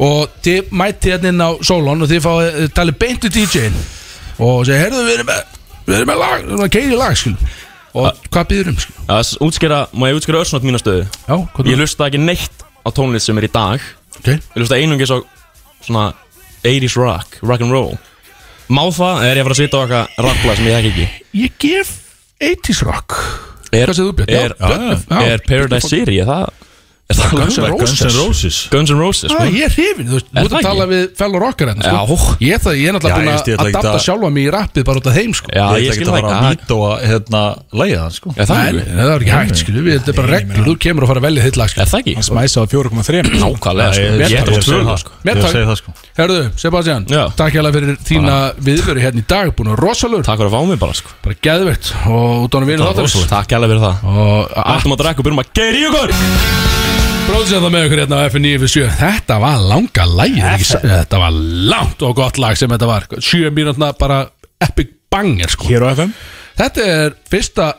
S2: Og þið mætið hérna inn á Solon Og þið fáið þið talið beint við DJ-in Og segja, herðu, við erum með Við erum með lag, við erum að keira í lag, skil Og
S6: Ah.
S2: hvað býður um, skil
S6: Já, þess- útskýra, má ég útskýra örsnátt mína stöðu?
S2: Já, hvað um?
S6: Ég lusta ekki neitt á tónlist sem er í dag
S2: Ok
S6: Ég lusta einungis á svona 80s rock, rock and roll Má það, eða er ég að fara að sita á eitthvað rappla sem ég þekki ekki
S2: Ég gef 80's rock
S6: er,
S2: Hvað segir þú, Björn? Já,
S6: Er,
S2: Björn, já.
S6: er Paradise City, er það Er það
S2: Guns N'
S6: lögverk?
S2: Roses. Guns N'
S4: Roses
S6: Guns N' Roses,
S2: Já,
S6: sko
S2: Ah, ég er hrifin, þú veist,
S6: Er
S2: þú ert
S6: það
S2: að tala
S6: ekki?
S2: við fellow rockar hérna, sko
S6: Já.
S2: Ég, er það, ég er náttúrulega
S4: Já, ég- ég
S2: búin
S4: ætla
S2: að
S4: ekki
S2: adapta
S4: að-
S2: sjálfa mig í rappið bara út af þeim, sko
S4: Ég
S6: Já, ég
S4: ætla ekki
S6: skil
S4: að
S6: það
S4: fara að
S6: ekki
S4: mýta og hérna Læja það sko
S6: Já, það er
S2: Nei, nei, það er ekki hægt, skilju, við þetta er bara reglur, þú kemur að fara að velja þitt lag, skilju
S6: Er það ekki?
S3: Hann smæsa á 4,3
S6: Nákvæmlega,
S4: Ég-
S6: sko
S4: ég- ég-
S6: Ég er
S4: ég-
S6: tvö,
S4: ég-
S6: sko
S4: Ég
S2: Mér
S4: er að
S2: takk.
S4: segja það sko
S2: Herðu, Sebastian,
S6: Já.
S2: takk hérlega fyrir þína viðveru hérna í dag, búin að vera rosalur
S6: Takk fyrir að fá mig bara, sko
S2: Bara geðveikt og út á hann vinur þáttarins
S6: Takk alveg fyrir það
S2: Og allt
S6: Ættum að drekka og byrjum að geir í okkur
S2: bróðsins það með ykkur hérna á F957 Þetta var langa lægið, ekki sa- þetta var langt og gott lag sem þetta var Sjö mínútna bara epic banger, sko
S3: Hér á FM
S2: Þetta er fyrsta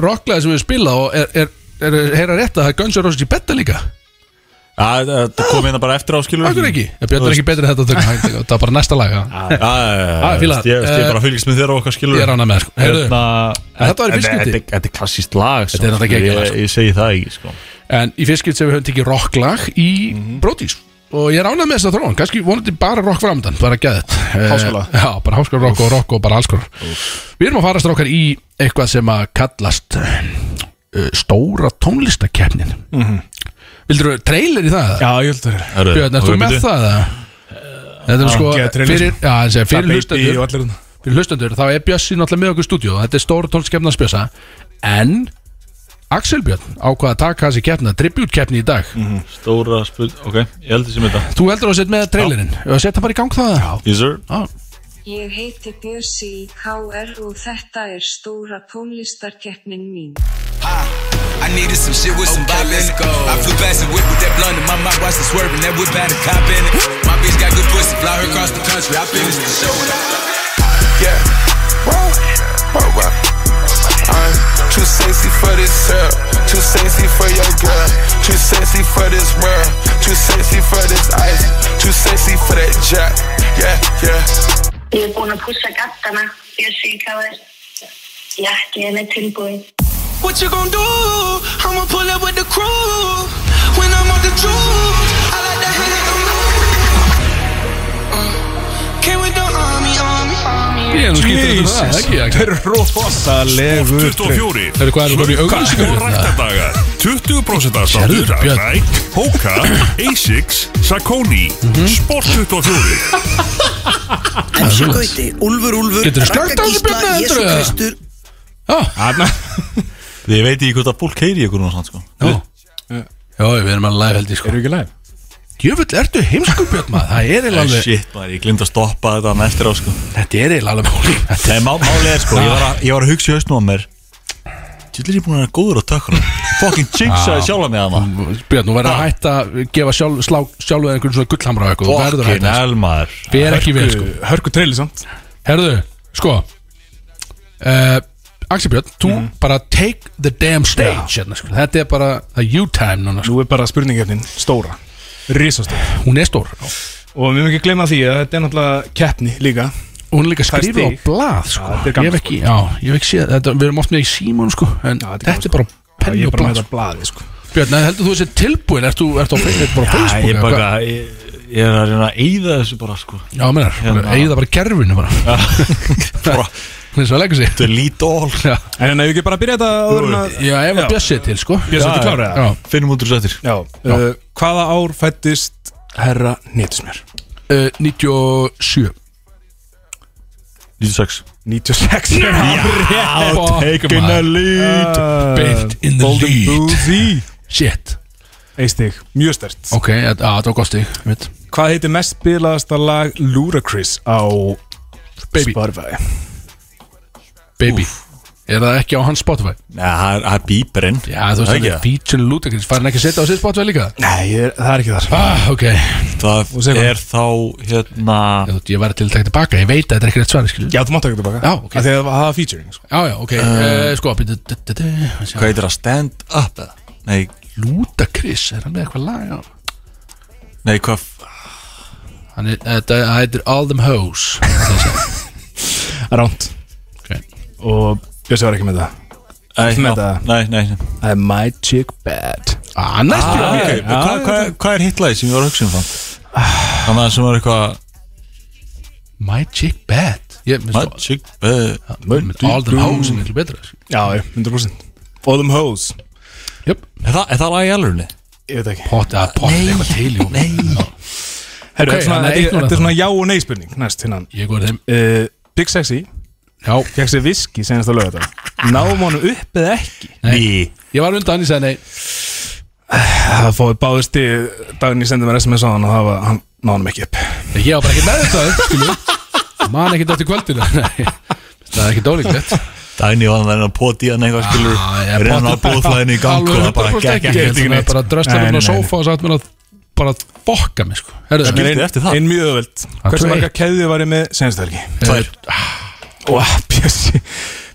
S2: rocklæði sem við spila og er, er, er, er heyra rétt að það er Guns N' Roses í betta líka
S4: Já, Þetta kom hérna bara eftir á skilur
S2: Akkur ekki, ég björn er ekki betri en þetta tökum Hann- það er bara næsta lag já. Já,
S4: Ég
S2: Ah, fíla
S4: veist, ég
S2: það.
S4: er bara að fylgjast með þér og okkar skilur
S2: Ég er ánað með það, sko.
S6: Hérna,
S2: Heyrðu, þetta var í fyrsta skipti.
S4: Hérna, Þetta er klassíst lag
S2: Þetta er
S4: samt,
S2: náttúrulega
S4: skilur,
S2: geggjað lag,
S4: ég- Ég segi það ekki sko
S2: En í fyrst skipt sem við höfum tekið rocklag í mm
S3: Mhm.
S2: Og ég er ánað með þess að þróan Kannski vonandi bara rock framdann, bara gæðið
S3: Háskóla.
S2: Já, bara háskóla rock og rock og bara alls konar Við erum að fara strákar í eitthvað sem að kallast uh, Stóra tónlistakeppnin mm Vildur þú trailer í það?
S3: Mhm. Já, ég held að það er
S4: Herru,
S2: Björn, ertu
S4: ok,
S2: með
S4: bíddu.
S2: það? eða? Þetta er sko
S3: geða trailer.
S2: fyrir, já, þessi,
S3: Það
S2: fyrir
S3: er baby og
S2: hlustendur
S3: allir hérna
S2: Fyrir hlustendur, þá er Bjössi náttúrulega með okkur í stúdíu Þetta er stóra tónskefna spjösa En Axel Björn ákvað að taka þessi keppna Tribute-keppni í dag
S4: Stóra spil Ok, ég held þessi með þetta
S2: Þú heldur að setja með trailerinn Ef að setja bara í gang það Já,
S4: Yes sir
S8: Ég heiti Bjössi í KR og þetta er stóra tónlistarkeppnin mín.
S12: I needed some shit with some bop in it. I flew past a whip with that blunt in my mouth, watched it swerving. That whip had a cop in it. My bitch got good pussy, fly her across the country. I finished the show. Yeah. Whoa. Whoa, whoa. I'm too sexy for this self, too sexy for your girl, too sexy for this world, too sexy for this ice, too sexy for that jack. Yeah, yeah.
S13: Ég er búin að pússa gattana. Bjössi í káður. Jakki er með tilbúið.
S1: What you gonna do? I'ma pull up with the crew. When I'm on the truth, I like to Uh, hit it. Came with the army, army, army,
S2: Ég er nú skiptur út um það, ekki, ekki.
S3: Þetta er rosalegur
S7: Sport 24
S2: Heyrðu, hvað erum við komin í auglýsingar?
S7: Klukka og ræktardaga 20% afsláttur
S2: Sérðu,
S7: af
S2: Björn.
S7: Nike, Hoka, Asics, Saucony
S4: Mhm.
S7: Sport 24
S14: Elsku Gauti, Úlfur Úlfur
S7: Geturðu slökkt á þessu björnu
S14: Jésu
S7: heldur, eða?
S14: Kristur
S4: Ég veit ekki hvort að fólk heyri ykkur núna sko.
S2: Já, já, við erum að live held ég sko Erum
S3: við ekki live?
S2: Jöfull, ertu heimskupjöld maður, það er eiginlega alveg
S4: Shit maður, ég glind að stoppa þetta hann eftir á sko
S2: Þetta er eiginlega alveg máli
S4: Nei, má, málið er sko, ég var, að, ég var að hugsa í hausnum á mér Tjöldur ég búin að vera góður á tökkunum Fucking jinxaði sjálf að mig að maður
S2: Björn, þú verður að hætta að gefa sjálf, slá, sjálfu þér einhvern svona gullhamra og eitthvað Þú verður að
S4: Fucking
S2: hætta
S4: hell maður
S2: Við erum ekki vel sko
S3: Hörku treyli samt
S2: Herðu, sko uh, Axel Björn, þú
S3: Mhm.
S2: bara take the damn stage hérna, sko. Þetta er bara the you time núna sko.
S3: Nú er bara spurningefnin stóra Rísastóra
S2: Hún er stór
S3: Og við mögum ekki glemma því að þetta er náttúrulega keppni líka
S2: Hún er líka
S3: Það er
S2: skrifa á
S3: stig.
S2: blað sko.
S3: Já, þetta er
S2: Ég hef
S3: gaman,
S2: ekki, já, ég hef ekki séð þetta, Við erum oft með í símón sko, En þetta er bara
S3: Já,
S2: penni
S3: Ég
S2: og
S3: er bara
S2: blað
S3: með þetta
S2: sko.
S3: blaði sko
S2: Björn, eða heldur þú þessi tilbúin Ertu ert á Facebook bara á
S4: Já,
S2: Facebook
S4: ég,
S2: eða
S4: bara,
S2: hvað?
S4: ég, ég er að reyna að eyða þessu bara sko
S2: Já, menar,
S4: Hérna.
S2: eigið það bara í gerfinu bara *laughs* Hvernig svo að leggja sig
S4: Þetta er lít all
S2: Já,
S3: En ef við ekki bara byrja þetta áður en að-
S2: Já, ef að Bjössi er til sko
S3: Bjössi, ertu klár eða?
S2: Já.
S4: Finnum út úr sættir
S3: Já, uh, Hvaða ár fættist herra Nýtismér?
S2: Uh, 97
S4: 96
S3: 96
S2: Fuck, maður. Uh, Baked in the
S3: Golden
S2: lead
S3: Boozy
S2: Shit
S3: Eistig, mjög stert
S2: Ok, já, það var gott stig mitt.
S3: Hvað heitir mest spilaðasta lag Ludacris á
S2: Baby.
S3: Spotify?
S2: Baby Er það ekki á hans Spotify?
S4: Nei, það er- það er bíperinn
S2: Já, þú veist, það er feature Ludacris Fær hann ekki að setja á sitt Spotify líka?
S3: Nei, ég er, það er ekki þar
S2: Ah, ok
S4: Það er þá hérna
S2: Ég var til að taka tilbaka, ég veit að þetta er ekki rétt svar skilur.
S3: Já, þú mátt taka tilbaka
S2: Já, ok
S3: Af því að það er featuring sko.
S2: Já, já, ok uh,
S4: Eh,
S2: Sko, býttu du- du- du- sjá.
S4: Hvað heitir það? Stand up eða? Nei,
S2: Ludacris, er hann með eitthvað lag á?
S4: nei, hvað
S2: Hann er, þetta það heitir All Them Hoes Það er það.
S3: Ránt
S2: Ok.
S3: Og Björsi var ekki með það
S4: Nei,
S3: Ertu
S4: já,
S3: með það?
S4: nei, nei, nei.
S3: I might chick bad
S2: Ah, næstu
S4: Ah, ok,
S3: Já,
S4: Hvað hva, hva er hittlæði sem ég var að hugsa um það? Þannig að sem var eitthvað
S2: My Chick Bad Ég-
S4: My chick bad
S2: All Them Hoes er miklu betra sko.
S3: Já, já, 100% All them hoes
S2: Jöp
S4: Er það, er það lag í alvörunni?
S3: Ég veit ekki
S2: Pott, að pott ah, eitthvað til jú. Nei
S3: Herru,
S2: Ok,
S3: þetta er svona-
S2: þannig að eitt núna
S3: þetta er
S2: þá.
S3: svona já og nei spurning Næst hinnan
S2: Ég góði þeim
S3: uh, Big Sexy
S2: Já
S3: Fekk sér viski senast að löga þetta Náum honum upp eða ekki
S4: Nei
S2: Ég var undan, ég sagði nei
S3: Það fóði báðist í daginn ég sendi mér SMS á hann og það var, hann náði honum ekki upp
S2: Ég var bara ekki með þetta Skilu Man ekki dætti kvöldinu Nei Það er ekki dólíklegt
S4: Dæni var þannig að poti hann eitthvað skilur
S2: Ah, ég er
S4: Reyna að
S2: pottur-
S4: bóðflæðinu í gang og það bara hérna, gekk ekki
S2: Ég er bara að drösta
S3: Nei,
S2: mér á
S3: nei, nei.
S2: sófa og sagt mér að bara fokka mig sko Herðu
S3: En ein- Einn mjög öðvöld Hversu
S2: tvö
S3: marga keðið var ég með senast helgi?
S2: Tvær.
S3: Ó, Bjössi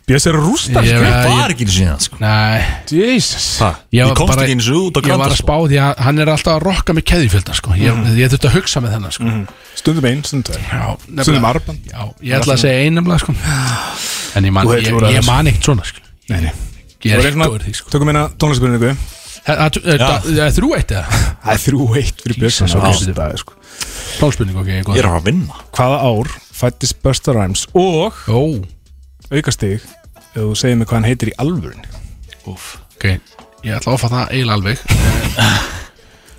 S3: Bjössi er að rústa
S2: Ég-
S3: sko.
S2: ég-
S4: Var ekki síðan sko
S2: Nei
S3: Jesus
S2: Ég
S4: Ég
S2: var
S4: komst
S2: bara-
S4: ekki eins og út á
S2: Ég var
S4: kanta
S2: að
S4: sko
S2: spá því að hann er alltaf að rokka með keðjufjölda sko Ég, ég þurfti að hugsa með þennan sko
S3: Stundum einn, stundum tveir
S2: Já, nefnilega.
S3: Stundum arban
S2: Já, ég ætla að segja einnumlega sko En ég man,
S3: Þú hefur
S2: ég,
S3: klúðrað
S2: ég
S3: þessu.
S2: man eitt svona sko
S3: Nei, nei
S2: Ég er
S3: Þú er
S2: ekki góður í því sko
S3: Tökum hérna tónlistbyrningu
S2: Það er- það er þrjú eitt eða?
S3: Það er þrjú eitt fyrir Bjössi
S2: Jesus,
S3: svo
S2: ok.
S3: þessi dag, sko.
S2: Tólspurning, ok, ég er góð
S4: Ég er að fara að vinna
S3: Hvaða ár fættist Busta Rhymes og
S2: Ó,
S3: aukastig ef þú segir mig hvað hann heitir í alvörun
S4: Úf
S2: ok Ég ætla að ofa það eiginlega alveg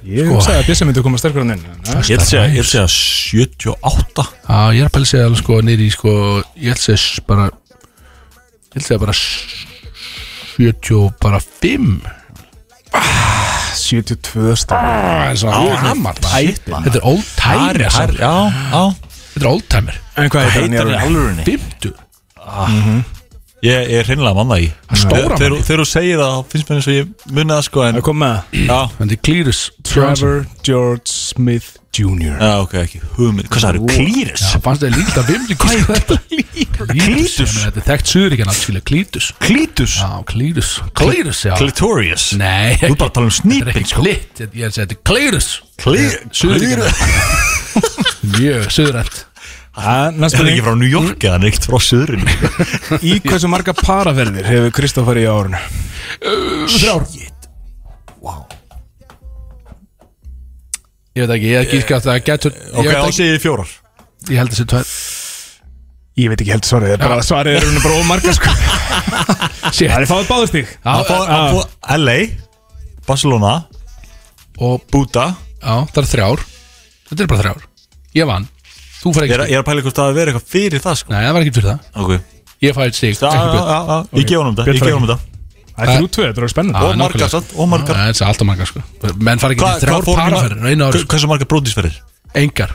S3: Ég
S2: Sko.
S3: hugsaði að Bjössi myndi koma sterkur hann inn en-
S4: Ég ætla að segja- ég ætla að segja 78
S2: Já, ég er að pæla segja alveg sko nýri sko Ég ætla að segja s- bara Ég ætla að segja bara s- 70 bara 5
S3: 72 stafn
S2: Ah, Það er hammar Þetta er old timer
S4: Ari, Ari,
S2: samt.
S4: já, já
S2: Þetta er old timer
S3: En hvað heitir hann í
S4: Heitar hann í
S3: alvörun?
S4: alvörunni
S2: 50
S4: Ég er hreinlega mann það í
S2: stóra
S4: Þegar- Þegar
S2: mann í.
S4: þegar þú segir það þá finnst mér eins og ég munið það sko en
S3: Það kom með
S4: Já,
S2: Þetta er Clearus Johnson.
S3: Trevor George Smith Jr.
S4: já ok, ekki hugmynd Hvað sagður, klýris?
S2: Já, fannst þetta líkt að vimli Hvað er þetta? Klítus sko. Ég meina, Þetta er þekkt suðuríkjan allt skilja Klítus
S4: Klítus
S2: Já, Klítus Klítus, já
S4: Clitorius
S2: Nei
S4: Þú er bara að tala um
S2: Þetta er
S4: snýping
S2: ekki
S4: sko
S2: klitt Ég er að segja þetta er Klítus
S4: Klýr
S2: Suðuríkjan Mjög suðurænt
S4: Það er ekki frá New York eða neitt frá söðurinn
S3: Í hversu marga paraferðir hefur Kristoffer í árunu?
S2: Þrjár Ég veit ekki, ég er gíska að það getur
S4: Ok,
S2: ég, veit
S4: þá
S2: ekki,
S4: eh, segir ég fjórar
S2: ég held að þessi tvær
S3: Ég veit ekki heldur svarið, það er bara, svarið er hún bara ómarka sko Shit Það er fáið báðustík
S4: Ah. Hann fór-
S2: eh,
S4: hann fór LA Barcelona
S2: og
S4: Búta
S2: Já, það er þrjár Þetta er bara þrjár Ég vann Þú fær ekki
S4: Ég er,
S2: stig.
S4: ég er að pæla hvort það að vera eitthvað fyrir það sko
S2: Nei, það var ekki fyrir það
S4: Ok
S2: Ég fæ eitt stig
S4: Já,
S2: ekki
S4: já,
S2: Björn.
S4: já, já, ég gef honum þetta, ég gef honum þetta.
S3: Það er þrjú tvö, þetta er spennandi.
S2: Já,
S4: Og margar
S2: nákvæmlega.
S4: samt, og margar.
S2: Já, Það er alltaf margar sko Menn fara ekki
S4: Hvað-
S2: til þrjár
S4: hvað fór-
S2: paraferðir á einu ári sko.
S4: Hversu margar brótisferðir?
S2: Engar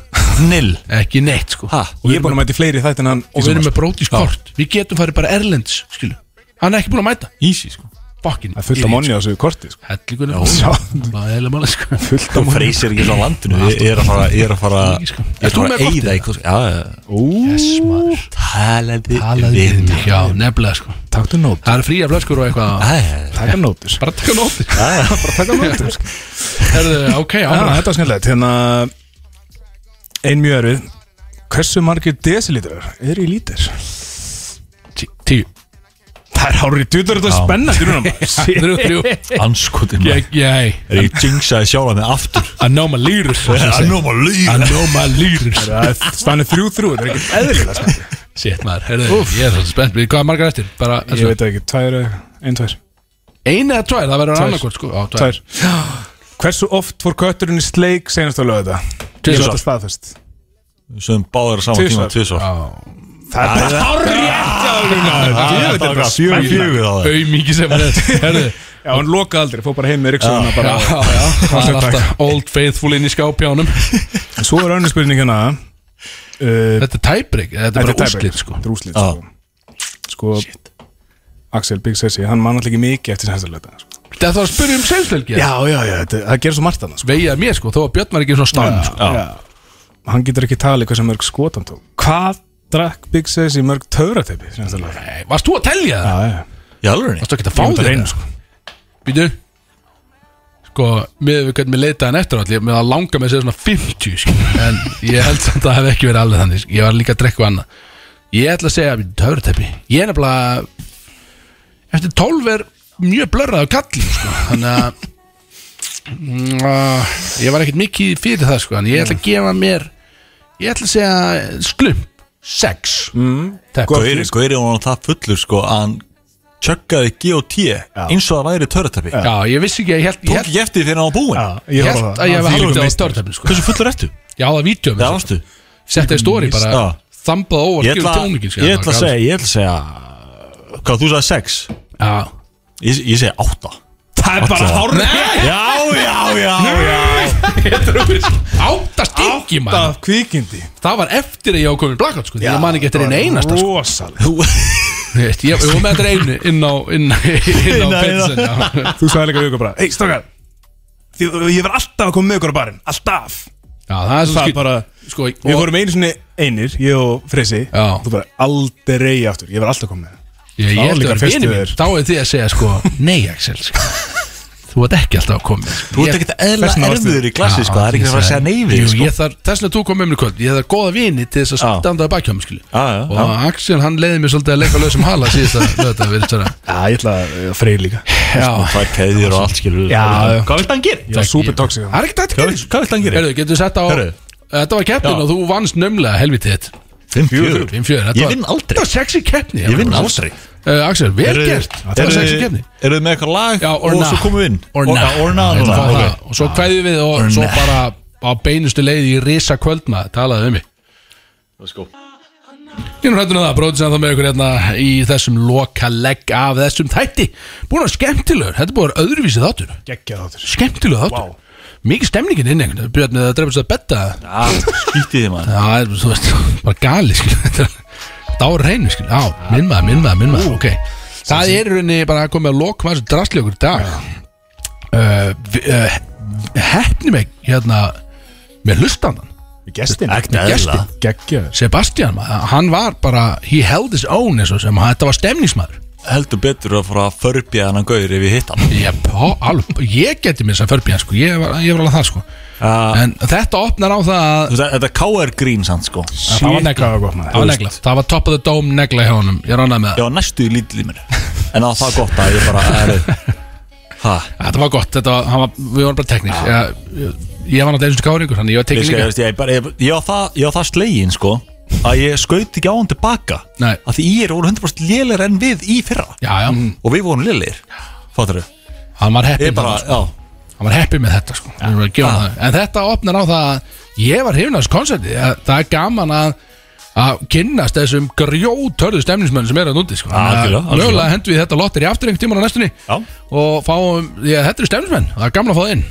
S4: Nil
S2: *laughs* Ekki neitt sko
S4: ha,
S3: Ég er búin að mæti fleiri þætt en hann
S2: Og við erum með brótiskort Við getum farið bara erlends skilu Hann er ekki búin að mæta
S4: Easy sko
S2: Fokkin
S3: Það er fullt af monni á þessu korti sko
S2: Hellingunum
S3: Já.
S2: Það er eða máli sko
S3: Fullt
S4: Þú freysir ekki frá landinu Ég ég er að fara Ég er að fara Ég er
S2: sko. Ert þú
S4: að
S2: með
S4: fara að
S2: kortið?
S4: eyða eitthvað Já, já
S2: Yes maður
S4: Talaði
S2: Talaði
S4: við
S2: við mig Já, nefnilega sko
S3: Taktu nót
S2: Það er fría flöskur og eitthvað
S3: Taka nótur
S2: Bara taka
S3: *laughs*
S2: nótur
S3: Bara taka nótur sko
S2: Herðu, ok,
S3: Já,
S2: áfram
S3: þetta var skemmtilegt Hérna Ein mjög erfið Hversu margir desilítrar eru í lítir?
S2: Tíu
S3: Það er hárið djúður þetta
S4: Já.
S3: spennandi *laughs* núna
S2: Þrjú, þrjú
S4: Anskotin maður.
S2: Ég, ég
S4: Er ég jinxaði sjálf með aftur
S2: *laughs* Anomalýrur
S4: Anomalýrur.
S2: Anomalýrur
S3: Stannir þrjú þrjú, þetta er ekki eðlilega sko
S2: Sitt maður, herðu, ég er svolítið spennt Við hvað er margar eftir? Bara,
S3: Ég veit það ekki, tvær, eða- ein, tvær
S2: Einu eða tvær, það verður
S3: Tvær.
S2: annarkort sko Á, tvær
S3: Tvær Hversu oft fór kötturinn í sleik senast að löða þetta?
S4: Tvisvar.
S3: Ég láta staðfest
S4: Sem báður á sama tíma Tvisvar
S3: Það er bara
S4: Það er bara fjögur fjögur á það
S2: Aumingi sem er þetta Herðu,
S3: Já, hann loka aldrei, fór bara heim með ryggsuguna
S2: já,
S3: bara
S2: já Það er
S3: Takk.
S2: alltaf Old Faithful inn í skápjánum
S3: En Svo er önnur spurning hérna uh, Þetta
S2: Þetta er tæbrik, þetta er
S3: er
S2: bara
S3: tiebreaker.
S2: úrslit sko
S3: Þetta er úslit sko. sko Axel Big Sessi, hann man alltaf ekki mikið eftir senast að löða sko.
S2: Þetta var að spyrja um seinsleiki
S3: Já, já, já, þetta, það gerir svo margt annað sko.
S2: Vegið að mér sko, þó að Björn var ekki svona stán sko.
S3: já. Hann getur ekki talið hversu mörg skotan tók Hvað drakk Big Sessi mörg töfrateipi senast að löða?
S2: Nei, Varst þú að telja það?
S3: Já, já
S4: Í alveg
S2: Varst þú ekki að sko. fá
S3: Ég myndi
S2: þér
S3: að reyna, sko.
S2: það? Býtu Sko, miður við hvernig við leitaðan eftir allir Mér að langa með að segja svona 50 sko. En ég held samt að það hef ekki verið alveg þannig sko. Ég var líka að drekka og annað Ég ætla að segja, töfrateppi Ég er nefnilega Eftir 12 er mjög blörrað á kallum sko. Þannig að mm, að, Ég var ekkert mikið fyrir það sko. En ég ætla að gefa mér Ég ætla að segja sklump 6 mm,
S4: Gauri Gauri var það fullur sko að Hann tjöggaði G.O.T. Eins og það væri törratapi
S2: Já, ég vissi ekki að ég held, ég
S4: Tók
S2: held,
S4: ekki eftir því fyrir hann var búinn
S2: ég held að ég hef haldið á
S3: meistari.
S2: töfrateppi sko.
S4: Hversu fullur ertu?
S2: Já, það er vídeo um
S4: Það varstu
S2: Setta í stóri
S4: Já.
S2: bara Þambað óvart
S4: Ég ætla
S2: gefur tjóningin
S4: ég ætla að segja Ég ætla að segja Hvað þú sagði sex
S2: Já
S4: Ég, ég segi átta
S3: Það er bara hár
S2: Nei,
S4: Já, já, já, já
S2: átta stingi
S3: Það
S2: maður
S3: kvikindi
S2: Það var eftir að ég ákomin blackout sko Því ég man ekki eftir einu einasta sko
S3: Rósalega
S2: Þú veist, Ég var með þetta einu inn á Inn á, inn á
S4: Inn á-
S2: Petsen já.
S3: Þú sagði líka við ykkur bara Hei, strákar Því, Ég verð alltaf að koma með ykkur á barinn Alltaf
S2: já, það er svo
S3: Það
S2: skil
S3: er bara
S2: Sko,
S3: Við
S2: og,
S3: vorum einu sinni einir Ég og Freysi
S2: Já.
S3: Þú bara aldrei aftur Ég verð alltaf að koma með
S2: ég, ég
S3: þá
S2: held að
S3: líka
S2: vera
S3: fyrstu
S2: vini mín
S3: þér.
S2: Þá er því að segja sko Nei Axel sko Þú ert ekki alltaf að koma með, sko.
S4: Þú ert
S2: Ég-
S4: ekkert eðla
S3: Þessna varstu-
S4: erfiður í klassi sko, það er ekki að fara að segja neyfi
S2: Ah, Jú,
S4: sko.
S2: ég þarf, þess vegna þú kom með mér í kvöld Ég þarf góða vini til þess að
S4: Já.
S2: standa að bakkjáma skilu
S4: Já, já,
S2: Og Axel, hann leiði mér svolítið að leika lausum hala síðast að
S4: *laughs*
S2: löta við þetta
S3: Já, ég ætla að eh, Freyr líka
S2: Já,
S4: Það er keðjur og allt skilur
S3: Já, já.
S4: Hvað vilt hann
S3: Ég
S4: gera?
S3: var super toxic
S2: það er ekkert hægt að
S4: Hvað
S2: gera
S4: vilt- Hvað vilt hann gera?
S2: Herðu, getur sett á
S4: Herðu.
S2: Þetta var keppnin
S4: Já.
S2: og þú vannst nömlega helvitið þitt
S4: Fimm fjögur
S2: 5-4 þetta
S4: Ég
S2: var-
S4: vinn aldrei.
S2: Þetta var sexy keppni
S4: Ég vinn aldrei.
S2: Eh, Axel, vel
S4: Eru-
S2: gert Þetta
S4: eru-
S2: var sexy keppni
S4: Eru þið með eitthvað lag
S2: Já, or
S4: og
S2: nah.
S4: svo komum við inn?
S2: Or
S4: Og-
S2: nah.
S4: ah, Or nah
S2: Ég ætla að
S4: núna,
S2: fá
S4: ok.
S2: það. Og svo kveðjum við og svo bara á beinustu leið í risa kvöldna talaðu um mig
S4: Let's go.
S2: Ég er nú hættun að það, bróðis að það með ykkur hérna í þessum loka legg af þessum þætti Búin að skemmtilegur, þetta er búin að vera öðruvísi þáttur
S3: Gekkja þáttur
S2: Skemmtilegur þáttur Mikið stemningin inn einhvern veginn, Björn, það drefnst að betta
S4: Já, skítið þið maður
S2: Það er, þú veist, *laughs* bara gali, skil Þetta er- Þetta á reynu, skil, á, minn maður, minn maður, minn maður, ok Það er í rauninni bara að koma að lokum að þessu drastli okkur í dag uh, vi- uh, Heppni mig, hérna, með hlustandan
S3: Gestin
S4: Ekkert
S2: Gesti.
S4: eðla
S3: Gekkja
S2: Sebastian, maður, hann var bara, he held his own, eins og sem, þetta var stemningsmaður
S4: Heldur betur að fara að förbja hennan gaur ef ég hitt *laughs* hann
S2: Ég, pá, alveg, ég geti mér þess að förbíða sko. ég, var- ég var alveg það sko.
S4: Já.
S2: En þetta opnar á það að
S4: Þú veist, Þetta er KR grín samt sko
S2: Það var negla
S3: hvað var gott, maður.
S2: Það var negla Það var top of the dome negla hjá honum Ég ránaði með
S4: Ég
S2: það
S4: var næstu í lítlið mér En það var það gott að ég bara *laughs* er, ha,
S2: Þetta var gott Þetta var, hann var, Við vorum bara teknik ég, ég, ég var náttúrulega eins og káringur Þannig ég var
S4: ég,
S2: teknik
S4: skal,
S2: líka
S4: ég, veist, ég, bara, ég, ég, var það, ég var það slegin sko að ég skaut ekki á hann tilbaka
S2: Nei.
S4: að því ég er voru 100% lélir enn við í fyrra
S2: já, já.
S4: og við vorum lélir fattur þau
S2: hann var heppinn
S4: Mm. Ég bara,
S2: þarna, sko. hann var heppið með þetta sko. Við verðum að gefa honum það. en þetta opnar á það að ég var hrifin af þessu koncerti Að það er gaman að að kynnast þessum grjótörðu stemningsmönnum sem er að núti sko.
S4: algjörlega, algjörlega.
S2: mögulega hendum við þetta lottir í aftur einhvern tíman á næstunni
S4: Já.
S2: og fáum, því að þetta eru stemningsmenn það er gaman að fá það inn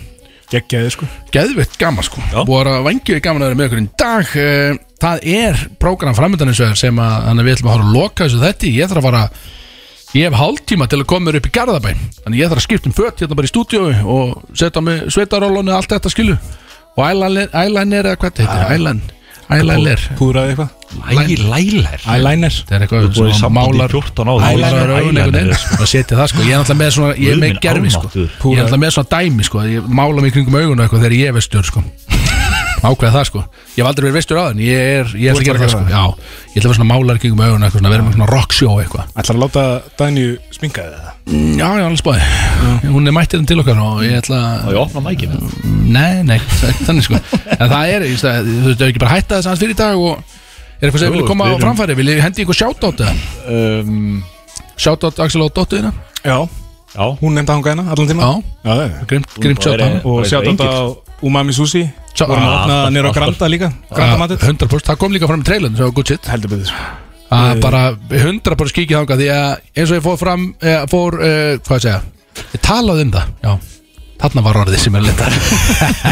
S3: Geggjaði sko
S2: Geðvitt gaman sko Búið að vangjöði gaman að vera með okkur í dag Eh, Það er prógram framöndan eins og þér sem að þannig að við ætlum að fara að loka þessu þetta Ég þarf að fara Ég hef hálftíma til að koma mér upp í Garðabæn Þannig ég þarf að skipta um fött hérna bara í stúdíói og setja á mig sveitarólunni og allt þetta skilu og eyeliner eyeliner eða hvað þetta heitir Eyeliner Eyeliner
S3: Púðraði eitthvað
S2: Læler
S3: Eyeliner
S2: Það er eitthvað
S3: Þú búið í
S2: sem
S3: sambandi í
S2: málar
S3: 14
S2: Eyeliner
S3: ára. Eyeliner,
S2: augun einhvern
S3: eyeliner,
S2: veginn. Það setja það sko Ég er náttúrulega með svona Ég er með
S3: Guð minn
S2: gerfi sko
S3: almáttugur.
S2: Ég er náttúrulega með svona dæmi sko Ég mála mig kringum augun og eitthvað Þegar ég er vestur *laughs* sko Ákveða það sko Ég hef aldrei verið vestur á þenn Ég er Ég
S3: Þú
S2: ætla að
S3: ert
S2: gera
S3: bara
S2: það sko
S3: að gera
S2: Já Ég ætla að vera svona málar kringum augun og eitthvað svona Verið með svona rockshow eitthvað
S3: Ætlar að láta Dænju sminka þig eða?
S2: Já, já, alveg spáði Hún er mættir hann til okkar og ég ætla
S4: og ég opna mækina
S2: Nei, nei, þannig sko En það er, ég veist, þú veist, þau ekki bara hætta þess aðeins fyrir í dag og er eitthvað sem
S4: Jú,
S2: vilja koma á
S4: við erum- Ehm,
S2: framfæri Vilja hendi ykkur shoutout eða? Shoutout Axel og hérna. Dottuðina
S3: Já Já Hún nefndi að hanga hérna allan tíma
S2: Já.
S3: Já, það er
S2: Grimmt- grimmt
S3: Hún
S2: sjátt á
S3: bara er-
S2: hana.
S3: Og
S2: bara
S3: sjátt
S2: eitthvað
S3: á Umami Sushi
S2: Sjá-
S3: Vorum að
S2: Ah,
S3: opna
S2: alltaf,
S3: nýra á
S2: alltaf.
S3: Granda líka
S2: Ja,
S3: Granda matið
S2: 100% Ah, það kom líka fram í trailun svo good shit
S3: heldur betur
S2: að bara 100% kíkja þangað því að eins og ég fór fram eh, fór, eh, hvað að segja ég talaði um það, já þarna var orðið sem er lindar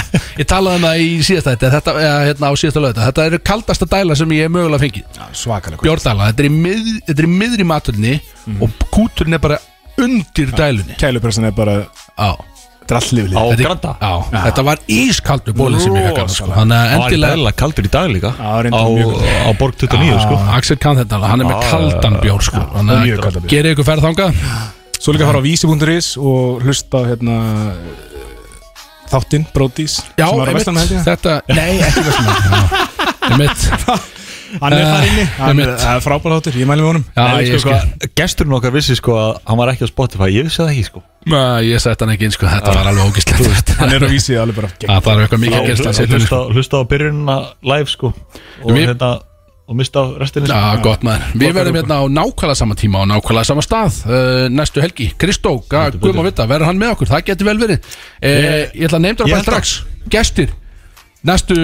S2: *laughs* ég talaði um það í síðasta þetta, þetta eh, hérna á síðasta lögða þetta eru kaldasta dæla sem ég hef mögulega fengið
S3: Svakalega
S2: bjórdæla, þetta er í, mið, þetta er í miðri matulni og kúturinn er bara undir dælunni
S3: Kælupressan er bara
S2: á
S3: Drallifli
S2: Á Þetta- Granda? á, þetta var ískaldur bóli sem ég fekk þarna, sko. Þannig að endilega-
S6: Það var kaldur í dag líka
S3: Á,
S6: á Borg 29 sko
S2: Axel kann þetta alveg, hann er með
S6: Já,
S2: kaldan
S6: já,
S2: bjór sko Þannig
S3: mjög
S2: að
S3: kaldan bjór.
S2: gera ykkur ferð þangað
S3: Svo líka að fara á vísi.is og hlusta á hérna Þáttinn, Brodís
S2: Já,
S3: sem var að
S2: einmitt,
S3: vestan með
S2: þetta Nei, ekki vestan Einmitt
S3: Hann er þar inni Hann er
S4: einmitt.
S3: það er frábær þáttur, ég mæli með honum
S4: en veistu
S2: sko-
S4: hvað, sko, gesturinn okkar vissi sko að hann var ekki á Spotify, ég vissi það ekki sko
S2: Nei, ég sett hann ekki inn sko, þetta var alveg ógislegt
S3: Hann
S2: *laughs*
S3: er á vísi alveg bara gegn.
S2: Það þarf eitthvað mikið að gerast
S4: Þá
S2: að setja
S4: hlusta,
S2: hann
S4: hlusta á byrjunina live sko og
S2: Við-
S4: hérna og mista af restinni
S2: Já,
S4: sko.
S2: gott maður Við verðum
S4: Gott
S2: hérna á nákvæmlega sama tíma og nákvæmlega sama stað uh, næstu helgi Kristó, Guðum að vita, verður hann með okkur, það getur vel verið uh,
S4: Ég-
S2: Ég ætla að nefnda
S4: Ég
S2: bara
S4: held Ah,
S2: strax Gestir, næstu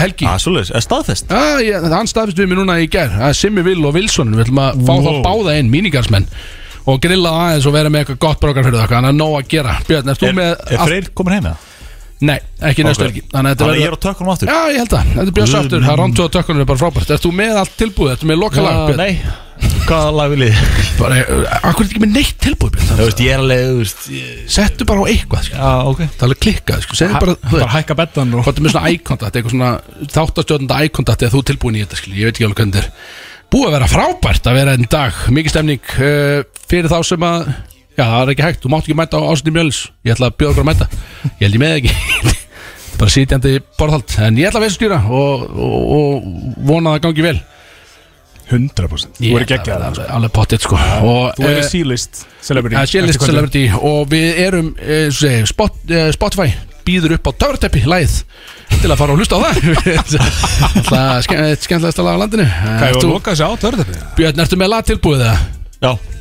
S2: helgi
S4: Já, svoleiðis, er staðfest
S2: Já, Ah, ég- hann staðfist við mér núna í gær að Simmi Vill og Wilson, við ætlum að fá þá
S4: Wow.
S2: báða inn, mínigarsmenn og grilla það aðeins og vera með eitthvað gott brókar fyrir það hann er nóg að gera Björn, erst þú
S4: Er-
S2: með
S4: Er
S2: allt-
S4: Freyr komin heim eða?
S2: Nei, ekki næstu
S4: Ok.
S2: helgi
S4: Þannig að ég er á tökkunum aftur?
S2: Já, ég held það, þetta er Björn
S4: Guð
S2: aftur, það er rántu á tökkunum er bara frábært Erst þú með allt tilbúið, ertu með lokalag
S4: Já,
S2: Björn?
S4: Ah, Nei, hvaða lag vil ég?
S2: Bara, eh, akkur er ekki með neitt tilbúið Björn
S4: Þú veist, ég er alveg, þú veist ég-
S2: Settu bara á eitthvað sko.
S4: Já, ok
S2: Það er alveg klikkað, sko, segðu
S3: Ha-
S2: bara þú
S3: bara
S2: veist.
S3: hækka beddan og-
S2: Hvað er með svona eye-contact, eitthvað svona þáttastjóðnda eye-contact eða þú er tilbúin í þetta, skil, ég veit ekki alveg hvernig þetta er Búið að vera frábært að vera enn dag Mikið stemning uh, fyrir þá sem að Já, það er ekki hægt, þú mátt ekki mæta á ásendum mjöls Ég ætla að bjóða okkur að mæta Ég held ég með ekki *laughs* Þetta er Bara sitjandi borðhald En ég ætla að veist stýra og, og, og vona að það gangi vel
S3: 100% Þú
S2: Ég
S3: verður
S2: ætla að
S3: geggjað
S2: vera alveg- Alveg pottet sko Og,
S3: Þú
S2: eh,
S3: verður sílist Celebrity
S2: Það er Shellist
S3: eftir kvöldið.
S2: Celebrity og við erum eh, eins og segi, spot, eh, Spotify býður upp á Töfrateppi læð til að fara og hlusta á það *laughs* Það er skemmtilegast að laga landinu
S3: Hvað
S2: Ert
S3: er að
S2: þú-
S3: loka þessi á törðabíða?
S2: Björn, ertu með lag tilbúið það?
S4: Já